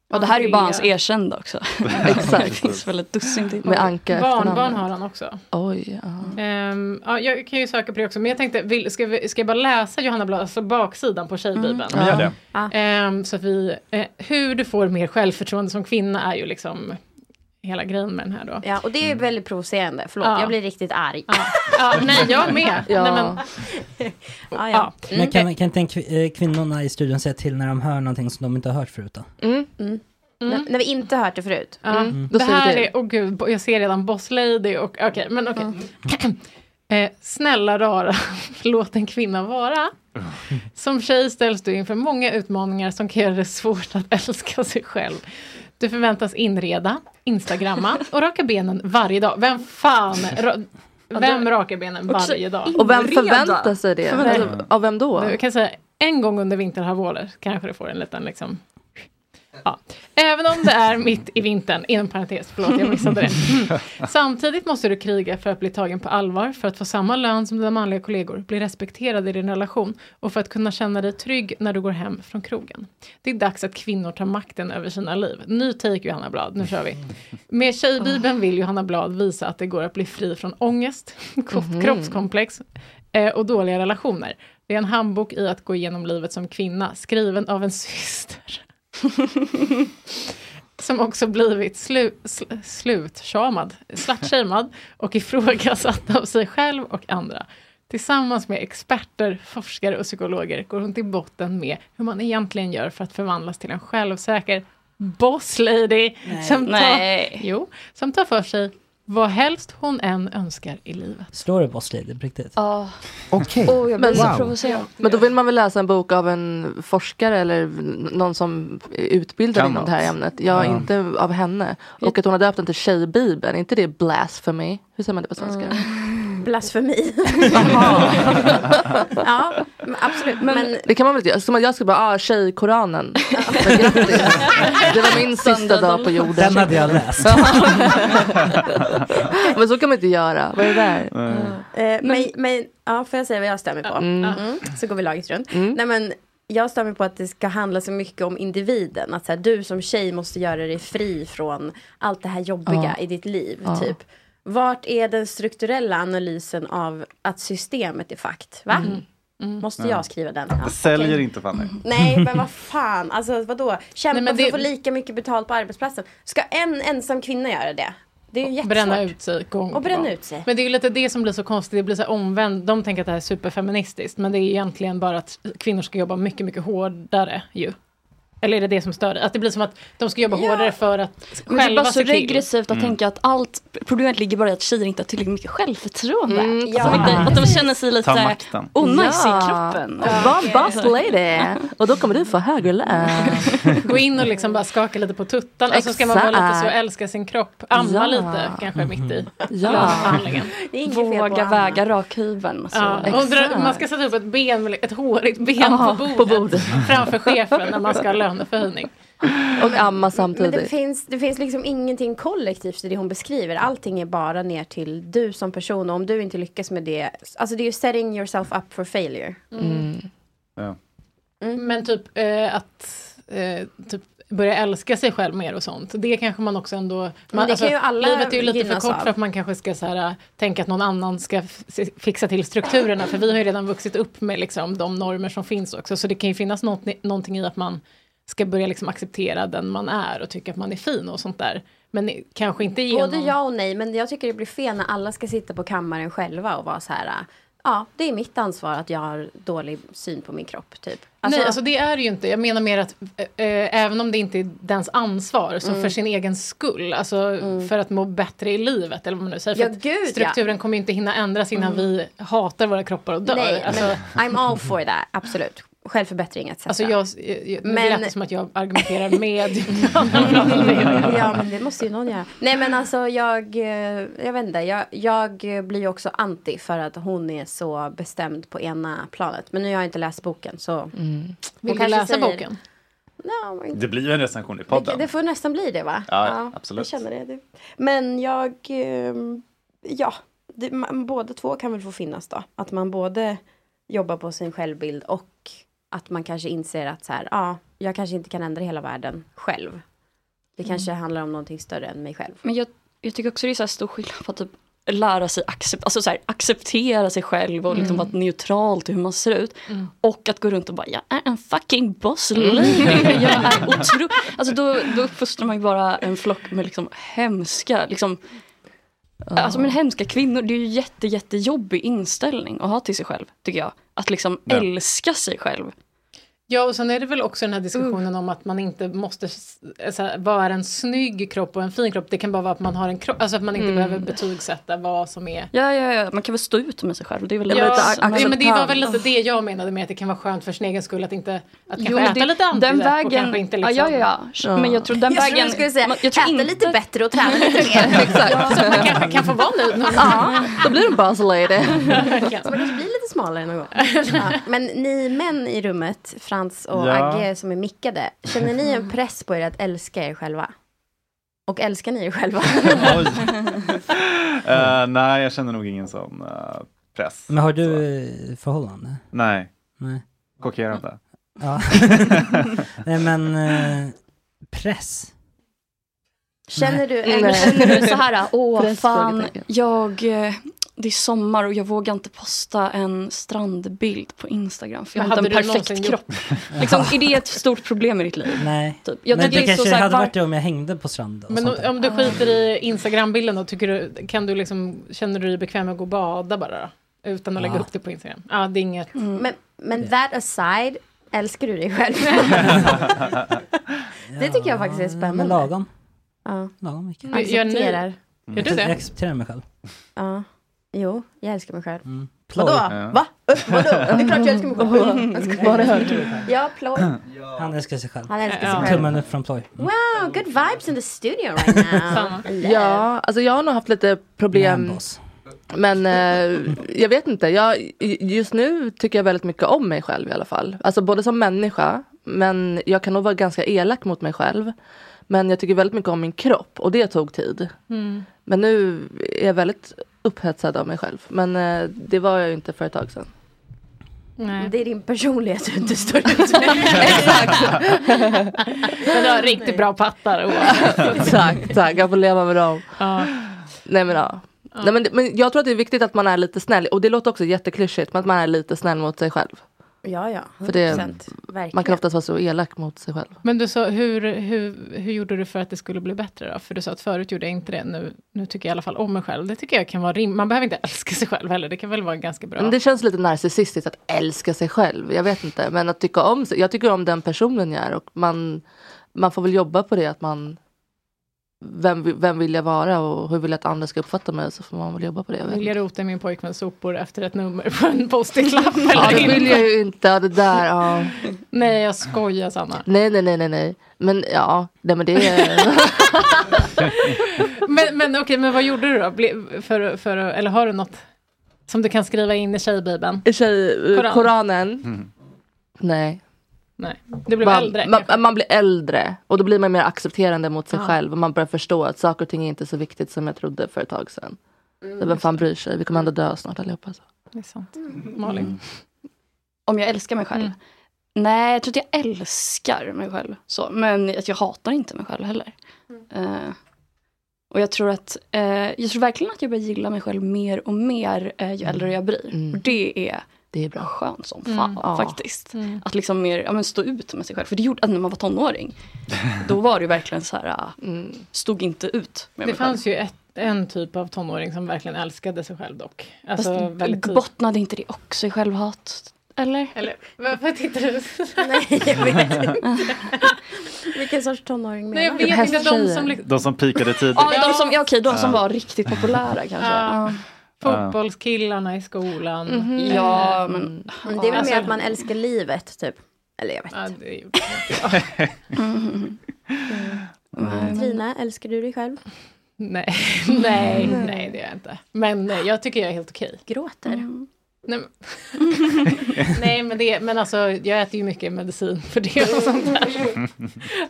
Ja, det här är ju bara hans
Andrea.
erkända också. Exakt. Det finns väl ett dussin till.
Med Anka Barnbarn har han också.
Oj, ja.
Ehm, ja, jag kan ju söka på det också, men jag tänkte, vill, ska, vi, ska jag bara läsa Johanna Blad, alltså baksidan på Tjejbibeln?
Mm. Ja, gör det.
Ehm, så att vi, eh, hur du får mer självförtroende som kvinna är ju liksom hela grejen med den här då.
Ja, och det är
Mm.
väldigt provocerande. Förlåt,
Ja.
jag blir riktigt arg.
Ja, nej, jag med.
Ja.
Nej, men,
ja,
ja.
Men kan, kan inte en kvi- eh, kvinnorna i studion säga till när de hör någonting som de inte har hört förut då?
Mm. När, när vi inte hört det förut.
Ja.
Mm.
Det
Då säger
här
vi
är, åh gud, bo- jag ser redan Boss Lady och okej, men okej. eh, snälla rara, låt en kvinna vara. Som tjej ställs du inför många utmaningar som kan göra det svårt att älska sig själv. Du förväntas inreda, instagramma och raka benen varje dag. Vem fan, ra- vem rakar benen
Också
varje dag?
Och vem inreda? förväntar sig det? Förväntar-
Av vem då? Du kan säga, en gång under vinterhalvåret kanske du får en liten liksom Ja. Även om det är mitt i vintern, inom parentes, förlåt jag missade det. Mm. Samtidigt måste du kriga för att bli tagen på allvar, för att få samma lön som dina manliga kollegor, bli respekterad i din relation och för att kunna känna dig trygg när du går hem från krogen. Det är dags att kvinnor tar makten över sina liv. Ny take Johanna Blad, nu kör vi. Med Tjejbibeln vill Johanna Blad visa att det går att bli fri från ångest,
Mhm.
kroppskomplex eh, och dåliga relationer. Det är en handbok i att gå igenom livet som kvinna, skriven av en syster. som också blivit slu, sl, slutshamad, slut och ifrågasatt av sig själv och andra. Tillsammans med experter, forskare och psykologer går hon till botten med hur man egentligen gör för att förvandlas till en självsäker boss lady som, tar,
Nej.
jo, som tar för sig vad helst hon än önskar i livet.
Slår du Boss Lady på riktigt?
Ja. Oh,
Okej.
Oh,
Men då vill man väl läsa en bok av en forskare eller n- någon som är utbildad
Kan
inom det
något.
här ämnet. Ja,
Ja.
inte av henne. Och att hon har döpt den till Tjejbibeln, är inte det blasphemy? Hur säger man det på svenska?
Mm.
Blasfemi. ja, men absolut. Men,
Det kan man väl inte göra? Som att jag skulle bara, ah, tjejkoranen. Men grattis. Det var min sista dag på jorden.
Den hade jag läst.
Men så kan man inte göra. Vad är det där?
eh, men, men, ja, får jag säga vad jag stämmer på?
Mm.
Mm. Så går vi laget runt.
Mm.
Nej, men, jag stämmer på att det ska handla så mycket om individen. Att så här, du som tjej måste göra dig fri från allt det här jobbiga
Ja.
i ditt liv.
Ja.
Typ. Vart är den strukturella analysen av att systemet är fakt? Va?
Mm.
Måste
Ja.
jag skriva den? Ja,
Det säljer
okej. Mm.
inte Fanny.
Nej men vad fan, alltså vadå? Kämpa
Nej, men det-
för att få lika mycket betalt på arbetsplatsen. Ska en ensam kvinna göra det? Det är ju jättesvårt.
bränna ut sig gång på
Och bränna
gång.
ut sig.
Men det är ju lite det som blir så konstigt, det blir så här omvänt. De tänker att det här är superfeministiskt, men det är egentligen bara att kvinnor ska jobba mycket, mycket hårdare ju. Eller är det det som stör dig? Att det blir som att de ska jobba hårdare för att
Men det är
själva
bara så
se till.
regressivt att
Mm.
tänka att allt problemet ligger bara i att tjejer inte har tillräckligt mycket självförtroende.
Mm,
Att, de
ja.
inte, att de känner sig
Ta
lite
makten.
onajs
Ja.
i kroppen.
Var en boss lady. Och då kommer du få högre lön.
Gå in och liksom bara skaka lite på tuttan. Alltså ska man vara lite så,
Exakt.
älska sin kropp. Amma
Ja.
lite kanske mitt i
Ja.
lönebehandlingen.
Våga väga rakhyveln. alltså, så.
Ja, och dra- man ska sätta upp ett, ben, ett hårigt ben
Ja,
på, bordet
på bordet.
framför chefen när man ska ha löneförhöjning.
Och amma
Men
samtidigt.
det finns, det finns liksom ingenting kollektivt i det hon beskriver. Allting är bara ner till du som person. Och om du inte lyckas med det. Alltså det är ju setting yourself up for failure.
Mm.
Mm.
Men typ eh, att eh, typ börja älska sig själv mer och sånt. Det kanske man också ändå... Man, alltså,
det kan ju alla
livet är ju lite för
gynnas
kort
av.
för att man kanske ska så här, tänka att någon annan ska f- se- fixa till strukturerna. För vi har ju redan vuxit upp med liksom, de normer som finns också. Så det kan ju finnas något, någonting i att man ska börja liksom, acceptera den man är och tycka att man är fin och sånt där. Men i- kanske inte genom...
Både ja och nej. Men jag tycker det blir fel när alla ska sitta på kammaren själva och vara så här. Ja, det är mitt ansvar att jag har dålig syn på min kropp. Typ. Alltså,
Nej, alltså det är det ju inte. Jag menar mer att eh, eh, även om det inte är dens ansvar, så
Mm.
för sin egen skull, alltså för att må bättre i livet, eller vad man nu säger.
Ja,
för att
gud, ja. Mm.
strukturen kommer ju inte hinna ändras innan vi hatar våra kroppar och dör.
Nej,
alltså,
men I'm all for that. Absolut. självförbättring etc.
Alltså jag, jag, nu lät det som att jag argumenterar med.
Mm.
ja, men det måste ju någon göra. Nej, men alltså jag, eh, jag vet inte. Jag, jag blir ju också anti för att hon är så bestämd på ena planet. Men nu har jag inte läst boken så. Hon
Mm. Vill du
kanske
läsa
säger-
boken?
No,
Det blir ju en recension i podden.
det får nästan bli det va?
Ja, absolut.
Jag känner det. det. Men jag, ehm, ja, det, man, båda två kan väl få finnas då. Att man både jobbar på sin självbild och att man kanske inser att så här, ja, jag kanske inte kan ändra hela världen själv. Det kanske
Mm.
handlar om någonting större än mig själv.
Men jag, jag tycker också det är så här stor skillnad på att typ lära sig accept, alltså så här, acceptera sig själv och liksom
Mm.
vara neutral till hur man ser ut.
Mm.
Och att gå runt och bara, jag är en fucking boss lady. Jag är otro... Alltså då, då uppfostrar man ju bara en flock med liksom hemska, liksom Alltså men hemska kvinnor, det är ju jätte jättejobbig inställning att ha till sig själv, tycker jag. Att liksom
Ja.
älska sig själv.
Ja, och sen är det väl också den här diskussionen om att man inte måste s- eh, så här, vad är en snygg kropp och en fin kropp. Det kan bara vara att man har en kropp, alltså att man inte
Mm.
behöver betygsätta vad som är.
Ja, ja, ja, man kan väl stå ut med sig själv. Det är väl
Ja,
acceptabelt.
ja, men det var väl lite det jag menade med att det kan vara skönt för sin egen skull att inte att kanske äta lite
den
antirett och
vägen,
kanske inte
ja,
liksom.
ja, ja, ja. Men jag tror den
Jag tror
vägen...
du skulle säga,
man- jag tror
äta
lite
bättre och träna lite
mer. Exakt. Så att man kanske
kan
få vara nöjd någon
Ja, då blir du en buzz lady.
Så man kanske blir lite smalare någon gång. Ja. Men ni män i rummet, Frans och
Ja.
Agge som är mickade, känner ni en press på er att älska er själva? Och älskar ni er själva?
Eh, nej, jag känner nog ingen sån eh, press.
Men har du eh, förhållande?
Nej.
Nej.
Chockerande.
Ja. Nej men, eh, press.
Känner du,
Eller känner du så här, åh fan, jag, eh, det är sommar och jag vågar inte posta en strandbild på Instagram för jag
Men
har inte en
hade du
perfekt
någonsin
kropp.
gjort-
liksom, är det ett stort problem i ditt liv?
Nej.
Typ. Jag
men
tycker
det
det är så
kanske
så här,
hade
var-
varit det om jag hängde på stranden. och
Men
sånt
om,
där.
om du skiter i Instagram-bilden då, tycker du, kan du liksom, känner du dig bekväm med att gå och bada bara då? Utan att lägga
Ja.
upp det på Instagram? Ja, det är inget.
Mm. Men, men that aside, älskar du dig själv? det tycker jag faktiskt är spännande.
Men lagom.
Ja.
Lagom mycket.
Gör ni- Mm.
Accepterar.
Gör du
Jag
det?
accepterar mig själv.
Ja. Jo, jag älskar mig själv.
Mm.
Vadå?
Ja.
Va? Upp, vadå? Det är klart jag älskar mig själv. Jag skojar.
Vad har du hört?
Ja, ploj.
Han älskar sig själv.
Han älskar sig
Ja.
själv.
Tummen upp från ploj.
Wow, good vibes in the studio right now.
Ja, alltså jag har nog haft lite problem. Men eh, jag vet inte. Jag, just nu tycker jag väldigt mycket om mig själv i alla fall. Alltså både som människa, men jag kan nog vara ganska elak mot mig själv. Men jag tycker väldigt mycket om min kropp och det tog tid.
Mm.
Men nu är jag väldigt upphetsad av mig själv. Men eh, det var jag ju inte för ett tag sedan.
Det är din personlighet du inte står
Men du har riktigt bra pattar. oavsett.
tack, tack. Jag får leva med dem. Nej men ja. Nej, men, men jag tror att det är viktigt att man är lite snäll. Och det låter också jätteklyschigt, men att man är lite snäll mot sig själv.
Ja, ja.
För det,
100%.
man kan
Verkligen.
oftast vara så elak mot sig själv.
Men du sa, hur, hur, hur gjorde du för att det skulle bli bättre då? För du sa att förut gjorde jag inte det, nu, nu tycker jag i alla fall om mig själv. Det tycker jag kan vara rim. Man behöver inte älska sig själv heller, det kan väl vara ganska bra.
Men det känns lite narcissistiskt att älska sig själv. Jag vet inte. Men att tycka om sig. Jag tycker om den personen jag är. Och man, man får väl jobba på det. att man vem, vi- vem vill jag vara och hur vill jag att andra ska uppfatta mig? Så får man väl jobba på det. Jag vet.
Vill
inte.
jag rota i min pojkväns sopor efter ett nummer på en post-it-lapp eller
Ja, det vill
inte?
jag ju inte. Ja, det där. Ja.
Nej, jag skojar Sanna.
Nej, nej, nej, nej, nej. Men ja, nej men det är...
Men, men okej, men vad gjorde du då? Ble, för, för, eller har du något som du kan skriva in i tjejbibeln?
Tjej,
Koran.
Koranen.
Mm.
Nej.
Nej, du blev
man,
äldre.
Man, man blir äldre och då blir man mer accepterande mot sig
Ja.
själv och man börjar förstå att saker och ting är inte så viktigt som jag trodde för ett tag sedan.
Mm,
så vem
just
fan bryr sig? Vi kommer ändå dö snart allihopa. Så.
Det är sant.
Mm.
Malin.
Mm.
Mm.
Om jag älskar mig själv? Nej, jag tror inte jag älskar mig själv. Så, men att jag hatar inte mig själv heller.
Mm.
Eh, och jag tror att eh, jag tror verkligen att jag börjar gilla mig själv mer och mer eh, ju äldre jag blir. Och det är,
Mm. det är bra.
skönt som
Mm.
fan
Ja.
faktiskt.
Mm.
Att liksom mer, ja, men stå ut med sig själv. För det gjorde att när man var tonåring, då var det ju verkligen så här, ah,
Mm.
stod inte ut med
Det
mig själv.
fanns ju ett, en typ av tonåring som verkligen älskade sig själv dock. Alltså,
Fast
väldigt tidigt.
bottnade inte det också i självhat? Eller?
Eller varför tittar du
Nej, jag vet inte. Vilken sorts tonåring menar
Nej, jag vet inte. De som...
liksom...
De som pikade tidigt.
Ja, de som, ja, okej, de som
Ja.
var riktigt populära kanske.
Ja.
Ja.
Fotbollskillarna i skolan. Alltså-
Mhm.
Ja,
Mm.
men...
Men det är väl mer att man älskar livet, typ. Eller jag vet
Ja,
inte.
det liksom-
Mm. Mm. Trina, älskar du dig själv?
Nej, nej, nej det gör jag inte. Men eh, jag tycker jag är helt okej.
Gråter?
Nej, men, nej, men, det, men alltså jag äter ju mycket medicin för det och sånt där.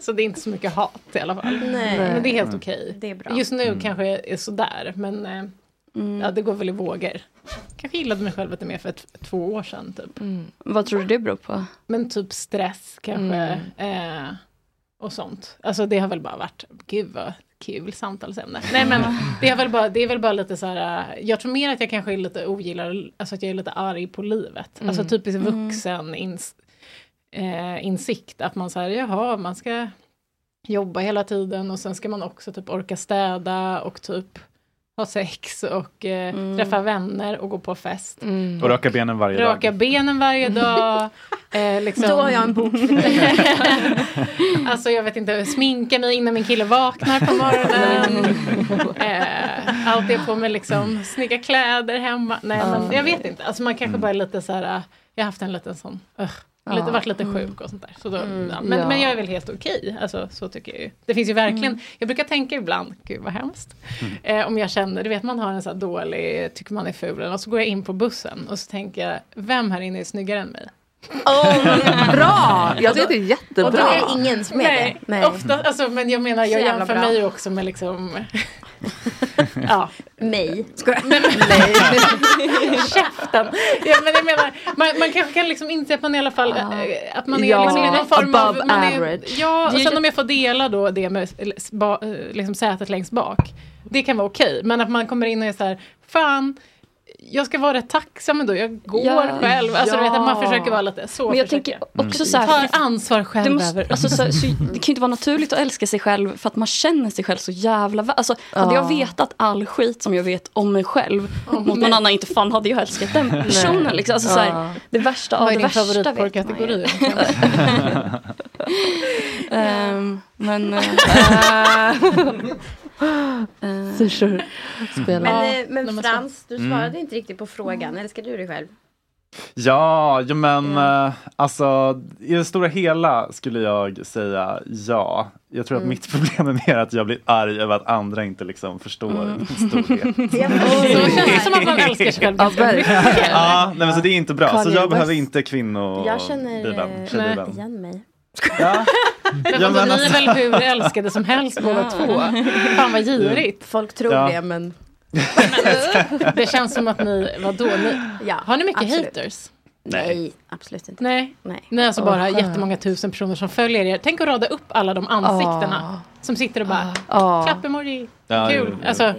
Så det är inte så mycket hat i alla fall.
Nej.
Men det är helt
Nej.
okej.
Det är bra.
Just nu
Mm.
kanske jag är sådär, men eh, ja, det går väl i vågor. Kanske gillade mig själv lite mer för t- två år sedan typ.
Mm. Vad tror du det beror på?
Men typ stress kanske.
Mm.
Eh, och sånt. Alltså det har väl bara varit, gud vad kul samtalsämne. Nej
Mm.
men det är väl bara, det är väl bara lite så här, eh, jag tror mer att jag kanske är lite ogillar, alltså att jag är lite arg på livet.
Mm.
Alltså typiskt
Mm.
vuxen ins, eh, insikt, att man så här, jaha, man ska jobba hela tiden och sen ska man också typ orka städa och typ ha sex och eh,
Mm.
träffa vänner och gå på fest.
Och röka benen varje dag.
Raka benen varje dag. eh, liksom.
Då har jag en bok för
Alltså jag vet inte, sminka mig innan min kille vaknar på morgonen. eh, allt det på mig liksom, snygga kläder hemma. Nej men jag vet inte, alltså man kanske bara är lite så här, eh, jag har haft en liten sån, ugh, lite,
Ja.
varit lite
Mm.
sjuk och sånt där. Så då,
Mm,
ja, men,
ja. Mm.
men jag är väl helt okej, alltså så tycker jag ju. Det finns ju verkligen, jag brukar tänka ibland, gud vad hemskt. Eh, om jag känner, du vet man har en så här dålig, tycker man är ful, och så går jag in på bussen och så tänker jag, vem här inne är snyggare än mig?
Bra!
Jag tycker
det är jättebra. Och då är det ingen som är
Nej,
det. Nej.
Ofta, alltså, men jag menar,
Så
jag
jävla
jämför
bra.
mig också med liksom... ja.
Mig. Skojar.
Käften! Ja, men jag menar, man, man kanske kan liksom inse att man i alla fall... eh, Att man är
Ja,
liksom i någon form
above
av... Man är,
average.
ja,
Det
och
är
sen
ju-
om jag får dela då det med eh, s- ba, eh, liksom sätet längst bak. Det kan vara okej, men att man kommer in och är så här, fan, jag ska vara rätt tacksam ändå, jag går
Ja.
själv. Alltså, du vet, att man
Ja.
försöker vara lite så.
Men jag
försöker alltså,
tänker också
Mm.
Mm.
så här-
Tar ansvar själv
Det, måste,
över.
alltså, så, så, det kan ju inte vara naturligt att älska sig själv för att man känner sig själv så jävla väl. Alltså, hade
Ja.
jag vetat all skit som jag vet om mig själv mot någon annan, inte fan hade jag älskat den personen. Liksom. Alltså, så
Ja.
här, det värsta av
Vad är
det
din
värsta
favoritporrkategori?
vet man ju. Ehm, men... eh, eh,
Syrsor spelar.
Men, eh, men
när man ska-
Frans, du
Mm.
svarade inte riktigt på
Mm.
frågan. Älskar du dig själv?
Ja, jo, men eh, alltså i det stora hela skulle jag säga ja. Jag tror att
Mm.
mitt problem är mer att jag blir arg över att andra inte liksom förstår min storhet.
Så känns det som att man älskar sig själv
Ja,
ganska mycket.
verkligen.
Ja, nej, men så det är inte bra.
Kanye
så jag
West.
behöver inte kvinnobilen.
jag känner eh,
tjejbilen.
igen mig.
Men
Ja,
vadå,
men
ni är
alltså-
väl hur älskade som helst båda två? Fan vad girigt.
Folk tror
Ja.
det, men...
Det känns som att ni, vadå, ni,
Ja,
har ni mycket
absolut.
haters?
Nej, absolut inte.
Nej.
typ. Nej.
Ni har alltså
Åh,
bara
skönt.
jättemånga tusen personer som följer er. Tänk att rada upp alla de ansiktena som sitter och bara
Ah.
klapp-emoji,
Ja,
kul.
jo, jo.
Alltså,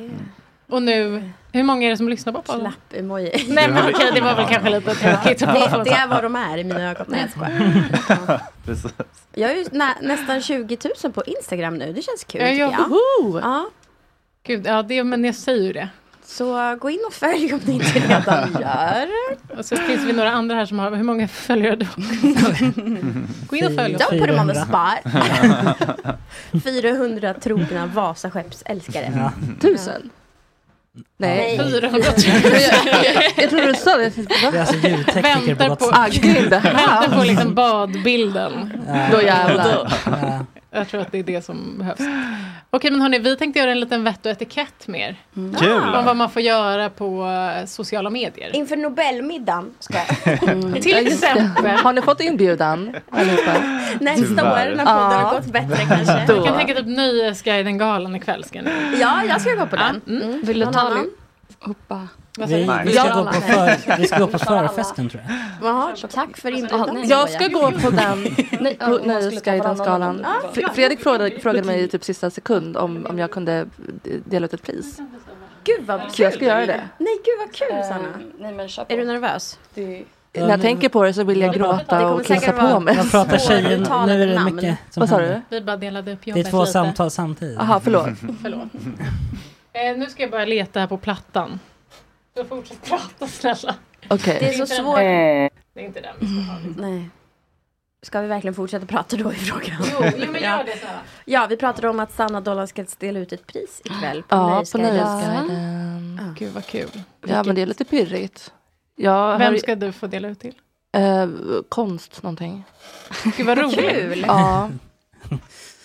och nu, hur många är det som lyssnar på podden?
Klapp-emoji.
Nej men okej, det var väl kanske lite tråkigt.
det, det är vad de är i mina ögon. Nej, jag skojar.
Precis.
Jag är ju nä- nästan 20 000 på Instagram nu. Det känns kul,
Ja,
tycker
ja,
jag.
woho!
Ja,
Gud, ja, det, men jag säger ju det.
så gå in och följ om ni inte redan gör.
Och så finns det några andra här som har, hur många följare du Gå in och följ oss.
Don't put them on the spot. 400 trogna Vasaskeppsälskare.
Tusen? Nej.
Nej.
400 000.
Jag trodde du sa det.
Det är alltså ljudtekniker på
Väntar på,
Gotland.
Ah, gud.
väntar på liksom badbilden.
Då jävlar.
Eh,
Jag tror att det är det som behövs. Okej, men hörni, vi tänkte göra en liten vett och etikett med er.
Mm.
Kul.
Om vad man får göra på eh, sociala medier. Mm.
Inför Nobelmiddagen. Ska jag.
Ja,
Till
just det.
exempel.
Har ni fått inbjudan? allihopa?
Nästa
Tyvärr.
år när podden har
Ja.
gått bättre kanske.
Jag kan tänka typ Nöjesguiden-galan ikväll. Ska ni?
Ja, jag ska gå på den. Mm.
Vill du
Någon
ta
annan?
lite? Hoppa.
Vad säger
Vi,
ni?
vi,
Ja,
ska gå på
alla.
för, vi ska gå på förfesten tror jag.
Jaha, tack för inbjudan.
Jag ska gå på den
Nej,
på Nöjesguiden-skalan. F- Fredrik frågade, frågade mig i typ sista sekund om, om jag kunde d- dela ut ett pris.
Gud vad
Så jag
kul.
ska göra det. Eh,
Nej, gud vad kul Sanna.
Nej men kör på.
Är du nervös?
När jag tänker på det så vill jag gråta och kissa på mig.
Jag pratar tjejer,
Svåruttalade
nu är det
namn.
mycket som
Vad sa
händer.
du?
Mm. Vi bara delade upp
Det
jobbet
är två
lite.
samtal samtidigt.
Jaha, förlåt.
Förlåt. Eh, nu ska jag börja leta här på plattan. Så fortsätt prata snälla.
Okej. Mm.
Det är så
inte den
Eh.
svårt.
här. Det är inte den vi ska ha.
Mm. Nej. Ska vi verkligen fortsätta prata då i frågan?
Jo, jo men gör det Sara.
Ja, vi pratade om att Sanna Dolan ska dela ut ett pris ikväll på
Ja, på
Nöjesguiden.
Nöjesguiden.
Mm. Gud vad kul.
Ja, men det är lite pirrigt. Jag
Vem
har-
ska du få dela ut till?
Eh, konst någonting.
Gud vad roligt.
Kul. Ja.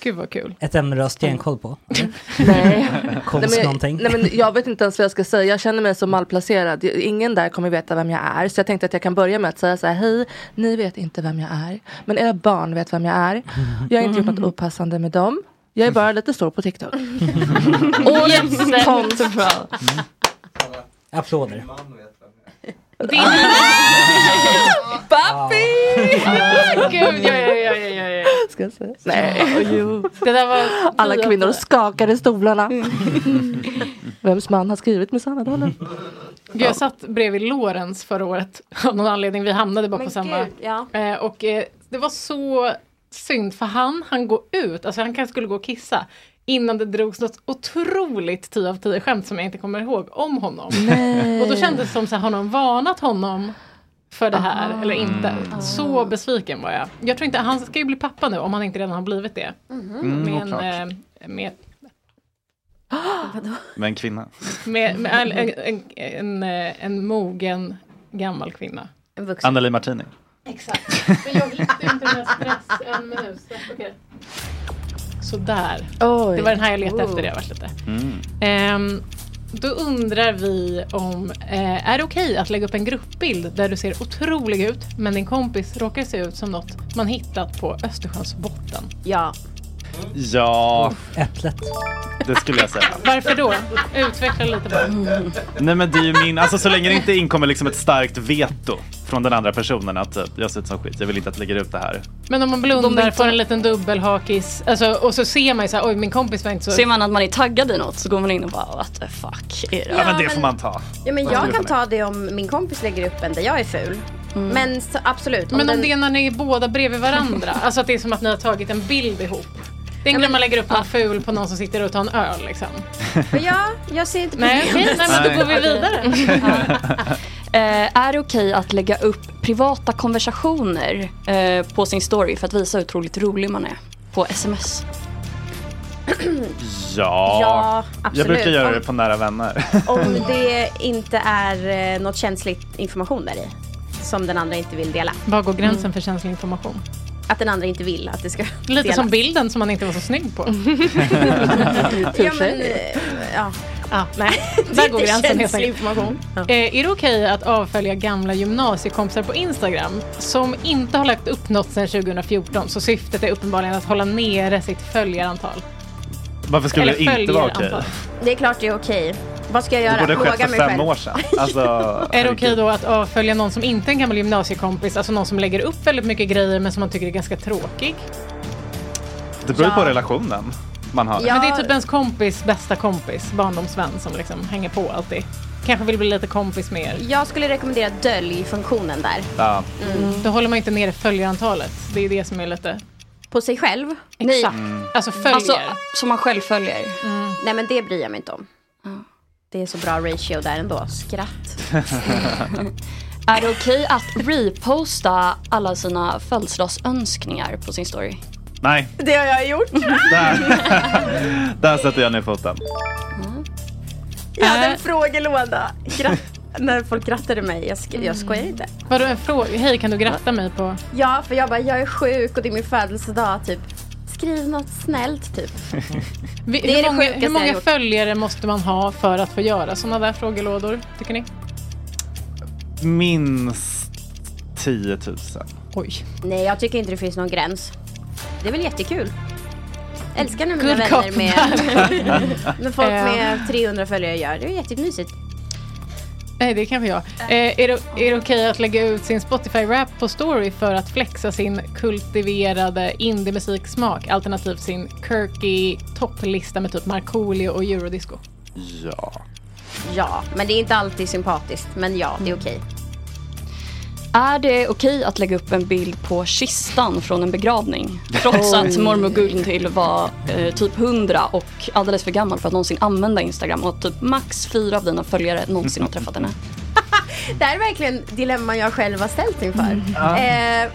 Gud vad kul.
Ett ämne du har stenkoll på?
Nej.
Konst
nej, men,
någonting?
Nej, men jag vet inte ens vad jag ska säga. Jag känner mig så malplacerad. Ingen där kommer veta vem jag är. Så jag tänkte att jag kan börja med att säga så här. Hej, ni vet inte vem jag är. Men era barn vet vem jag är. Jag har inte gjort
Mm.
något opassande med dem. Jag är bara lite stor på TikTok. Årets konst.
Applåder.
Pappi!
Gud, ja, ja, ja, ja, ja.
Ska jag säga? Nej. Jo.
Det där var Mm.
Alla kvinnor skakar i stolarna. Vems man har skrivit med Sanna Dalen?
Gud, jag satt bredvid Lorentz förra året av någon anledning. Vi hamnade bara på samma.
gud, ja.
Eh, och eh, det var så synd för han, han går ut, alltså han kanske skulle gå och kissa innan det drogs något otroligt 10 av 10 skämt som jag inte kommer ihåg om honom. Och då kändes det som så här, har någon varnat honom för det här eller inte? Ah. Så besviken var jag. Jag tror inte, han ska ju bli pappa nu om han inte redan har blivit det.
Mm,
Med,
oklart.
en, eh, med,
Med en kvinna.
med, med en, en, en, en, eh, en mogen gammal kvinna.
En
Anneli Martini.
Exakt. Men jag lyfter inte med stress en minut. Så, okay. Sådär.
Oj.
Det var den här jag letade
Oh.
efter. Det har varit lite. Ehm, då undrar vi om, eh, är det okej att lägga upp en gruppbild där du ser otrolig ut men din kompis råkar se ut som något man hittat på Östersjöns botten?
Ja.
Ja,
Äpplet.
det skulle jag säga.
Varför då? Utveckla lite bara.
Nej men det är ju min, alltså så länge det inte inkommer liksom ett starkt veto från den andra personen att typ, jag ser ut som skit, jag vill inte att lägga ut det här.
Men om man blundar, får en liten dubbelhakis alltså, och så ser man ju så här, oj min kompis var inte så...
Ser man att man är taggad i något så går man in och bara what the fuck är det?
Ja, men det får man ta.
Ja, men
Vad ska
jag
vi
kan
göra?
ta det om min kompis lägger upp en där jag är ful. Men så, absolut.
Mm. Men om
den-
det är när ni är båda bredvid varandra, alltså att det är som att ni har tagit en bild ihop. Det är en grej man lägger upp någon ful på någon som sitter och tar en öl liksom.
Men ja, jag ser inte
Nej, okej,
problemet.
nej, men då går vi vidare.
Eh, är det okej att lägga upp privata konversationer eh, på sin story för att visa hur otroligt rolig man är på sms?
Ja,
Ja,
jag
absolut.
brukar göra
Om-
det på nära vänner.
Om det inte är eh, något känsligt information där i. Som den andra inte vill dela. Mm.
Var går gränsen
Mm.
för känslig information?
Att den andra inte vill att det ska
Lite
delas.
som bilden som man inte var så snygg på.
ja, men, eh, ja.
Ah, nej,
Det är
där går
inte
gränsen helt
känslig
enkelt.
information.
Eh, är det okej att avfölja gamla gymnasiekompisar på Instagram som inte har lagt upp något sedan 2014 så syftet är uppenbarligen att hålla nere sitt följarantal?
Varför skulle
Eller
det inte vara okej?
följarantal.
Det är klart det är okej. Vad ska jag
Det
göra?
borde ha skett
Plåga
för
mig
fem
själv.
år sedan. Alltså,
Är det okej då att avfölja någon som inte är en gammal gymnasiekompis, alltså någon som lägger upp väldigt mycket grejer men som man tycker är ganska tråkig?
Det beror ju på
Ja.
relationen man har.
Men det är typ ens kompis bästa kompis, barndomsvän som liksom hänger på alltid. Kanske vill bli lite kompis med er.
Jag skulle rekommendera Mm. dölj-funktionen där.
Ja.
Då håller man inte nere följarantalet. Det är det som är lite...
På sig själv?
Exakt. Alltså följer. Mm.
Alltså,
som man själv följer?
Nej men det bryr jag mig inte om. Det är så bra ratio där ändå. Skratt.
Är det okej att reposta alla sina födelsedagsönskningar på sin story?
Nej,
Det har jag gjort.
där sätter jag ner foten.
Jag hade
Äh.
en frågelåda. Gratt- när folk grattade mig. Jag, sk- jag skojar inte.
Mm. Vadå en fråga? Hej, kan du gratta mig på...
Ja, för jag bara, jag är sjuk och det är min födelsedag. Typ. Skriv något snällt typ.
Vi-
Det är det
hur många,
sjukaste
hur
jag
många
gjort.
följare måste man ha för att få göra sådana där frågelådor, tycker ni?
Minst 10 000.
Oj.
Nej, jag tycker inte det finns någon gräns. Det är väl jättekul. Älskar när mina
Good cop,
vänner med, med folk med 300 följare gör. Det är jättemysigt.
Nej, det kanske jag. Eh, är det, är det okej att lägga ut sin Spotify-rap på story för att flexa sin kultiverade indie-musiksmak alternativt sin quirky topplista med typ Markoolio och eurodisco?
Ja.
Ja, men det är inte alltid sympatiskt. Men ja, det är okej.
Är det okej att lägga upp en bild på kistan från en begravning? Trots
Oj.
att mormor Gunhild var eh, typ 100 och alldeles för gammal för att någonsin använda Instagram och typ max fyra av dina följare någonsin har träffat henne.
Det här är verkligen dilemman jag själv har ställt inför.
Ja.
Eh,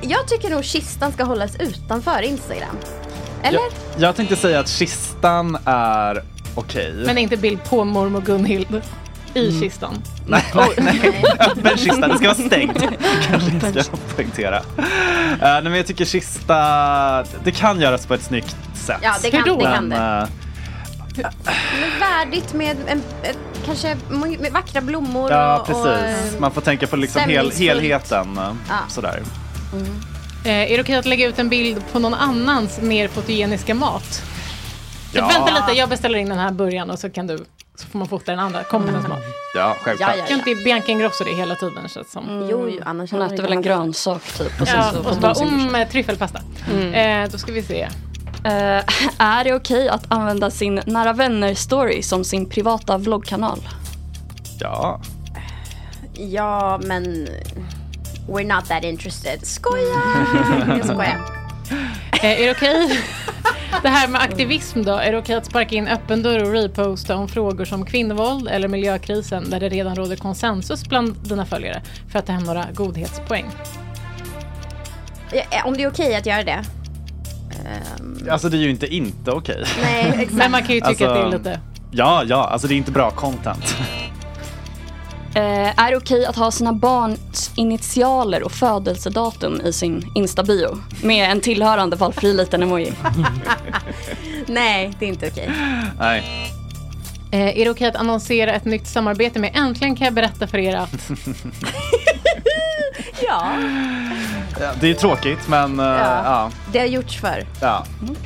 jag tycker nog kistan ska hållas utanför Instagram. Eller?
Jag, jag tänkte säga att kistan är Okej.
Men inte bild på mormor Gunhild i kistan.
Nej, nej, nej. Öppen kista, det ska vara stängt. Kanske jag ska poängtera. Eh, nej, men jag tycker kista, det kan göras på ett snyggt sätt.
Ja, det kan- Hur då? det kan
Men,
det.
eh,
Men värdigt med en, ett- kanske mo- med vackra blommor
ja,
och... eh,
precis.
och,
Man får tänka på liksom hel,
stämningsfullt.
helheten. eh,
Ja.
Sådär.
Eh, är det okej att lägga ut en bild på någon annans mer fotogeniska mat? Så Vänta lite, jag beställer in den här början och så kan du så får man fota den andra kompisens mat.
Ja, självklart.
Kan inte Bianca Ingrosso det hela tiden känns det som?
Jo, jo, annars
Hon
hade det
äter väl en
kunnat-
grönsak typ. Och sen
Ja,
så
och så
får
bara
man sin
om eh, tryffelpasta.
Mm.
Eh, då ska vi se.
Eh, är det okej att använda sin nära vänner-story som sin privata vloggkanal?
Ja.
Ja, men... We're not that interested. Skoja! Jag skojar.
Eh, är det okej? det här med aktivism då. Är det okej att sparka in öppen dörr och reposta om frågor som kvinnovåld eller miljökrisen där det redan råder konsensus bland dina följare för att ta hem några godhetspoäng?
Ja, eh, Om det är okej att göra det.
Alltså det är ju inte inte okej.
Nej, exakt.
Men man kan ju tycka
Alltså,
att det är lite...
Ja, ja, alltså det är inte bra content.
Eh, är det okej att ha sina barns initialer och födelsedatum i sin Insta-bio? Med en tillhörande valfri liten emoji.
Nej, det är inte okej.
Nej.
Eh, är det okej att annonsera ett nytt samarbete med Äntligen kan jag berätta för er att...
ja.
Det är tråkigt men eh, ja.
Det har gjorts förr,
ja.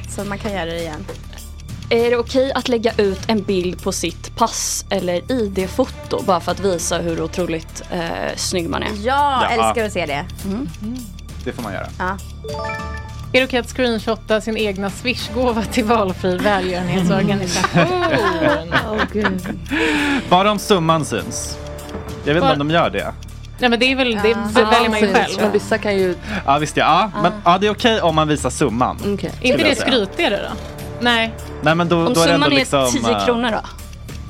så man kan göra det igen.
Är det okej att lägga ut en bild på sitt pass eller ID-foto bara för att visa hur otroligt eh, snygg man är?
Ja,
Ja. älskar att
se det. Mm.
Det får man göra.
Ja.
Är det okej att screenshotta sin egna swishgåva till valfri välgörenhetsorganisation?
Bara om summan syns. Jag vet inte
Bara-
om de gör det.
Nej men det är väl, det väljer man ju själv.
Men vissa kan ju...
Ja visst ja, ja. men ja, det är okej om man visar summan.
Okej.
Är Ah. inte
Skulle
det
jag säga.
skrytigare då? Nej.
Nej men då,
Om
då är det ändå
summan är
liksom...
10
eh,
kronor då?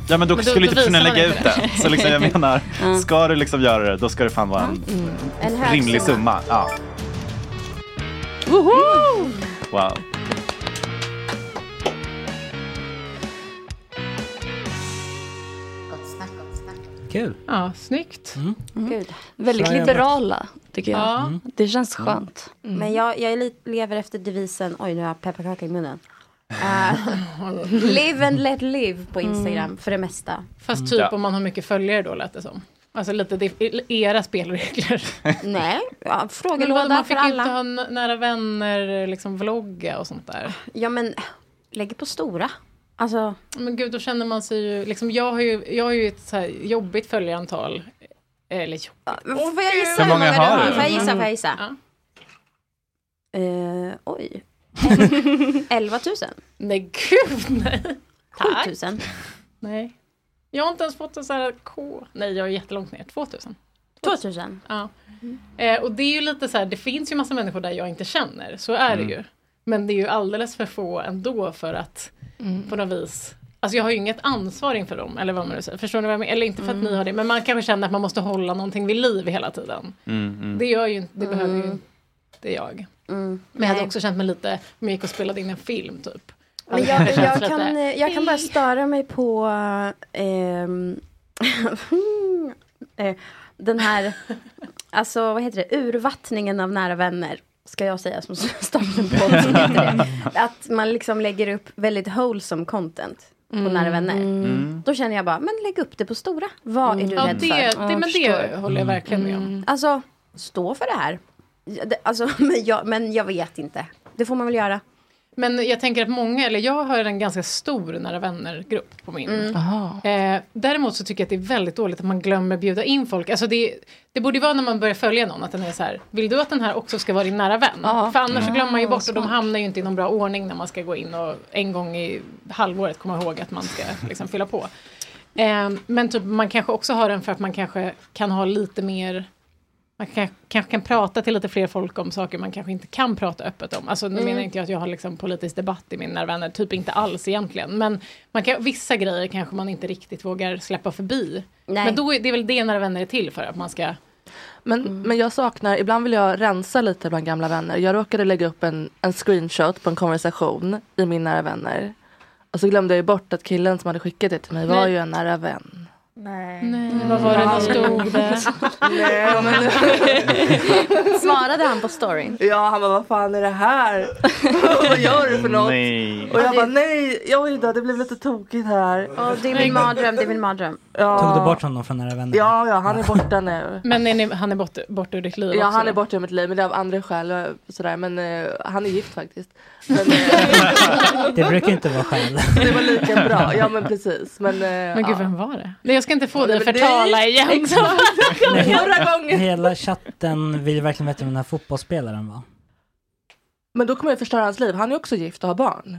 Ja men då,
Men då-
skulle
då
du inte kunna
visar man
lägga
inte
ut
det.
det. Så liksom jag menar,
Ja.
ska du liksom göra det då ska det fan vara en
Mm. En
rimlig summa. Ja.
Woho!
Wow.
Kul.
Ja, snyggt.
Mm.
Gud.
Väldigt
Så är det.
liberala tycker jag.
Ja. Mm.
Det känns skönt.
Men jag, jag är li- lever efter devisen, oj nu har jag pepparkaka i munnen. Eh, live and let live på Instagram för det mesta.
Mm. Fast typ
Ja.
om man har mycket följare då lät det som. Alltså lite det är era spelregler.
Nej, ja,
Men vadå,
frågelåda
man
för
fick
alla.
inte ha n- nära vänner, liksom vlogga och sånt där.
Ja men lägg på stora. Alltså.
Men gud, då känner man sig ju... Liksom, jag, har ju jag har ju ett så här jobbigt följarantal. Eller jobbigt.
Får jag gissa
Hur många har
du
du?
Får jag gissa?
Mm.
Får jag gissa? Eh, oj. 11 000?
Nej gud nej.
7 000?
Nej. Jag har inte ens fått en sån här K. Nej, jag är jättelångt ner. 2000.
2000?
Ja. Eh, och det är ju lite så här, det finns ju massa människor där jag inte känner, så är
Mm.
det ju. Men det är ju alldeles för få ändå för att
Mm.
på något vis, alltså jag har ju inget ansvar inför dem, eller vad man nu säger. Förstår ni vad jag menar? Eller inte för att
Mm.
ni har det, men man kanske känner att man måste hålla någonting vid liv hela tiden.
Mm.
Det gör ju inte, det behöver
Mm.
ju inte jag. Men jag hade också känt mig lite, om jag gick och spelade in en film typ.
Men
Hade
jag,
känt
jag,
lite-
kan, eh, jag kan bara störa mig på ehm, eh, den här, alltså vad heter det, urvattningen av nära vänner. Ska jag säga som startar en podd som heter det. Att man liksom lägger upp väldigt wholesome content på
Mm.
nära vänner.
Mm.
Då känner jag bara, men lägg upp det på stora. Vad är du
Ja,
rädd
det-
för?
det- Ja, jag men det förstår. håller jag verkligen med om.
Alltså, stå för det här. Ja, det- Alltså, men, jag, men jag vet inte. Det får man väl göra.
Men jag tänker att många, eller jag har en ganska stor nära vänner-grupp på min.
Mm. Aha.
Eh, däremot så tycker jag att det är väldigt dåligt att man glömmer bjuda in folk. Alltså det, det borde ju vara när man börjar följa någon att den är så här, vill du att den här också ska vara din nära vän? För annars så
Mm.
glömmer man ju
Ah,
bort och de
smart.
hamnar ju inte i någon bra ordning när man ska gå in och en gång i halvåret komma ihåg att man ska liksom fylla på. Eh, men typ, man kanske också har den för att man kanske kan ha lite mer man kan, kanske kan prata till lite fler folk om saker man kanske inte kan prata öppet om. Alltså, nu
Mm.
menar inte jag att jag har liksom politisk debatt i mina vänner, typ inte alls egentligen. Men man kan, vissa grejer kanske man inte riktigt vågar släppa förbi.
Nej.
Men då är det är väl det när vänner är till för, att man ska...
Men,
Mm.
men jag saknar, ibland vill jag rensa lite bland gamla vänner. Jag råkade lägga upp en, en screenshot på en konversation i min nära vänner. Och så glömde jag ju bort att killen som hade skickat det till mig var
Nej.
ju en nära vän.
Nej.
Mm. Vad var det som stod där?
Ja, men-
Svarade han på storyn?
Ja, han bara vad fan är det här? vad gör du för något?
Nej.
Och jag bara nej, oj då det blev lite tokigt här.
Och det är min mardröm, det är min mardröm.
Ja.
Tog du bort honom från nära vänner?
Ja, ja, han är borta nu.
Men är ni, han är borta bort ur ditt liv
Ja,
också?
han är borta ur mitt liv, men det är av andra skäl. och Sådär. Men eh, han är gift faktiskt. eh,
Det brukar inte vara skäl.
Det var lika bra, ja men precis. Men, eh,
Men gud,
ja.
vem var det? Nej, jag ska inte få
Ja,
dig att
men det-
förtala igen.
Exakt. Förra gången.
Hela chatten vill verkligen veta om den här fotbollsspelaren var.
Men då kommer jag förstöra hans liv. Han är också gift och har barn.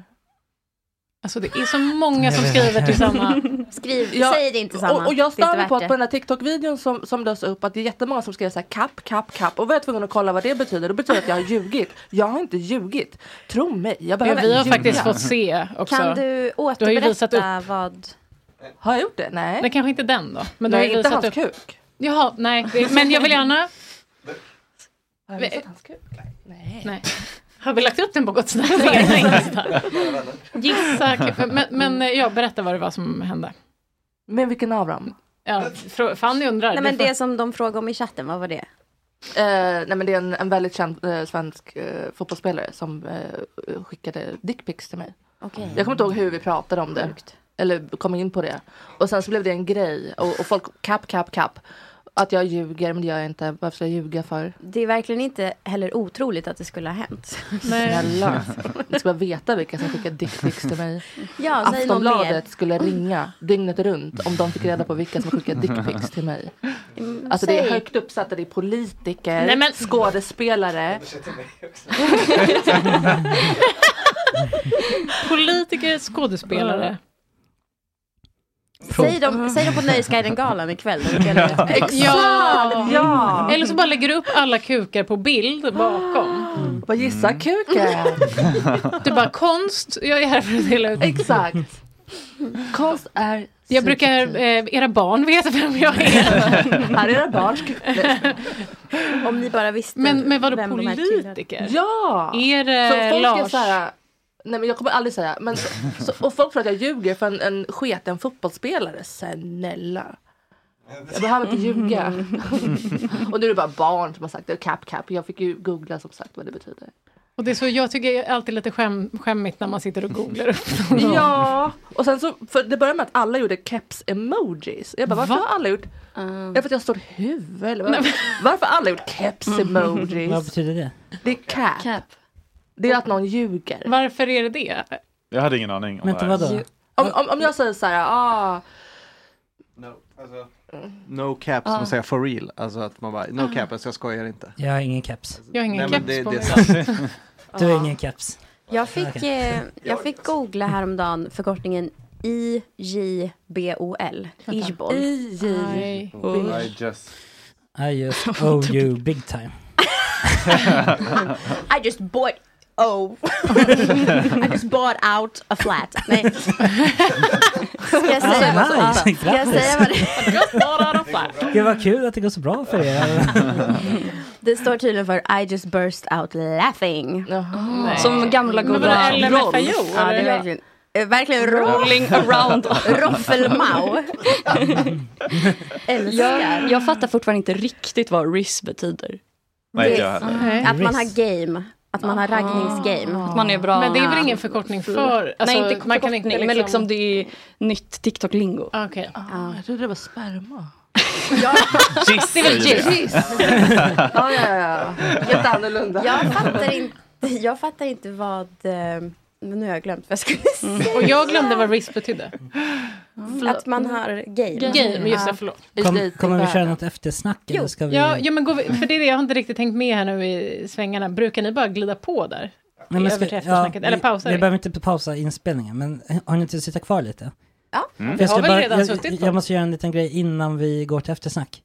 Alltså det är så många som skriver till samma.
Skriv,
Ja,
säg det inte samma.
Och, och jag
Det
stör
är inte
mig på
värt
att på den här TikTok-videon som, som dös upp att det är jättemånga som skriver så här kapp, kapp, kapp. Och var jag tvungen att kolla vad det betyder. Det betyder att jag har ljugit. Jag har inte ljugit. Tro mig, jag behöver
vi har
inte
faktiskt
ljuga.
fått se också.
Kan du
Du har ju visat
återberätta
upp.
vad...
Har jag gjort det? Nej.
Nej, kanske inte den då. Men du
Nej,
har ju
inte
visat
hans
upp.
kuk.
Jaha, nej. det- Men jag vill gärna...
Har jag visat hans kuk?
Nej. Har vi lagt upp den på Gott Snack? Gissa. klippen. Men, men eh, ja, berätta vad det var som hände.
Men vilken av dem?
Ja, frå- Fanny undrar.
Nej
Du
men
får-
det som de frågade om i chatten, vad var det?
Eh, nej men det är en, en väldigt känd eh, svensk eh, fotbollsspelare som eh, skickade dickpics till mig.
Okej.
Jag kommer inte ihåg hur vi pratade om det. Eller kom in på det. Och sen så blev det en grej och, och folk kapp, kapp, kapp. Att jag ljuger, men det gör jag inte. Varför ska jag ljuga för?
Det är verkligen inte heller otroligt att det skulle ha hänt.
Snälla. Ni ska bara veta vilka som skickar dickpics till mig.
Ja, säg någon mer.
Aftonbladet skulle ringa dygnet runt om de fick reda på vilka som skickar dickpics till mig.
Mm,
Alltså det är
säg.
högt uppsatta, det är politiker,
Nej, men-
skådespelare.
Politiker, skådespelare.
Säg dem, säg dem på Nöjesguiden-galan ikväll. när vi delar ut pengar.
Ja.
Ja.
Eller så bara lägger du upp alla kukar på bild bakom.
Vad gissa kuken?
Du bara konst, jag är här för att dela ut.
Exakt. Konst är
Jag brukar, eh, era barn vet vem jag är.
Här är era barn.
Om ni bara visste
Men, men vadå
vem de här
politiker?
Ja!
Är det
Så folk är
Lars?
så här, nej men jag kommer aldrig säga. Men, så, och folk tror att jag ljuger för en, en sketen fotbollsspelare. Snälla. Jag behöver inte ljuga. och nu är det bara barn som har sagt det. Cap, cap. Jag fick ju googla som sagt vad det betyder.
Och det är så, jag tycker det är alltid lite skäm, skämmigt när man sitter och googlar upp någon.
Ja! Och sen så, för det började med att alla gjorde keps-emojis. Jag bara, varför
Va? Ah.
har alla gjort? Är det för att jag står huvud eller vad? Varför har alla gjort
Vad
keps-emojis?
betyder det?
Det är cap. Det är att någon ljuger.
Varför är det det?
Jag hade ingen aning om
Vänta,
det här.
vadå?
Om, om, om jag säger så här, ah,
alltså, No cap som
Ah.
man säger for real. Alltså att man bara, no cap, alltså jag skojar inte.
Jag har ingen keps.
Jag har ingen
Nej,
keps
men det,
på
det är
mig.
sant.
Du har ingen keps.
Jag fick,
Okej.
eh, jag fick googla häromdagen förkortningen IJBOL. Ijbol.
IJ.
Oh.
I just...
I just owe
Typ.
you big time.
I just bought Oh. I just bought out a flat. Nej. Ska jag säga vad som-
Ah, nice.
Ska jag säga vad det
Gud vad kul att det går så bra för er.
Det står tydligen för I just burst out laughing.
Nej.
Som gamla
Men
goda
vadå, LMFAO,
Rolf. Ja, det är
eller?
verkligen, eh, verkligen
Rolling around.
Roffelmau. Älskar.
Jag, jag fattar fortfarande inte riktigt vad RIS betyder.
Nej,
Det-
jag hade.
Att man har game. Att man har raggningsgame.
Att man är bra.
Men det är väl ingen förkortning för... Alltså,
Nej, inte förkortning,
man kan inte Ah,
men liksom det är nytt TikTok-lingo.
Okej.
Ah, jag trodde det var sperma.
Giss,
Det är väl
säger jag.
giss.
ja, ja, ja. Helt annorlunda.
Jag fattar inte, jag fattar inte vad... eh, Men nu har jag glömt vad jag skulle säga.
Mm. Och jag glömde vad RIS betydde.
Att man har game.
Gay, men just det,
Ja.
förlåt.
Kom, kommer vi köra något eftersnack eller ska vi?
Ja, ja men går vi, för det är det jag har inte riktigt tänkt med här nu i svängarna. Brukar ni bara glida på där?
Nej, men
Över
ska-
till eftersnacket, eller
vi-
pausar
Vi
vi?
behöver inte pausa inspelningen, men eh, har ni inte att sitta kvar lite?
Ja.
För
Vi har
ska
väl redan
jag,
suttit
jag,
på.
jag måste göra en liten grej innan vi går till eftersnack.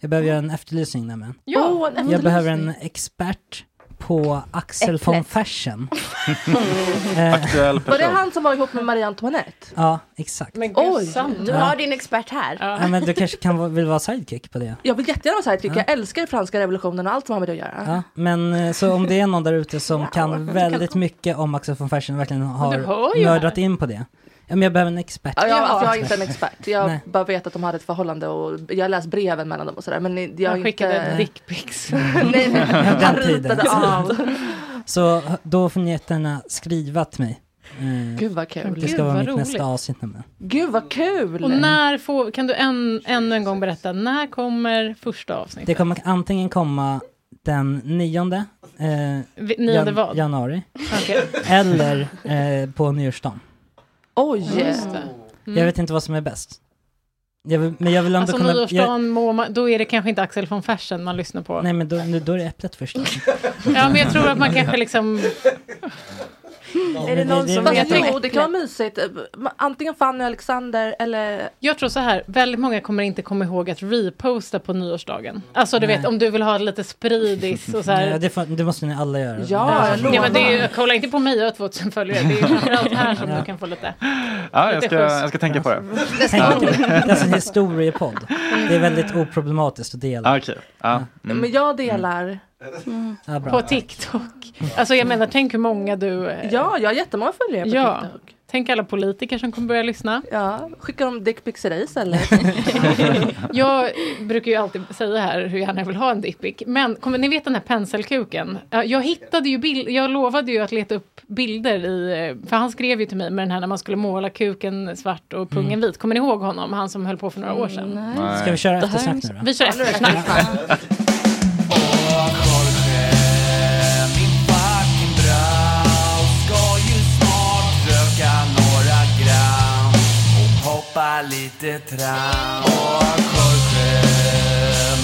Jag behöver göra en efterlysning nämligen.
Ja.
Åh, en
Jag
efterlysning.
behöver en expert på Axel
Äpplet.
von Fersen. Eh,
Aktuell
Var det
person.
han som var ihop med Marie Antoinette?
ja, exakt.
Men
Oj.
Du har din expert här.
Ja, men du kanske kan, vara- vill vara sidekick på det?
Jag vill jättegärna vara sidekick. Jag älskar franska revolutionen och allt som har med det att göra.
Ja, men eh, så om det är någon där ute som kan väldigt mycket om Axel von Fersen, verkligen har
hör ju
nördat in på det, Ja, men jag behöver en expert.
Ja, jag, alltså, jag är inte en expert. Jag bara vet att de hade ett förhållande och jag har läst breven mellan dem och sådär. Men jag
Han
är
skickade
inte...
dickpics.
Nej, men han
Mm. Den tiden.
ritade av.
Så då får ni jättegärna skriva till mig. Mm.
Gud, vad kul.
Det ska
Gud,
vara
vad
mitt nästa
roligt.
avsnitt nämligen.
Gud vad kul!
Och när får, kan du än, ännu en gång berätta, när kommer första avsnittet?
Det kommer antingen komma den nionde, eh,
Vi- nionde
jan-
vad?
januari.
Okej.
Eller eh, på nyårsdagen.
Oj!
Just det. Mm.
Jag vet inte vad som är bäst. Jag vill, men jag vill ändå
Alltså
kunna...
nyårsdagen, må man, då är det kanske inte Axel von Fersen man lyssnar på.
jag, nej men då, nu, då är det äpplet först.
Ja, men jag tror att man kanske liksom...
Är det någon som
Fast
vet om
jo, det kan vara mysigt. Antingen Fanny och Alexander eller...
Jag tror så här, väldigt många kommer inte komma ihåg att reposta på nyårsdagen. Alltså du vet,
Nej.
om du vill ha lite spridis och så här.
Ja, det, får, det måste ni alla göra.
Ja,
jag
ja men det är, ju- kolla inte på mig, jag har 2000 följare. Det är ju framförallt här som du kan få lite...
Ja, jag
lite
ska,
skjuts.
jag ska tänka på det.
Tänk, det är alltså en historiepodd. Det är väldigt oproblematiskt att dela.
Ah, Okej. Ja. Mm.
Men jag delar.
Mm.
Ja, bra.
På TikTok. Alltså jag menar, tänk hur många du... eh,
Ja, jag har jättemånga följare på
ja.
TikTok.
Tänk alla politiker som kommer börja lyssna.
Ja, skickar de dickpics till dig istället?
jag brukar ju alltid säga här hur gärna jag vill ha en dickpic. Men kommer ni vet den här penselkuken? Ja, Jag hittade ju bild, jag lovade ju att leta upp bilder i, eh, för han skrev ju till mig med den här när man skulle måla kuken svart och pungen vit. Kommer ni ihåg honom, han som höll på för några
Mm,
år sedan?
Nej. Mm. Ska vi köra
Det här är-
eftersnack nu då?
Vi kör
Ja, nu är det
eftersnack.
Hoppa lite tram Och Jorge,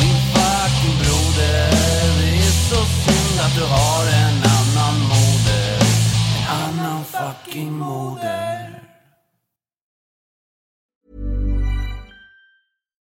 min fucking broder Det är så synd att du har en annan moder En annan fucking moder